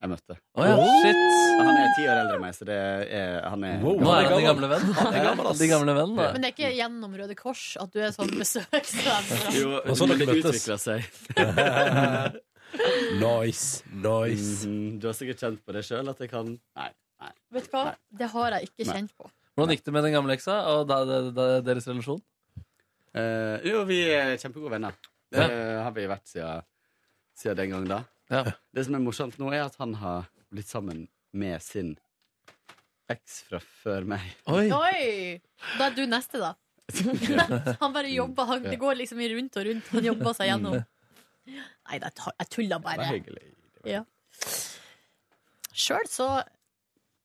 Speaker 13: jeg møtte.
Speaker 4: Å ja, shit.
Speaker 13: Han er ti år eldre enn meg, så det er, han er
Speaker 4: Wow. Nå er han din gamle venn.
Speaker 13: Han er gammel, ass.
Speaker 4: Din gamle venn, da.
Speaker 3: Men det er ikke gjennom Røde Kors at du er sånn [LAUGHS] besøksvenn?
Speaker 13: Jo,
Speaker 2: Og
Speaker 13: det
Speaker 2: sånn dere møttes.
Speaker 13: utvikla seg.
Speaker 2: nice, nice.
Speaker 13: Mhm, Du har sikkert kjent på det sjøl at jeg kan Nei. nei.
Speaker 3: Vet du hva? Det har jeg ikke kjent på.
Speaker 4: Hvordan gikk det med den gamle eksa og da, da, da, deres relasjon?
Speaker 13: Eh, jo, vi er kjempegode venner. Det har vi vært siden, siden den gang da. Det som er morsomt nå, er at han har blitt sammen med sin eks fra før meg. [LAUGHS]
Speaker 3: Oi! Da er du neste, [LAUGHS] da. Han bare jobber. Han, det går liksom i rundt og rundt. Han jobber seg gjennom.
Speaker 4: Mm.
Speaker 3: Nei, jeg tar- jeg tuller
Speaker 13: Det
Speaker 3: bare.
Speaker 13: var hyggelig.
Speaker 3: Ja. Sjøl så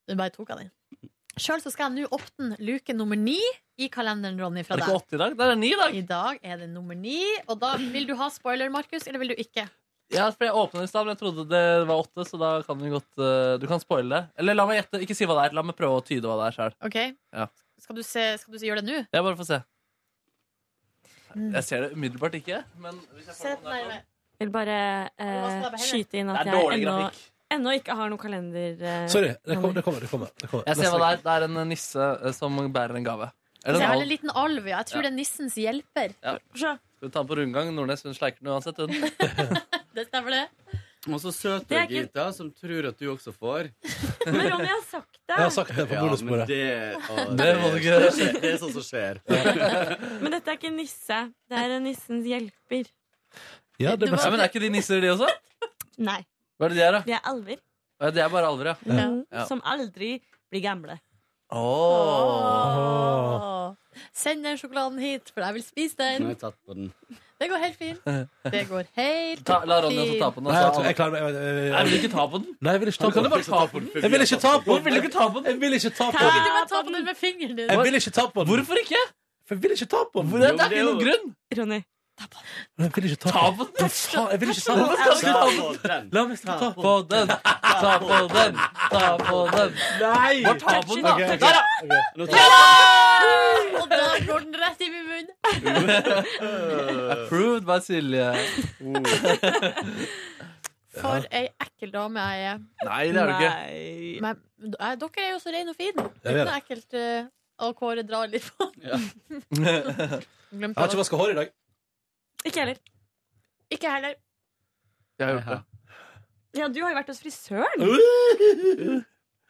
Speaker 3: Du bare tok av den. Sjøl så skal jeg nå åpne luke nummer ni i kalenderen, Ronny, fra
Speaker 4: Er det
Speaker 3: deg.
Speaker 4: ikke åtte i dag? Det er ni i dag.
Speaker 3: I dag er det nummer ni. Og da vil du ha spoiler, Markus, eller vil du ikke?
Speaker 4: Ja, for Jeg åpnet i stad, men jeg trodde det var åtte, så da kan vi godt eh, Du kan spoile det. Eller la meg gjette. Ikke si hva det er. La meg prøve å tyde hva det er sjøl.
Speaker 3: Ok,
Speaker 4: Ja.
Speaker 3: Skal du, se, skal du se, gjøre det nå?
Speaker 4: Jeg bare får se. Jeg ser det umiddelbart ikke. Men hvis jeg får
Speaker 3: Sett nærmere.
Speaker 5: Vil bare eh, skyte inn at
Speaker 4: Det er
Speaker 5: jeg
Speaker 4: dårlig
Speaker 5: ennå,
Speaker 4: grafikk.
Speaker 5: ennå ikke har noen kalender. eh,
Speaker 2: Sorry. Det kommer. Det kommer, det kommer, det kommer.
Speaker 4: Jeg ser
Speaker 2: Neste
Speaker 4: hva det
Speaker 2: uke.
Speaker 4: er. Det er en nisse eh, som bærer en gave.
Speaker 3: Det
Speaker 4: Eller
Speaker 3: er
Speaker 4: en
Speaker 3: vel en
Speaker 4: alv.
Speaker 3: liten alv, ja. Jeg tror
Speaker 4: Ja.
Speaker 3: det er nissens hjelper.
Speaker 4: Ja. Skal vi ta den på rundgang? Nordnes hun sleiker den uansett. Hun.
Speaker 3: Det stemmer, det.
Speaker 13: Og så søte
Speaker 5: Det er ikke-
Speaker 13: Gita, som tror at du også får.
Speaker 5: Men Ronny har sagt
Speaker 13: Ja,
Speaker 5: det.
Speaker 13: men det- å,
Speaker 4: Det må
Speaker 13: det-
Speaker 4: du ikke gjøre.
Speaker 13: skjer- Det er sånt som skjer.
Speaker 5: Men dette er ikke en nisse. Det er en nissens hjelper.
Speaker 2: Ja,
Speaker 5: det er best.
Speaker 4: Men er ikke de nisser, de også?
Speaker 5: Nei,
Speaker 4: Hva er det de er, da?
Speaker 5: de er alver.
Speaker 4: Ja, De er bare alver, ja.
Speaker 5: Mm,
Speaker 4: Ja.
Speaker 5: Som aldri blir gamle.
Speaker 4: Åh.
Speaker 3: Åh. Send den sjokoladen hit, for jeg vil spise
Speaker 13: sånn Nå har
Speaker 3: den.
Speaker 13: jeg tatt på den.
Speaker 3: Det går helt fint. Det går helt
Speaker 4: Ta, la Ronny også ta på den.
Speaker 2: Nei, jeg, tror- jeg klarer meg. Jeg, jeg,
Speaker 4: Nei, vil du ikke ta på den?
Speaker 2: Nei, jeg vil ikke ta
Speaker 4: Kan
Speaker 2: på
Speaker 4: du bare ta på den?
Speaker 2: Jeg vil ikke ta på den!
Speaker 4: Vil du ikke ta på den?
Speaker 2: Jeg vil ikke ta på
Speaker 3: Kan
Speaker 2: den!
Speaker 3: ikke du bare ta på den med fingeren din?
Speaker 2: Jeg vil ikke ta på den!
Speaker 4: Hvorfor ikke?
Speaker 2: For jeg vil ikke ta på den!
Speaker 4: Det, det er ikke noen grunn.
Speaker 5: Ronny.
Speaker 2: Jeg vil ikke ta på den! Hva faen, Jeg vil ikke ta på
Speaker 4: Hvorfor skal du ikke ta på
Speaker 2: den! La meg ta
Speaker 4: Ta på den, ta på den, ta på den.
Speaker 2: Nei!
Speaker 4: Bare ta på den, da.
Speaker 2: Ok, ok,
Speaker 4: Der, ja!
Speaker 2: ok.
Speaker 13: Nå
Speaker 4: Ja!
Speaker 3: Og da går den rett i min munn.
Speaker 4: Approved by Silje.
Speaker 3: For ei ekkel dame jeg er.
Speaker 4: Nei, det er du ikke.
Speaker 3: Men eh, dere er jo så reine og fine.
Speaker 2: Ja,
Speaker 3: Det
Speaker 2: vi er
Speaker 3: er ekkelt eh, å Kåre drar litt på. [LAUGHS]
Speaker 2: Jeg har ikke vaska håret i dag.
Speaker 5: Ikke heller.
Speaker 3: Ikke heller.
Speaker 4: Jeg har gjort det.
Speaker 5: Ja, du har jo vært hos frisøren.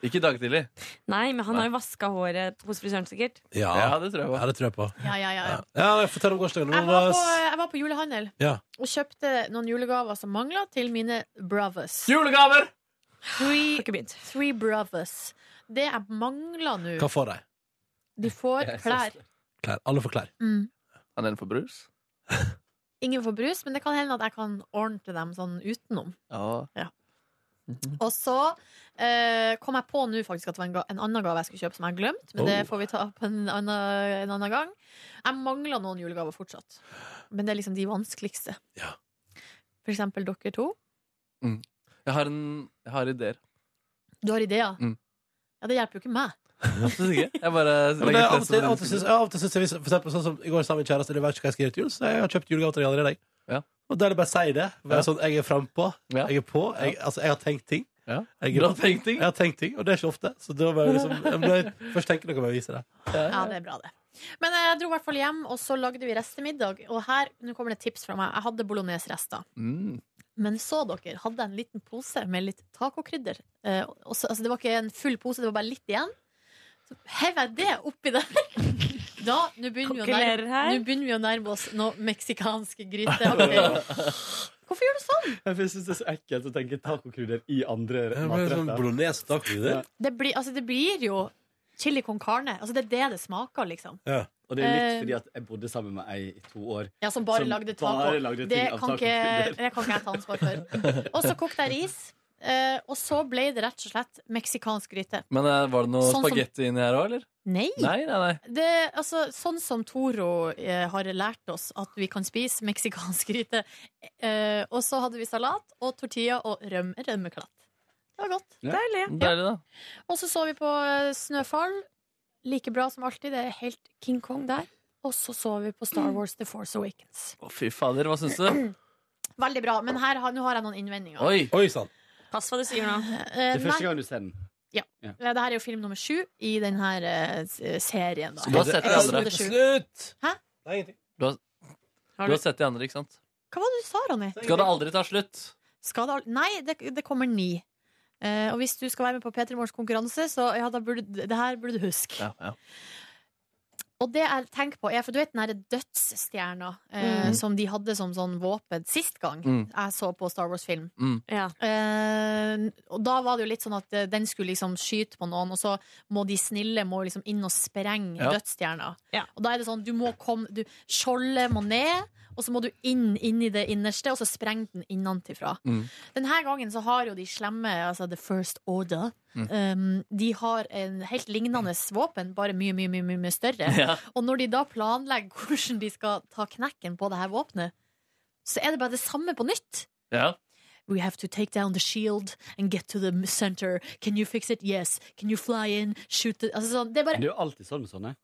Speaker 4: Ikke i dag tidlig.
Speaker 5: Nei, men han har jo vaska håret hos frisøren, sikkert.
Speaker 2: Ja,
Speaker 4: Ja, det tror jeg på.
Speaker 2: Ja, det tror jeg på.
Speaker 3: Ja, ja, ja. ja.
Speaker 2: Ja, men Fortell om gårsdagen.
Speaker 3: Jeg var på, jeg var på julehandel
Speaker 2: Ja.
Speaker 3: og kjøpte noen julegaver som mangla, til mine brothers.
Speaker 4: Julegaver!
Speaker 3: Three,
Speaker 5: Har ikke begynt.
Speaker 3: three brothers. Det jeg mangler nå
Speaker 2: Hva får de?
Speaker 3: De får klær.
Speaker 2: Klær. Alle får klær.
Speaker 3: Mm.
Speaker 4: Han er en for brus.
Speaker 3: Ingen får brus, men det kan hende at jeg kan ordne til dem sånn utenom.
Speaker 4: Ja.
Speaker 2: Mm.
Speaker 3: Og så eh, kom jeg på nå faktisk at det var en, ga en annen gave jeg skulle kjøpe som jeg har glemt. Men det
Speaker 2: Oh.
Speaker 3: får vi ta opp en annen, en annen gang. Jeg mangler noen julegaver fortsatt. Men det er liksom de vanskeligste.
Speaker 2: Ja.
Speaker 3: For eksempel dere to.
Speaker 4: Jeg har, en, jeg har ideer.
Speaker 3: Du har ideer.
Speaker 4: Mm.
Speaker 3: Ja, det hjelper jo ikke meg.
Speaker 4: Absolutt ikke. Jeg bare
Speaker 2: Men det, er av og til- av og til syns- av og til syns jeg vi- For eksempel sånn som i går sa min kjæreste Jeg vet ikke hva jeg skal gjøre til jul, så jeg har kjøpt julegave til deg allerede. jeg.
Speaker 4: Ja.
Speaker 2: Og da er det bare å si det. Være
Speaker 4: Ja.
Speaker 2: sånn, jeg er frampå.
Speaker 4: Ja.
Speaker 2: Jeg er på. Jeg, altså, jeg har tenkt ting.
Speaker 4: Ja.
Speaker 2: Jeg,
Speaker 4: Du har tenkt ting?
Speaker 2: jeg har tenkt ting, og det er ikke ofte. Så da må jeg liksom jeg [LAUGHS] må først tenke noe om jeg viser det.
Speaker 3: Ja, det er bra, det. Men eh, jeg dro i hvert fall hjem, og så lagde vi restemiddag. Og her nå kommer det et tips fra meg. Jeg hadde bolognesrester.
Speaker 4: Mm.
Speaker 3: Men så, dere, hadde jeg en liten pose med litt tacokrydder. Eh, og så, altså, det var ikke en full pose, det var bare litt igjen. Så hev jeg det oppi der. [LAUGHS] Da, nå begynner, vi å
Speaker 5: Kokkelerer
Speaker 3: nærme,
Speaker 5: her.
Speaker 3: nå begynner vi å nærme oss noe meksikansk
Speaker 13: [LAUGHS]
Speaker 3: gryteaktig. Hvorfor gjør du sånn?
Speaker 13: Jeg syns det er så ekkelt å tenke tacokrydder i andre
Speaker 2: Jeg ble sånn
Speaker 13: matretter.
Speaker 2: bolognese tacokrydder.
Speaker 3: Det blir, altså, det blir jo chili con carne. Altså, det er det det smaker, liksom.
Speaker 2: Ja.
Speaker 13: Og det er litt
Speaker 3: Eh,
Speaker 13: fordi at jeg bodde sammen med ei i to år.
Speaker 3: Ja, som bare
Speaker 13: Som
Speaker 3: lagde taco.
Speaker 13: bare lagde ting
Speaker 3: det,
Speaker 13: av
Speaker 3: kan ikke,
Speaker 13: tacokrydder.
Speaker 3: det kan ikke jeg ta ansvar
Speaker 13: [LAUGHS]
Speaker 3: for. Og så kokte jeg ris. eh, og så ble det rett og slett meksikansk gryte.
Speaker 4: Men eh, var det noe
Speaker 3: Sånn som- Mm.
Speaker 4: spagetti inni her òg, eller?
Speaker 3: Nei!
Speaker 4: Nei, nei, nei.
Speaker 3: Det, altså, sånn som Toro eh, har lært oss at vi kan spise meksikansk gryte. Eh, og så hadde vi salat og tortilla og rømme, rømmeklatt. Det var godt.
Speaker 5: Deilig.
Speaker 4: Deilig, da.
Speaker 3: Og så så vi på eh, Snøfall. Like bra som alltid. Det er helt King Kong der. Og så så vi på Star Wars The Force Awakens.
Speaker 4: Å, fy fader, hva syns du?
Speaker 3: Veldig bra. Men her, har- nå har jeg noen innvendinger.
Speaker 4: Oi!
Speaker 2: Oi sann.
Speaker 5: Pass hva du sier nå.
Speaker 3: Eh,
Speaker 13: Det er
Speaker 3: nei.
Speaker 13: første gang du ser den.
Speaker 3: Ja, det her er jo film nummer sju i denne serien.
Speaker 4: Du
Speaker 3: Da.
Speaker 4: har sett de andre.
Speaker 3: Episode sju.
Speaker 2: Slutt!
Speaker 3: Hæ?
Speaker 2: Nei, ingenting.
Speaker 4: Du har sett de andre, ikke sant?
Speaker 3: Hva var det du sa, Ronny?
Speaker 4: Skal det aldri ta slutt?
Speaker 3: Skal det al Nei, det, det kommer ni. Eh, og hvis du skal være med på P3 Morgens konkurranse, så ja, da burde, du- det her burde du huske.
Speaker 4: Ja, ja.
Speaker 3: Og det jeg tenker på er, for du vet den her dødsstjerna eh,
Speaker 5: Mm.
Speaker 3: som de hadde som sånn våpen sist gang
Speaker 4: Mm.
Speaker 3: jeg så på Star Wars-film.
Speaker 5: Ja.
Speaker 3: Eh, og da var det jo litt sånn at eh, den skulle liksom skyte på noen, og så må de snille må liksom inn og sprenge
Speaker 4: Ja.
Speaker 3: dødsstjerna.
Speaker 5: Ja.
Speaker 3: Og da er det sånn, du må komme du, Skjoldet må ned, og så må du inn, inn i det innerste, og så sprenger den innenfra.
Speaker 14: Mm.
Speaker 3: Denne gangen så har jo de slemme, altså The First Order,
Speaker 14: Mm.
Speaker 3: um, de har en helt lignende våpen, bare mye, mye, mye, mye, mye større.
Speaker 14: Ja.
Speaker 3: Og når de da planlegger hvordan de skal ta knekken på det her våpenet, så er det bare det samme på nytt.
Speaker 4: Ja.
Speaker 3: We have to take down the shield and get to the center. Can you fix it? Yes. Can you fly in? Shoot it? Altså sånn. Det er
Speaker 13: Det er
Speaker 3: bare
Speaker 13: jo alltid sånn med sånne.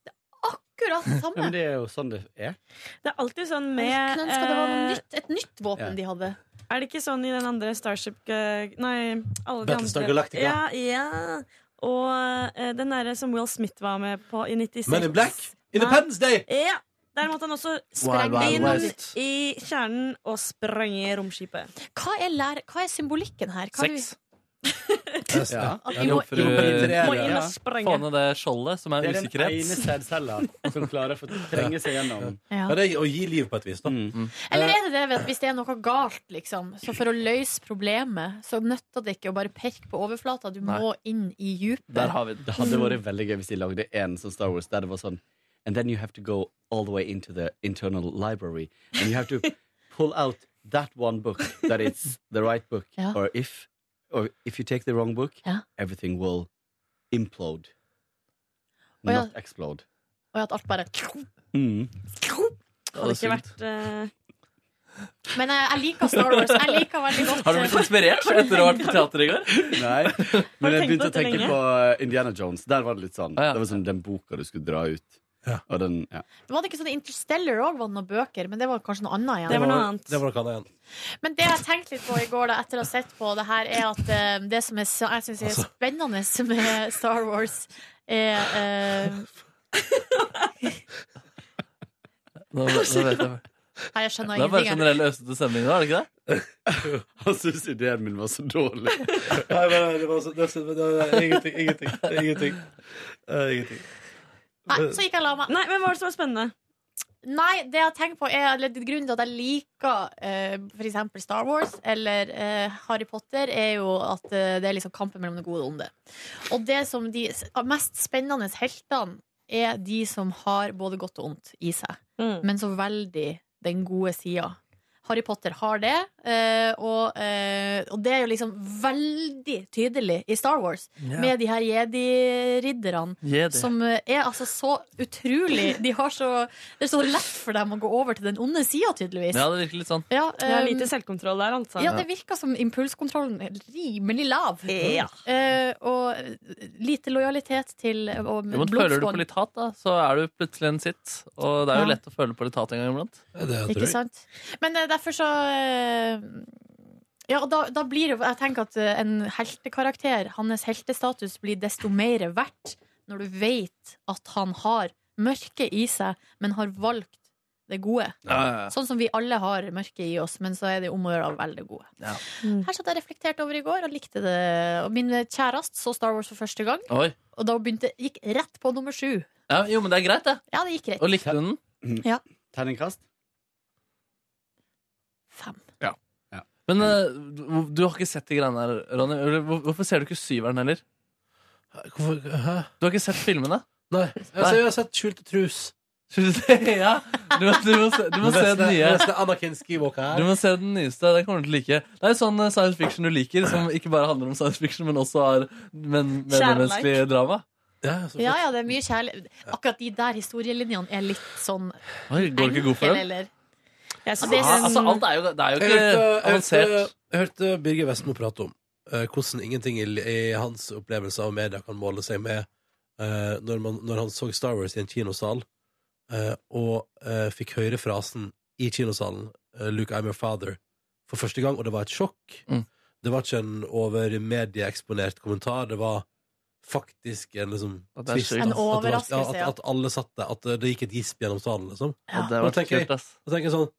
Speaker 3: akkurat
Speaker 13: Ja,
Speaker 3: det
Speaker 13: men
Speaker 3: samme.
Speaker 13: det er jo sånn det er.
Speaker 5: Det er alltid sånn med
Speaker 3: Jeg skulle ønske det var noe
Speaker 5: eh,
Speaker 3: nytt, et nytt våpen de hadde.
Speaker 5: Er det ikke sånn i den andre Starship eh, Nei, alle de
Speaker 13: Battlestar
Speaker 5: andre
Speaker 13: Galactica.
Speaker 5: Ja, ja. Og eh, den derre som Will Smith var med på i 96.
Speaker 2: Men in black! Independence Day!
Speaker 5: Ja. Der måtte han også
Speaker 2: Wild,
Speaker 5: sprenge
Speaker 2: wild
Speaker 5: inn
Speaker 2: west.
Speaker 5: i kjernen og sprenge romskipet.
Speaker 3: Hva er, lær- hva er symbolikken her? Hva er det vi-
Speaker 4: Sex.
Speaker 3: Ja.
Speaker 4: At
Speaker 3: vi
Speaker 4: vi
Speaker 3: må
Speaker 4: må
Speaker 3: inn-
Speaker 13: må inn og
Speaker 4: inn
Speaker 13: sprenge.
Speaker 4: Få ned det skjoldet som
Speaker 13: Det
Speaker 4: er
Speaker 13: er den ene
Speaker 4: usikkerhet.
Speaker 13: sædcella som klarer å få trenge seg gjennom. Mm.
Speaker 3: Ja.
Speaker 2: Men det er å gi liv på et vis, da.
Speaker 3: Eller er det det vet, du, hvis det er noe galt, liksom? Så for å løse problemet, så nytter det ikke å bare perke på overflata. Du må inn i djupet.
Speaker 13: Der har vi det. hadde vært veldig gøy hvis de lagde en som Star Wars der det var sånn And then you have to go all the way into the internal library. And you have to pull out that one book that it's the right book.
Speaker 3: Ja.
Speaker 13: Or if or if you take the wrong book,
Speaker 3: Ja.
Speaker 13: everything will implode.
Speaker 3: Å ja.
Speaker 13: Not explode.
Speaker 3: Og at alt bare
Speaker 13: Mm.
Speaker 5: Hadde ikke vært eh,
Speaker 3: Men jeg, jeg liker Star Wars. Jeg liker veldig godt
Speaker 13: Har du blitt inspirert etter å ha vært på teater
Speaker 4: i går?
Speaker 3: [LAUGHS]
Speaker 13: Nei, men jeg
Speaker 3: tenkt
Speaker 13: begynte å
Speaker 3: på dette
Speaker 13: tenke
Speaker 3: lenge?
Speaker 13: på uh, Indiana Jones. Der var det litt sånn. Det var sånn den boka du skulle dra ut. Og den, ja.
Speaker 3: Var det ikke sånn Interstellar òg var det noen bøker, men det var kanskje noe annet igjen.
Speaker 2: Det var noe annet igjen.
Speaker 3: Men det jeg tenkte litt på i går, da, etter å ha sett på det her, er at eh, det som er, så- jeg syns er
Speaker 2: Altså-
Speaker 3: spennende med Star Wars, er eh,
Speaker 4: Nå, nå vet jeg.
Speaker 3: Nei, jeg skjønner
Speaker 4: Det er bare
Speaker 3: ingenting. jeg.
Speaker 4: generell østete stemning nå, er det ikke det?
Speaker 13: Han syntes ideen min var så dårlig.
Speaker 2: Nei, nei, nei, det var så, det, var så- det, var- det, var- ingenting. Ingenting. Ingenting. Eh, ingenting.
Speaker 3: Nei, så gikk jeg og la meg.
Speaker 5: Nei, men hva var det som var spennende?
Speaker 3: Nei, det jeg tenker på er eller, Grunnen til at jeg liker eh, For eksempel Star Wars eller eh, Harry Potter, er jo at eh, det er liksom kampen mellom det gode og det onde. Og det som de s- mest spennende heltene er de som har både godt og ondt i seg,
Speaker 4: Mm.
Speaker 5: Mm.
Speaker 3: men så veldig den gode sida. Harry Potter har det, eh, og, eh, og det er jo liksom veldig tydelig i Star Wars.
Speaker 14: Ja.
Speaker 3: Med de her jedi-ridderne
Speaker 14: Jedi.
Speaker 3: som eh, er altså så utrolig
Speaker 4: [LAUGHS]
Speaker 3: De har så Det er så lett for dem å gå over til den onde sida, tydeligvis.
Speaker 4: Ja, det virker litt sånn.
Speaker 3: Ja,
Speaker 5: Det er
Speaker 3: um,
Speaker 5: lite selvkontroll der, altså.
Speaker 3: Ja, det virker som impulskontrollen er rimelig lav.
Speaker 5: Ja.
Speaker 3: Eh, og lite lojalitet til og
Speaker 4: Jo, men føler du på
Speaker 3: blodsbånd.
Speaker 4: litt hat, da, så er du plutselig en sitt. Og det er jo
Speaker 3: Ja.
Speaker 4: lett å føle på litt hat en gang iblant.
Speaker 3: Ikke sant? Men eh, derfor så eh, Ja, og da, da blir jo Jeg tenker at eh, en heltekarakter, hans heltestatus, blir desto mer verdt når du vet at han har mørket i seg, men har valgt det gode.
Speaker 14: Ja, ja, ja.
Speaker 3: Sånn som vi alle har mørket i oss, men så er det om å gjøre å velge det gode. Her satt jeg reflektert over i går og likte det. Og min kjæreste så Star Wars for første gang,
Speaker 4: Oi.
Speaker 3: og da begynte, gikk rett på nummer sju.
Speaker 4: Ja, jo, men det er greit, det.
Speaker 3: Ja, det gikk rett.
Speaker 4: Og likte du den?
Speaker 3: Ja.
Speaker 13: Terningkast?
Speaker 4: Ja. Men eh, du, du har ikke sett de greiene her, Ronny. Eller hvor- Hvorfor ser du ikke syveren heller? Du har ikke sett filmene?
Speaker 2: Nei. Altså, jeg har sett Skjulte trus.
Speaker 4: [LAUGHS] ja. Du, må- du må se, du må se
Speaker 2: Neste-
Speaker 4: den nye.
Speaker 2: neste Anakin Skywalker her.
Speaker 4: Du må se den nyeste. Den kommer du til å like. Det er jo sånn eh, science fiction du liker, som ikke bare handler om science fiction, men også har men, mellommenneskelige
Speaker 3: Kjærleik.
Speaker 4: drama.
Speaker 3: Ja, ja, det er mye kjærlighet. Akkurat de der historielinjene er litt sånn
Speaker 4: Oi, går du ikke god for
Speaker 3: enkel,
Speaker 4: den?
Speaker 3: eller-
Speaker 5: Ja,
Speaker 3: det er
Speaker 5: sånn-
Speaker 4: altså, alt er jo, det er jo ikke
Speaker 2: Jeg
Speaker 4: avansert.
Speaker 2: hørte, jeg hørte Birger Vestmo prate om eh, hvordan ingenting i, i hans opplevelse av media kan måle seg med eh, når, man, når han så Star Wars i en kinosal eh, og eh, fikk høre frasen i kinosalen eh, 'Luke, I'm your father' for første gang, og det var et sjokk.
Speaker 4: Mm.
Speaker 2: Det var ikke en over medieeksponert kommentar, det var faktisk en liksom
Speaker 4: At det er
Speaker 2: twist.
Speaker 4: sjukt.
Speaker 2: at
Speaker 4: En
Speaker 2: det var-
Speaker 4: overraskelse,
Speaker 2: ja, at,
Speaker 4: ja.
Speaker 2: at alle satt der, at det gikk et gisp gjennom salen, liksom.
Speaker 4: Ja, det
Speaker 2: Og
Speaker 4: var
Speaker 2: da tenker jeg-
Speaker 4: kult, ass.
Speaker 2: Da tenker jeg sånn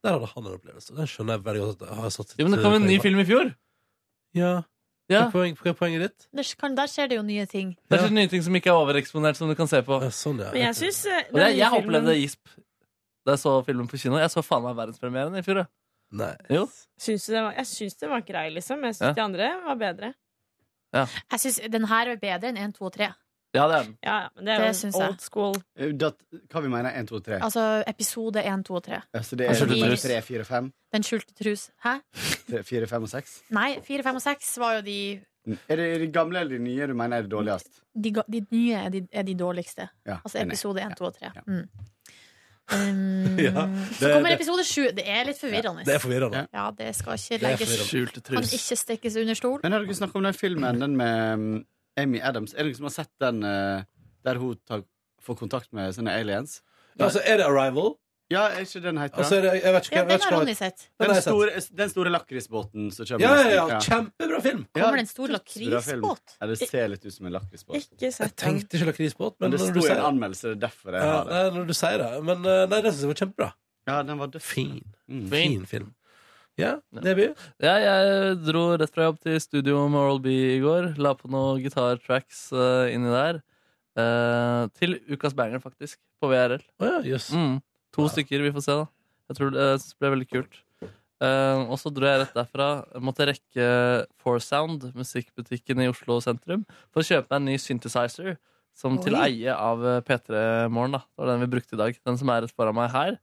Speaker 2: der hadde han en opplevelse. Den skjønner jeg veldig godt. at jeg Har satt eh,
Speaker 4: Jo, men det kom en ny film i fjor.
Speaker 2: Ja. Hva
Speaker 4: Ja.
Speaker 2: er poeng- hva er poenget ditt?
Speaker 3: Der, kan, der skjer det jo nye ting.
Speaker 4: Det er ikke nye ting som ikke er overeksponert, som du kan se på.
Speaker 2: sånn,
Speaker 5: Men jeg syns eh,
Speaker 4: Og jeg,
Speaker 5: den
Speaker 4: jeg
Speaker 5: nye filmen-
Speaker 4: opplevde Gisp da jeg så filmen på kino. Jeg så faen meg verdenspremieren i fjor. jeg. Jo.
Speaker 5: Syns du det var, jeg syns det var grei, liksom. Jeg syns
Speaker 4: Ja.
Speaker 5: de andre var bedre.
Speaker 4: Ja.
Speaker 3: Jeg syns den her er bedre enn 1, 2 og 3.
Speaker 4: Ja, det er den.
Speaker 5: Ja, ja, men det er
Speaker 3: Det
Speaker 5: jo
Speaker 3: syns jeg.
Speaker 5: old school.
Speaker 13: Eh, dat- Hva vi mener 1, 2, 3?
Speaker 3: Altså episode 1, 2 og 3.
Speaker 13: så det
Speaker 3: Den
Speaker 13: er
Speaker 3: skjulte
Speaker 13: 3,
Speaker 3: trus.
Speaker 13: 4, 5,
Speaker 3: Den skjulte trus. Hæ?
Speaker 13: 4, 5 og 6?
Speaker 3: Nei, 4, 5 og 6 var jo de,
Speaker 13: Er det de gamle eller de nye du mener er det dårligst?
Speaker 3: de, ga- de nye er de, er de dårligste.
Speaker 13: Ja,
Speaker 3: altså
Speaker 13: enig.
Speaker 3: episode 1, 2 og 3. Mm. Um,
Speaker 2: Ja,
Speaker 3: Så kommer
Speaker 2: det,
Speaker 3: episode 7. Det er litt forvirrende.
Speaker 2: det er forvirrende.
Speaker 3: Ja, det skal ikke
Speaker 13: Det er
Speaker 3: legges
Speaker 13: forvirrende. Skjulte trus.
Speaker 3: Kan ikke stikkes under stol.
Speaker 13: Men har dere snakket om den filmen Den med mm, Amy Adams Er det noen som har sett den eh, Der hun tar, får kontakt med sånne aliens
Speaker 2: Ja, altså, er det Arrival?
Speaker 13: Ja, er ikke den heter
Speaker 2: Altså, er det- jeg vet ikke hva- Ja, jeg vet den har ikke hva-
Speaker 3: Ronny sett.
Speaker 13: Den,
Speaker 2: Den har jeg
Speaker 13: store, den store lakrisbåten som kommer
Speaker 2: Ja, ja,
Speaker 13: neste
Speaker 2: ja,
Speaker 13: uke.
Speaker 2: kjempebra film
Speaker 13: Ja,
Speaker 3: Kommer det en stor
Speaker 13: kjempebra film.
Speaker 3: lakrisbåt?
Speaker 13: Ja, det ser litt ut som en lakrisbåt
Speaker 5: Ikke sett den.
Speaker 2: Tenkte ikke lakrisbåt,
Speaker 13: Men
Speaker 2: men
Speaker 13: det
Speaker 2: når du
Speaker 13: står i en
Speaker 2: sier det
Speaker 13: anmeldelse, det er derfor jeg
Speaker 2: ja,
Speaker 13: har det
Speaker 2: nei, Når du sier det Men eh, nei, det synes jeg var kjempebra.
Speaker 13: Ja, den var
Speaker 2: Fin.
Speaker 4: Fin.
Speaker 2: Fin film. Ja, Neby?
Speaker 4: Ja, jeg dro rett fra jobb til studio med Oral B i går. La på noen gitartracks uh, inni der. Eh, til ukas banger, faktisk, på VRL.
Speaker 2: Å ja, jøss.
Speaker 4: mm, to stykker. Vi får se, da. Jeg tror det jeg synes det ble veldig kult. Eh, og så dro jeg rett derfra. Jeg måtte rekke Foursound, musikkbutikken i Oslo sentrum, for å kjøpe meg en ny synthesizer. Som til
Speaker 2: Oi.
Speaker 4: eie av eh, P3 Morgen. da Det var den vi brukte i dag. Den som er rett foran meg her.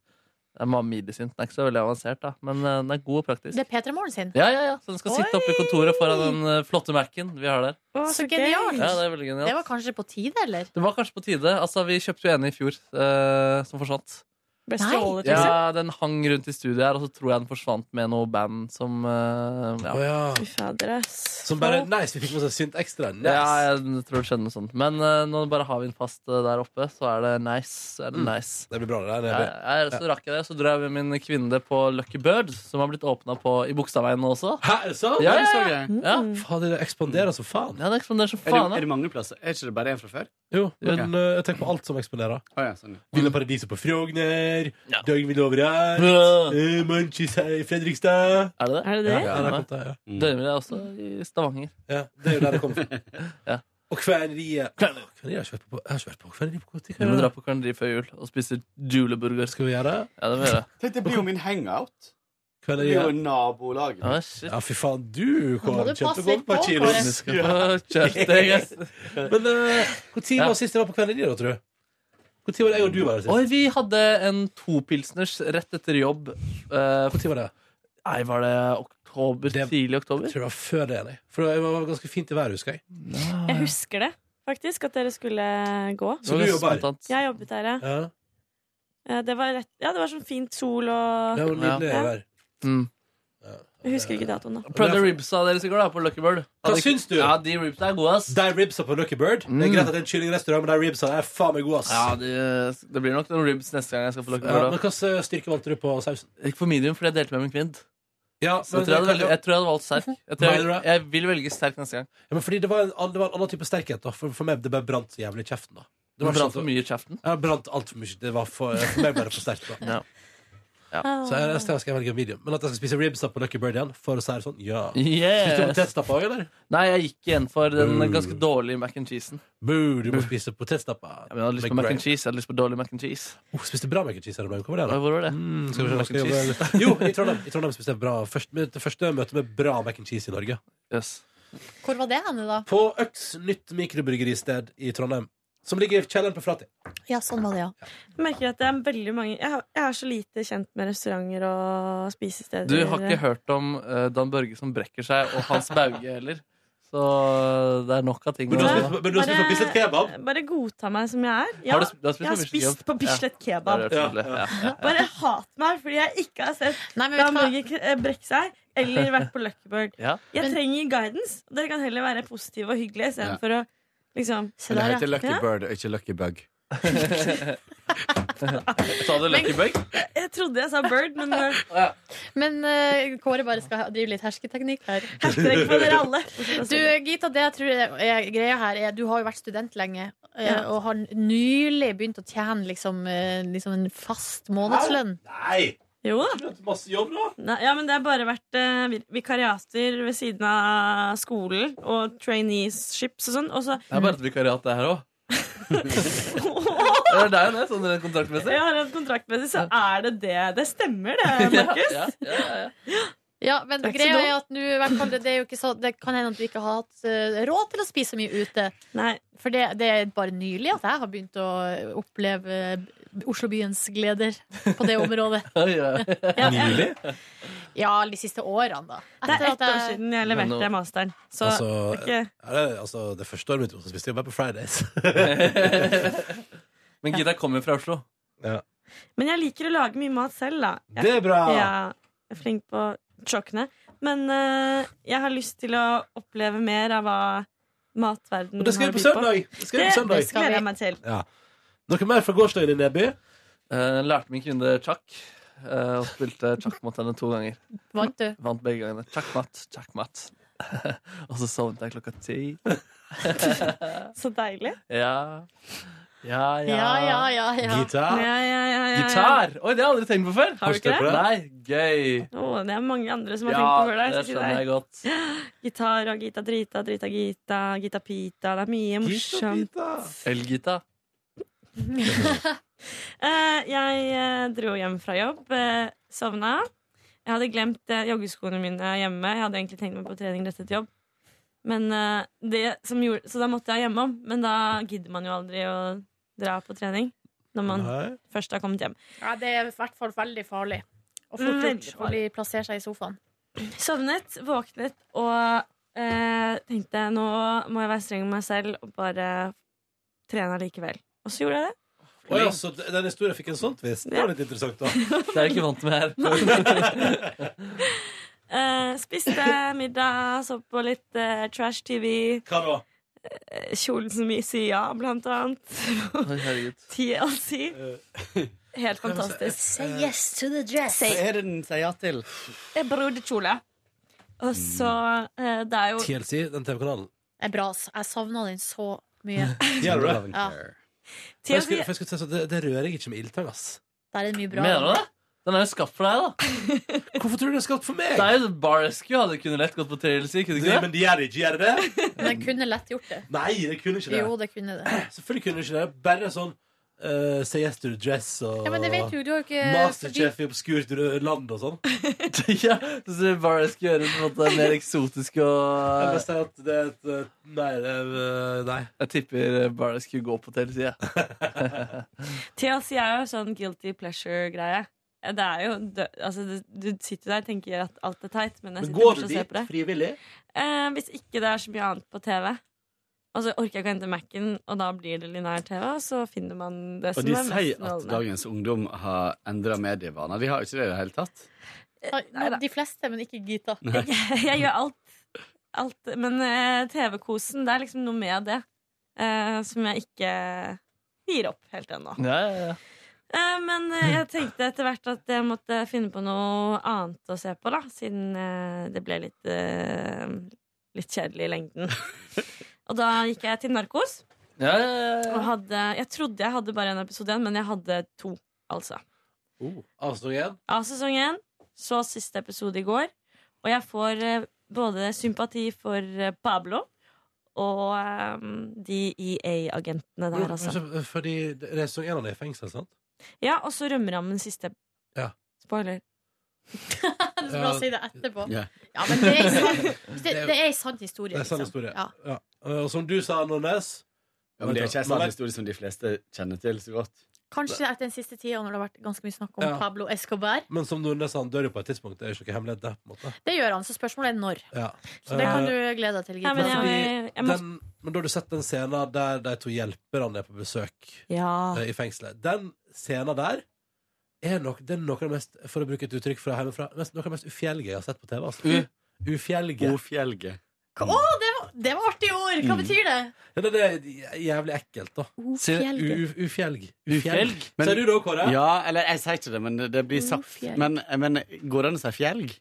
Speaker 4: Den var midi-synt. Den er ikke så veldig avansert, da men eh, den er god og praktisk.
Speaker 3: Det er P3 Morgen sin.
Speaker 4: Ja, ja, ja. Så den skal sitte oppe i kontoret foran den eh, flotte Mac-en vi har der.
Speaker 3: Å, så genialt!
Speaker 4: Ja, det er veldig genialt.
Speaker 3: Det var kanskje på tide, eller?
Speaker 4: Det var kanskje på tide. Altså, vi kjøpte jo en i fjor eh, som forsvant.
Speaker 5: Ble
Speaker 3: Nei.
Speaker 5: stjålet, liksom.
Speaker 4: Ja, Den hang rundt i studiet her, og så tror jeg den forsvant med noe band som eh, ja.
Speaker 2: Å ja.
Speaker 5: Fy fader, ass.
Speaker 2: Som bare Nice, vi fikk med oss en synt ekstra. Nice.
Speaker 4: ja, jeg tror det skjedde noe sånt. Men eh, nå bare har vi den fast eh, der oppe, så er det nice. Så Er det
Speaker 2: Mm.
Speaker 4: nice.
Speaker 2: Det blir bra, det der.
Speaker 4: Ja,
Speaker 2: Neby.
Speaker 4: ja, ja, så rakk jeg det, så dro jeg med min kvinne på Lucky Bird, som har blitt åpna i Bogstadveien nå også.
Speaker 2: Hæ, er det sant?
Speaker 4: Ja,
Speaker 13: Er det
Speaker 4: ja,
Speaker 13: så
Speaker 4: ja.
Speaker 13: gøy?
Speaker 4: ja.
Speaker 2: Fader, det ekspanderer som faen.
Speaker 4: Mm. ja det ekspanderer som
Speaker 13: er det,
Speaker 4: faen. ja.
Speaker 13: er det mange plasser? Er ikke det bare en fra før?
Speaker 2: Jo, men
Speaker 13: Ok.
Speaker 2: eh, jeg tenker på alt som
Speaker 4: Mm.
Speaker 2: ekspanderer.
Speaker 13: Å ja, sånn
Speaker 2: Villa Paradiso på Frogner, Døgnvill overalt,
Speaker 4: Ja.
Speaker 2: eh, Munchies her i Fredrikstad
Speaker 4: Er det det?
Speaker 5: Er
Speaker 2: Ja,
Speaker 5: det det?
Speaker 2: ja,
Speaker 4: Ja.
Speaker 2: det er godt, det, ja.
Speaker 4: Døgnvill er også i Stavanger.
Speaker 2: ja, det er jo der det kommer fra.
Speaker 4: [LAUGHS] Ja.
Speaker 2: Og Kverneriet. Kverneriet har jeg ikke vært på. Jeg har ikke vært på Kverneriet på
Speaker 4: Vi må dra
Speaker 2: Kotika.
Speaker 4: på Kverneri før jul og spise juleburger.
Speaker 2: Skal vi gjøre det?
Speaker 4: Ja, det må vi gjøre.
Speaker 13: Tenk, det blir jo min hangout Det blir jo
Speaker 2: Kverneriet.
Speaker 13: nabolaget
Speaker 4: Ja, shit.
Speaker 2: Ja, fy faen, du
Speaker 3: Nå må
Speaker 2: kom
Speaker 3: du passe
Speaker 2: kjempegodt
Speaker 3: litt
Speaker 2: på
Speaker 3: på,
Speaker 2: kilos.
Speaker 4: Vi skal få kjøttdeig, ass.
Speaker 2: Men når
Speaker 4: Ja.
Speaker 2: var sist jeg var på Kverneriet, da, tror du? Når var det jeg og du var der sist?
Speaker 4: Oi, vi hadde en topilsners rett etter jobb. eh,
Speaker 2: Når var det?
Speaker 4: nei, var det oktober?
Speaker 2: Det-
Speaker 4: tidlig
Speaker 2: Jeg
Speaker 4: oktober?
Speaker 2: tror det var før det. nei. For det var ganske fint i været, husker jeg.
Speaker 5: Jeg husker det, faktisk, at dere skulle gå.
Speaker 2: Så
Speaker 4: Det var
Speaker 2: du jobber her?
Speaker 4: spontant.
Speaker 5: Jeg jobbet der, ja.
Speaker 2: Ja,
Speaker 5: Eh, Det var, rett, ja, det var sånn fint sol og
Speaker 2: det var nydelig
Speaker 5: Ja.
Speaker 2: vær.
Speaker 4: Mm.
Speaker 5: Jeg husker ikke datoen, da.
Speaker 4: Prøvde ribsa deres i går da, på Lucky Bird.
Speaker 2: Hva
Speaker 4: Hadde ikke-
Speaker 2: syns du?
Speaker 4: Ja, De ribsa er gode, ass.
Speaker 2: De ribsa på Lucky Bird. Det er
Speaker 4: Mm.
Speaker 2: greit at det er en kyllingrestaurant, men de ribsa er faen meg gode, ass.
Speaker 4: Ja, de, Det blir nok noen ribs neste gang jeg skal på Lucky
Speaker 2: Ja,
Speaker 4: Bird.
Speaker 2: men
Speaker 4: da.
Speaker 2: hvilken styrke valgte du på sausen?
Speaker 4: Ikke for medium, fordi jeg delte med min kvind.
Speaker 2: Ja,
Speaker 4: Så jeg tror jeg hadde, veldig, jeg tror jeg hadde valgt sterk. Jeg, tror
Speaker 2: Mener du det?
Speaker 4: jeg, jeg vil velge sterk neste gang.
Speaker 2: ja, men fordi det var, en, det var en annen type sterkhet. da For, for meg det bare brant så jævlig i kjeften. da Det
Speaker 4: Du
Speaker 2: var brant
Speaker 4: brant for mye i kjeften.
Speaker 2: Jeg brant altfor mye. Det var for, for meg bare for sterkt. da
Speaker 4: Ja.
Speaker 2: Så jeg, jeg skal velge en medium. Men at jeg skal spise ribsa på Lucky Bird igjen, for å si det sånn, ja. Spiste du
Speaker 4: Yes.
Speaker 2: potetstappa òg, eller?
Speaker 4: Nei, jeg gikk igjen for den
Speaker 2: Mm.
Speaker 4: ganske dårlige mac and cheesen.
Speaker 2: Boo, du må spise potetstappa.
Speaker 4: Ja, men Jeg hadde lyst på mac and cheese, jeg hadde lyst på dårlig mac and cheese.
Speaker 2: Oh, spiste bra mac and cheese her om dagen. Hvor var det?
Speaker 4: Hvor
Speaker 2: da?
Speaker 4: var det?
Speaker 2: Mm, skal vi se,
Speaker 4: Mac and
Speaker 2: skal vi
Speaker 4: cheese.
Speaker 2: [LAUGHS] Jo, i Trondheim, i Trondheim spiste jeg bra først, mitt første møte med bra mac and cheese i Norge.
Speaker 4: Yes.
Speaker 3: Hvor var det henne, da?
Speaker 2: På Øks nytt mikrobryggeri-sted i Trondheim. Som ligger i kjelleren på Flati.
Speaker 3: Ja, sånn var det, ja.
Speaker 5: Jeg merker at det er veldig mange Jeg, har, jeg er så lite kjent med restauranter og spisesteder.
Speaker 4: Du har ikke hørt om eh, Dan Børge som brekker seg, og Hans Bauge heller. Så eh, det er nok av ting.
Speaker 2: Men du har
Speaker 4: å-
Speaker 2: spist- men du har spist på Bislett Kebab?
Speaker 5: Bare godta meg som jeg er. Ja,
Speaker 4: Har du, sp- du har spist
Speaker 5: jeg har spist på Bislett
Speaker 4: Ja, det
Speaker 5: kebab.
Speaker 4: er tydelig. ja, ja.
Speaker 5: Bare hat meg fordi jeg ikke har sett
Speaker 3: Nei, men vet
Speaker 5: Dan
Speaker 3: du hva?
Speaker 5: Børge k- eh, brekke seg eller vært på Lucky Bird.
Speaker 2: [LAUGHS]
Speaker 4: Ja.
Speaker 5: Jeg
Speaker 3: Men-
Speaker 5: trenger guidance. Dere kan heller være positive og hyggelige
Speaker 13: Ja.
Speaker 5: istedenfor å liksom
Speaker 3: Se
Speaker 13: Men det
Speaker 3: der,
Speaker 13: heter
Speaker 3: ja.
Speaker 13: Lucky Bird, og ikke Lucky Bug
Speaker 4: Sa du Lucky Bug?
Speaker 5: Jeg trodde jeg sa Bird, men eh,
Speaker 2: [LAUGHS]
Speaker 3: Men eh, Kåre bare skal drive litt hersketeknikk her.
Speaker 5: hashtag for dere alle.
Speaker 3: Du, Gita, det jeg tror er greia her er Du har jo vært student lenge eh,
Speaker 5: Ja.
Speaker 3: og har nylig begynt å tjene liksom, eh, liksom en fast månedslønn.
Speaker 2: Nei!
Speaker 5: Jo da.
Speaker 2: Masse jobb, da!
Speaker 5: Nei, ja, men det har bare vært eh, vir- vikariater ved siden av skolen og traineeships og sånn. Og så [LAUGHS]
Speaker 4: Det er bare et vikariat, det her òg. Det er deg, det, sånn rent kontraktmessig.
Speaker 2: [LAUGHS]
Speaker 5: jeg har hatt kontraktmessig, så er det det. Det stemmer, det, Markus.
Speaker 4: ja, ja, ja.
Speaker 3: Ja, men
Speaker 5: Det er ikke
Speaker 3: greia
Speaker 5: så
Speaker 3: er
Speaker 5: dumt.
Speaker 3: at nå, i hvert fall, det, er jo ikke så, det kan hende at du ikke har hatt eh, råd til å spise så mye ute. For det, det er bare nylig at jeg har begynt å oppleve eh, Oslobyens gleder på [LAUGHS] det området.
Speaker 2: Nylig?
Speaker 3: Ja, de siste årene, da.
Speaker 5: Det er
Speaker 3: Etter at
Speaker 5: ett år siden
Speaker 2: Men
Speaker 5: jeg
Speaker 2: nå-
Speaker 5: leverte masteren. Så
Speaker 2: altså,
Speaker 5: ikke
Speaker 2: er det, altså, det første året mitt i Oslo spiste jeg bare på Fridays. [LAUGHS]
Speaker 4: Men Gita kommer fra Oslo.
Speaker 2: Ja.
Speaker 5: Men jeg liker å lage mye mat selv, da. Jeg,
Speaker 2: Det er bra.
Speaker 5: Ja, jeg er flink på kjøkkenet. Men eh, jeg har lyst til å oppleve mer av hva matverden
Speaker 2: Og det skal
Speaker 5: har
Speaker 2: vi på
Speaker 5: by
Speaker 2: søndag. Det skal vi på søndag.
Speaker 5: Det gleder jeg meg til.
Speaker 2: Ja. Noe mer fra gårsdagen i Neby?
Speaker 4: Eh, lærte min kvinne sjakk. eh, og spilte sjakk mot henne to ganger.
Speaker 3: Vant du?
Speaker 4: Vant begge gangene. Sjakkmatt, sjakkmatt. [LAUGHS] og så sovnet jeg klokka ti.
Speaker 5: Så deilig.
Speaker 4: ja. Ja, ja.
Speaker 5: Ja, ja, ja, ja.
Speaker 4: Gitar.
Speaker 5: Ja, ja, ja, ja, ja.
Speaker 4: [LAUGHS] Gitar! Oi, det har jeg aldri tenkt på før.
Speaker 5: Har du ikke det?
Speaker 4: Nei, gøy.
Speaker 5: Å, det er mange andre som har
Speaker 4: Ja,
Speaker 5: tenkt på før deg.
Speaker 4: det
Speaker 5: skal si
Speaker 4: skjønner jeg
Speaker 5: godt. Gitar og Gita Drita, Drita Gita, Gita Pita. Det er mye morsomt.
Speaker 4: Elgita.
Speaker 5: Eh, jeg eh, dro hjem fra jobb, eh, sovna. Jeg hadde glemt eh, joggeskoene mine hjemme. Jeg hadde egentlig tenkt meg på trening rettet jobb. Men, eh, det som gjorde, så da måtte jeg hjemom. Men da gidder man jo aldri å dra på trening når man
Speaker 3: Nei.
Speaker 5: først har kommet hjem.
Speaker 3: Ja, det er i hvert fall veldig farlig å få
Speaker 5: Veldig
Speaker 3: gjort å bli plassert seg i sofaen.
Speaker 5: Sovnet, våknet og eh, tenkte nå må jeg være streng med meg selv og bare trene likevel. Og så gjorde jeg det.
Speaker 2: Oi, altså, den historien fikk en sånn twist. Det var litt interessant, [LAUGHS] da.
Speaker 4: Det er jeg ikke vant med her.
Speaker 5: [LAUGHS] Eh, spiste middag, så på litt eh, trash TV.
Speaker 2: Hva da?
Speaker 5: Eh, Kjolen som vi sier ja, blant annet.
Speaker 4: Oi, herregud.
Speaker 5: TLC.
Speaker 2: Eh.
Speaker 5: Helt fantastisk.
Speaker 14: Say yes to the dress.
Speaker 5: Say-
Speaker 13: Hva er det den sier ja til?
Speaker 5: Jeg brodekjole. Og så eh, Det er jo
Speaker 2: TLC, den TV-kanalen.
Speaker 3: Det er bra, ass. Jeg savna den så
Speaker 2: [LAUGHS]
Speaker 3: mye.
Speaker 2: Gjør du det?
Speaker 3: Ja.
Speaker 2: For jeg skulle, for jeg skulle si sånn, det, det rører jeg ikke med ildtang, ass.
Speaker 3: Der er det mye bra.
Speaker 4: Mener du det? Den er jo skapt for deg,
Speaker 2: da. Hvorfor tror du den er skapt for meg?
Speaker 4: Det er jo Bar Rescue hadde kunne lett gått på TLC. Kunne ikke det?
Speaker 2: Men de gjør ikke gjør det?
Speaker 3: Men jeg kunne lett gjort det.
Speaker 2: Nei, det kunne ikke det.
Speaker 3: Jo, det kunne det.
Speaker 2: Selvfølgelig kunne ikke det. Bare sånn eh, Say yes to the dress og
Speaker 3: Ja, men det vet du, du har jo eh, ikke
Speaker 2: Masterchef i obskurt land og sånn.
Speaker 4: [LAUGHS] ja, så ser vi bare skal gjøre det på en måte mer eksotisk
Speaker 2: Jeg må
Speaker 4: og
Speaker 2: si at det er et eh, Nei. Det, er, eh, nei.
Speaker 4: Jeg tipper eh, bare skulle gå på TLC, jeg.
Speaker 5: TLC er jo sånn guilty pleasure-greie. Eh, Det er jo dø altså, du, du sitter der og tenker at alt er teit, men jeg
Speaker 2: Men
Speaker 5: sitter
Speaker 2: går du
Speaker 5: fortsatt og ser på
Speaker 2: dit
Speaker 5: det.
Speaker 2: frivillig?
Speaker 5: Eh, hvis ikke det er så mye annet på TV. Og så orker jeg ikke å hente Mac-en, og da blir det lineær-TV. Og så finner man det
Speaker 13: Og
Speaker 5: som
Speaker 13: de
Speaker 5: er mest
Speaker 13: sier at
Speaker 5: nålende.
Speaker 13: dagens ungdom har endra medievaner. De har jo ikke det i det hele tatt.
Speaker 3: Nei, De fleste, men ikke Gita.
Speaker 13: Eh,
Speaker 3: [LAUGHS]
Speaker 13: Nei.
Speaker 5: [LAUGHS] Jeg, gjør alt. alt men eh, TV-kosen, det er liksom noe med det eh, som jeg ikke gir opp helt ennå.
Speaker 4: Ja, ja, ja.
Speaker 5: Eh, men eh, jeg tenkte etter hvert at jeg måtte finne på noe annet å se på, da. Siden eh, det ble litt, eh, litt kjedelig i
Speaker 2: [LAUGHS]
Speaker 5: lengden. Og da gikk jeg til Narkos.
Speaker 4: Ja, ja, ja, ja.
Speaker 5: Og hadde, jeg trodde jeg hadde bare en episode igjen, men jeg hadde to, altså.
Speaker 2: Oh, avstå igjen?
Speaker 5: Av sesong én, så siste episode i går. Og jeg får eh, både sympati for eh, Pablo og eh, de EA-agentene der, altså.
Speaker 2: Men så- Fordi det det er sesong én av det i fengsel, sant?
Speaker 5: Ja, og så rømmer han den siste.
Speaker 2: Ja.
Speaker 5: Spoiler.
Speaker 3: Du skal bare si det etterpå.
Speaker 2: Ja.
Speaker 3: Ja, men det er en
Speaker 2: [LAUGHS]
Speaker 3: sann- det, det er en sann historie.
Speaker 2: Det er sann
Speaker 3: liksom.
Speaker 2: historie.
Speaker 3: Ja.
Speaker 2: Ja. Eh, Og som du sa, Nornes
Speaker 13: Ja, men det er ikke en
Speaker 2: Man
Speaker 13: sånn
Speaker 2: vet-
Speaker 13: historie som de fleste kjenner til så godt.
Speaker 3: Kanskje etter den siste tida, når det har vært ganske mye snakk om
Speaker 2: Ja.
Speaker 3: Pablo Escobar.
Speaker 2: Men som Nornes sa, han dør jo på et tidspunkt. Det er jo ikke noe hemmelighet, det. på en måte
Speaker 3: Det gjør han, så spørsmålet er når.
Speaker 2: ja.
Speaker 3: Så det kan
Speaker 2: Eh,
Speaker 3: du glede deg til.
Speaker 5: Ja,
Speaker 3: Gita.
Speaker 5: men jeg-
Speaker 2: Fordi
Speaker 5: jeg må-
Speaker 2: den, men da har du sett den scenen der de to hjelperne er på besøk
Speaker 5: Ja.
Speaker 2: eh, i fengselet. Den scenen der er nok, det er noe av det mest, for å bruke et uttrykk fra hjemmefra, mest, noe av det mest ufjelge jeg har sett på TV. Altså.
Speaker 13: Mm.
Speaker 2: Ufjelge.
Speaker 13: Ofjelge.
Speaker 3: Å, det var, det var artig ord! Hva
Speaker 2: Mm.
Speaker 3: betyr det? Oh,
Speaker 2: Ja, det, det er jævlig ekkelt, da.
Speaker 13: Ufjelge.
Speaker 2: U- u- Ufjelg.
Speaker 13: Ufjelg.
Speaker 2: Sier du det òg, Kåre?
Speaker 13: Ja, eller jeg sier ikke det, men det blir sagt.
Speaker 2: Ofjelg.
Speaker 13: Men, men går det an å si fjelg?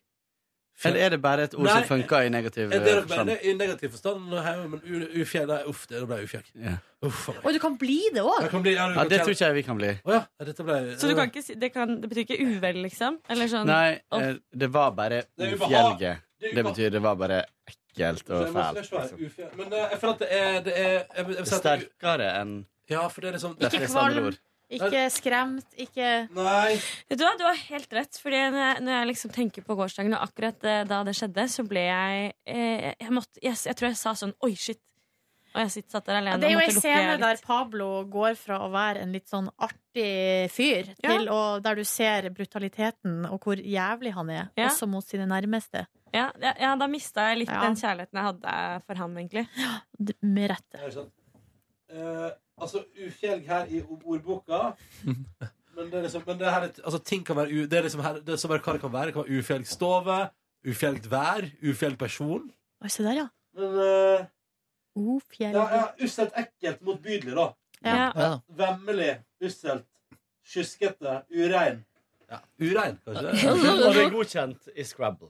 Speaker 13: Eller er det bare et ord
Speaker 2: Nei,
Speaker 13: som funker i negativ
Speaker 2: Er det
Speaker 13: eh,
Speaker 2: bare
Speaker 13: forstand?
Speaker 2: i negativ forstand? Nei, Men u- ufjelg Nei, uff, det ble ufjelg. Uff, faen.
Speaker 3: Og du kan bli det òg.
Speaker 2: Jeg kan bli- ja, du
Speaker 13: Ja,
Speaker 2: kan
Speaker 13: det
Speaker 2: kjenne-
Speaker 13: tror ikke jeg vi kan bli.
Speaker 2: Å ja, dette ble
Speaker 5: Så du kan ikke si, det, kan, det betyr ikke uvel, liksom? Eller sånn
Speaker 13: Nei,
Speaker 5: «Å,
Speaker 13: eh, det var bare
Speaker 2: Det er ubeha-
Speaker 13: ofjelge.
Speaker 2: det er
Speaker 13: Det betyr det var bare ekkelt
Speaker 2: Så
Speaker 13: og
Speaker 2: jeg må
Speaker 13: fælt. liksom.
Speaker 2: slash være ufjell. Men eh, jeg føler at det er, det er jeg, jeg, vil
Speaker 13: Det
Speaker 2: si
Speaker 13: er
Speaker 2: at det er u-
Speaker 13: sterkere enn
Speaker 2: Ja, for det er liksom
Speaker 13: sånn- [LAUGHS] de fleste andre ord.
Speaker 3: Ikke skremt, ikke
Speaker 2: Nei.
Speaker 5: Vet du hva, du har helt rett. Fordi når jeg, når jeg liksom tenker på gårsdagen, og akkurat eh, da det skjedde, så ble jeg eh, jeg, måtte, jeg, jeg tror jeg sa sånn Oi, shit. Og jeg sitt, satt der alene.
Speaker 3: Ja, det er jo
Speaker 5: og
Speaker 3: ei
Speaker 5: måtte lukke
Speaker 3: scene
Speaker 5: litt.
Speaker 3: der Pablo går fra å være en litt sånn artig fyr,
Speaker 5: Ja.
Speaker 3: til å, der du ser brutaliteten og hvor jævlig han er,
Speaker 5: Ja.
Speaker 3: også mot sine nærmeste.
Speaker 5: ja, ja, ja, da mista jeg litt
Speaker 3: Ja.
Speaker 5: den kjærligheten jeg hadde for ham, egentlig.
Speaker 3: D- Med rette.
Speaker 2: Er det sant? Eh, altså, ufelg her i ordboka Men det er liksom men det her, er- altså, ting kan være u, Det er liksom her, det er så bare hva det kan være. Det kan være ufelg stove, ufelgt vær, ufelg person.
Speaker 3: Oi, se der, ja.
Speaker 2: Men eh,
Speaker 3: Ofjell.
Speaker 2: ja, ja, usselt ekkelt, motbydelig, da.
Speaker 3: Ja. Ja.
Speaker 2: Vemmelig, usselt, sjuskete, urein. Ja, urein, kanskje?
Speaker 14: Og det er godkjent i Scrabble.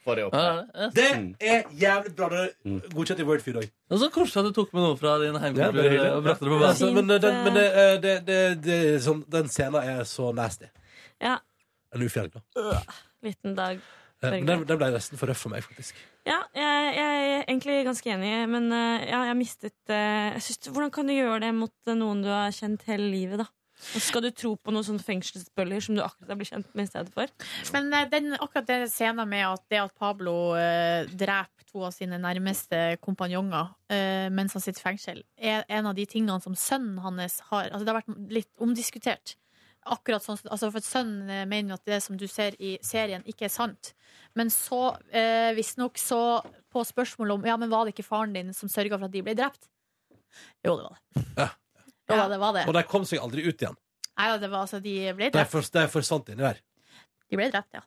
Speaker 14: Får jeg opp her.
Speaker 2: Det er jævlig bra. Det er godkjent i Wordfeed òg.
Speaker 4: Det er så koselig at du tok med noe fra din
Speaker 2: Ja, bare
Speaker 4: heimkultur eh,
Speaker 2: hyggelig.
Speaker 4: og brakte det på
Speaker 2: Altså,
Speaker 4: banen.
Speaker 2: men eh, den, men det, eh, det, det, det, er sånn, den scenen er så nasty.
Speaker 5: Ja.
Speaker 2: En ufelg, da.
Speaker 5: Øh, Liten dag.
Speaker 2: Eh, Men den, den ble nesten for røff for meg, faktisk.
Speaker 5: Ja, jeg, jeg er egentlig ganske enig, men eh, ja, jeg mistet eh, jeg synes, Hvordan kan du gjøre det mot eh, noen du har kjent hele livet, da? Og skal du tro på noen sånne fengselsbøller som du akkurat har blitt kjent med i stedet for?
Speaker 3: Men eh, den, akkurat den scenen med at det at Pablo eh, dreper to av sine nærmeste kompanjonger eh, mens han sitter i fengsel, er en av de tingene som sønnen hans har Altså, det har vært litt omdiskutert. Akkurat sånn, altså for at Sønnen eh, mener jo at det som du ser i serien, ikke er sant. Men så, eh, visstnok, så på spørsmålet om Ja, men var det ikke faren din som sørga for at de ble drept? Jo, det var det. Jo, da, det var det.
Speaker 2: Og de kom seg aldri ut igjen.
Speaker 3: Nei, da, det var, altså, de ble
Speaker 2: De,
Speaker 3: drept.
Speaker 2: for, de forsvant inni der.
Speaker 3: De ble drept, ja.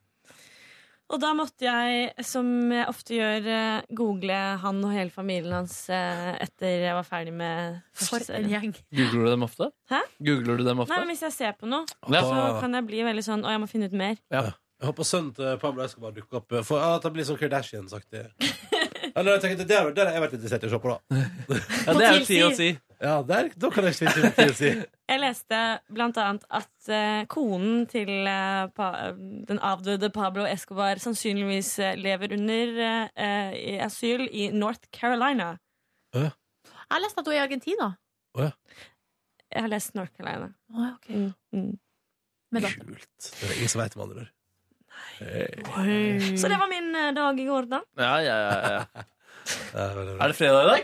Speaker 5: Og da måtte jeg, som jeg ofte gjør, eh, google han og hele familien hans eh, etter jeg var ferdig med første
Speaker 3: For en
Speaker 5: serie.
Speaker 3: gjeng.
Speaker 4: Googler du dem ofte?
Speaker 5: Hæ?
Speaker 4: Googler du dem
Speaker 5: Nei,
Speaker 4: ofte?
Speaker 5: men Hvis jeg ser på noe,
Speaker 2: Ja.
Speaker 5: så kan jeg bli veldig sånn Å, jeg må finne ut mer.
Speaker 2: Ja. Eh, Jeg håper sønnen til Pablo Escobar dukker opp. eh, For ja, at han blir sånn Kardashian-saktig. Eller jeg tenkte, det har det har jeg vært interessert i å se på, da.
Speaker 4: Ja, det er jo tid å si.
Speaker 2: Ja, der, da kan jeg slite med tid å si.
Speaker 5: Jeg leste blant annet at eh, konen til eh, pa, den avdøde Pablo Escobar sannsynligvis eh, lever under eh, i asyl i North Carolina.
Speaker 3: Jeg har lest at hun er i Argentina.
Speaker 5: Jeg har lest North Carolina.
Speaker 3: Å, ja, ok.
Speaker 5: Mm.
Speaker 3: Med datter.
Speaker 2: Kult. Det er ingen som veit om andre der.
Speaker 5: Så det var min eh, dag i går, da.
Speaker 4: Ja, ja, ja, ja.
Speaker 2: Er
Speaker 4: det fredag i dag?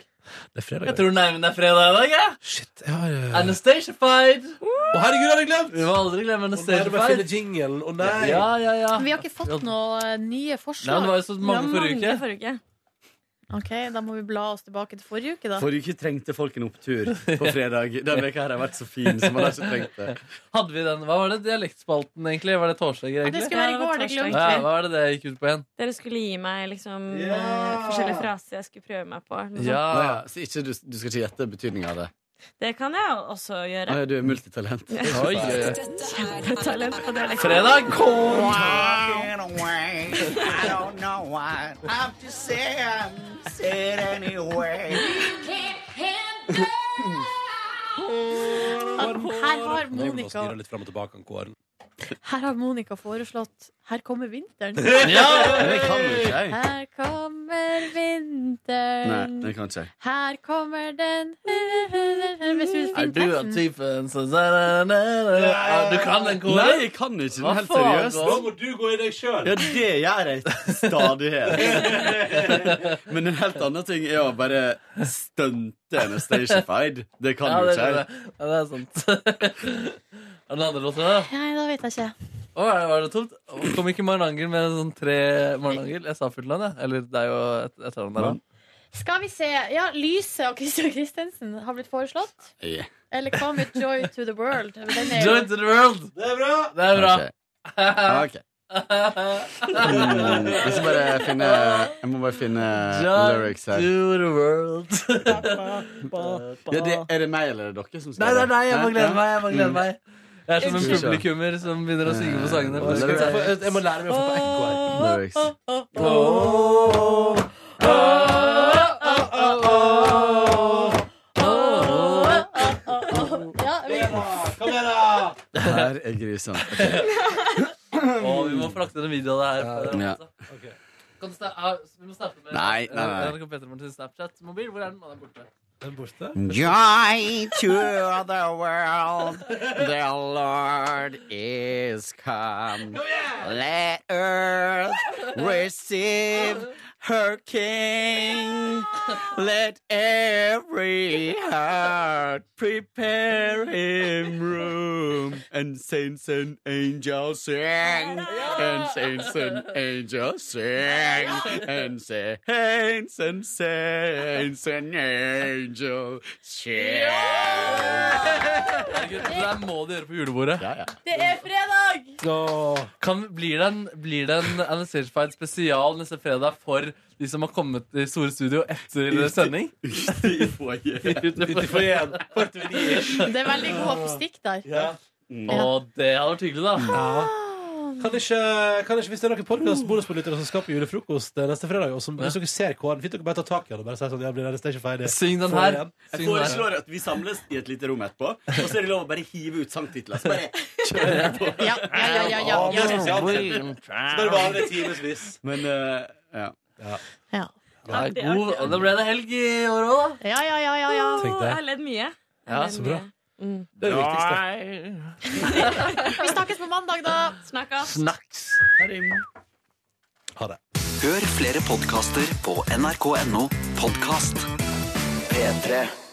Speaker 2: Det er fredag.
Speaker 4: Jeg tror nærmere det er fredag i dag, ja.
Speaker 2: Shit, jeg har eh,
Speaker 4: Anastatiafied.
Speaker 2: Å, herregud, hadde jeg glemt!
Speaker 4: Vi må aldri glemme
Speaker 2: Nei, det var
Speaker 4: Anastatiafied.
Speaker 2: fine jinglen. Å, nei!
Speaker 4: Ja, ja, ja.
Speaker 3: Vi har ikke fått noen nye forslag.
Speaker 4: Nei, det var jo så mange Det var forrige mange uke.
Speaker 3: Ok, Da må vi bla oss tilbake til forrige uke, da.
Speaker 13: Forrige uke trengte folk en opptur [LAUGHS] på fredag. Den veka her har vært så fin, så man har ikke trengt det.
Speaker 4: Hadde vi den, Hva var det dialektspalten, egentlig? Var det torsdager,
Speaker 5: Ja,
Speaker 4: egentlig?
Speaker 5: det skulle være i går, det glemte vi.
Speaker 4: Ja, hva var det det gikk ut på igjen?
Speaker 5: Dere skulle gi meg liksom
Speaker 4: Ja!
Speaker 5: eh, forskjellige fraser jeg skulle prøve meg på. eller noe
Speaker 13: Nei,
Speaker 5: sånt.
Speaker 13: ja, så ikke, du, du skal ikke gjette betydningen av det?
Speaker 5: Det kan jeg jo også
Speaker 13: Å,
Speaker 5: gjøre.
Speaker 13: ja, du er multitalent.
Speaker 5: Oi,
Speaker 13: oi, oi.
Speaker 5: Talent på dialekt.
Speaker 13: Fredag
Speaker 15: I don't know why. I'm just saying, say it anyway.
Speaker 3: Her har
Speaker 2: Nå må vi
Speaker 3: Monica,
Speaker 2: styre litt frem og tilbake om kåren.
Speaker 3: her har Monica foreslått 'Her kommer vinteren'.
Speaker 13: [LAUGHS] Ja, det kan jo ikke jeg.
Speaker 3: Her kommer
Speaker 13: Nei,
Speaker 3: vinteren.
Speaker 13: det kan ikke jeg.
Speaker 3: Her kommer den Hvis du
Speaker 4: Er
Speaker 3: finner
Speaker 4: du altså- av
Speaker 3: teksten.
Speaker 4: typen som Ja, Du kan den koden?
Speaker 13: Nei, jeg kan ikke
Speaker 4: Hva
Speaker 13: den. Helt
Speaker 4: faen,
Speaker 13: seriøst.
Speaker 4: Nå
Speaker 2: må du gå i deg sjøl.
Speaker 13: Ja, det gjør jeg stadig her. [LAUGHS] Men en helt annen ting er å bare stunte en statified. Det kan
Speaker 4: Ja,
Speaker 13: jo
Speaker 4: det-
Speaker 13: ikke jeg.
Speaker 4: det- Ja, det er sant. Er det noen andre låter, da?
Speaker 3: Nei, da vet jeg ikke.
Speaker 4: Å, er det, var det tomt? Å, Kom ikke Marnanger med sånn tre Marnanger? Jeg sa Furtland, jeg. Eller det er jo et et eller annet der òg.
Speaker 3: Skal vi se. Ja, Lyset av Christian Christensen har blitt foreslått.
Speaker 13: Yeah.
Speaker 3: Eller hva med Joy to the World? Den er jo-
Speaker 4: Joy to the world!
Speaker 2: Det er bra!
Speaker 4: Det er bra. [LAUGHS]
Speaker 13: Ok. Mm, jeg, skal bare finne, jeg må bare finne lyrics her.
Speaker 4: to the world.
Speaker 13: Ja, det, er det meg eller er det dere som skal
Speaker 4: Nei, nei, nei, jeg må
Speaker 13: Hæ?
Speaker 4: glede meg. Jeg må glede
Speaker 13: Mm.
Speaker 4: meg Jeg er som en
Speaker 13: Skal vi se.
Speaker 4: publikummer som begynner å synge på sangene.
Speaker 13: Eh, lyrics.
Speaker 2: Jeg må lære meg å få på ekko her.
Speaker 13: Lyrics.
Speaker 2: Kom igjen, da!
Speaker 13: Her er
Speaker 4: [LAUGHS]
Speaker 13: grisene.
Speaker 4: Å, vi må frakte den videoen der.
Speaker 13: Ja.
Speaker 4: altså- Kan du sta- ah, vi må snappe med
Speaker 13: Nei, nei, nei.
Speaker 4: NRK Petermorgen til Snapchat. Mobil, hvor er den? Å, Den er borte.
Speaker 2: Den er borte.
Speaker 13: Joy to the world, the Lord is come. Let earth receive her King. Let every heart prepare him room. And saints and angels sing, and saints and angels sing, and saints and saints and angels sing. [LAUGHS]
Speaker 4: Herregud, Det der må du gjøre på julebordet.
Speaker 16: Det er fredag!
Speaker 4: Kan, blir det en, blir det en Anastacia-fight spesial neste fredag for de som har kommet i store studio etter
Speaker 2: Ut i-
Speaker 4: sending?
Speaker 2: [LAUGHS] Ut i foajeen.
Speaker 3: Det er veldig god oppstikk der.
Speaker 4: Og det hadde vært hyggelig, da.
Speaker 2: Kan ikke, kan ikke, hvis det er noen podcast bonuspolitikere som skaper julefrokost eh, neste fredag, og som, hvis dere ser kåren, fint dere bare tar tak i den og bare sier sånn, jeg blir nærmest ikke ferdig. Få igjen.
Speaker 17: Jeg [LAUGHS] foreslår at vi samles i et lite rom etterpå, og så er det lov å bare hive ut sangtitler. Så bare kjører på.
Speaker 3: Ja, ja, ja, ja, ja.
Speaker 17: Så bare varer det
Speaker 2: timevis.
Speaker 17: Men eh, ja.
Speaker 3: Ja.
Speaker 4: Ja, det er god, og da ble det helg i år òg, da.
Speaker 3: Ja, ja, ja. ja, ja.
Speaker 4: Tenk det.
Speaker 5: Jeg har ledd mye.
Speaker 4: Ja, så bra.
Speaker 2: Det er det viktigste.
Speaker 3: Vi snakkes på mandag, da. Snakkes.
Speaker 4: Snacks.
Speaker 2: Ha det.
Speaker 6: Hør flere podkaster på nrk.no podkast. P3.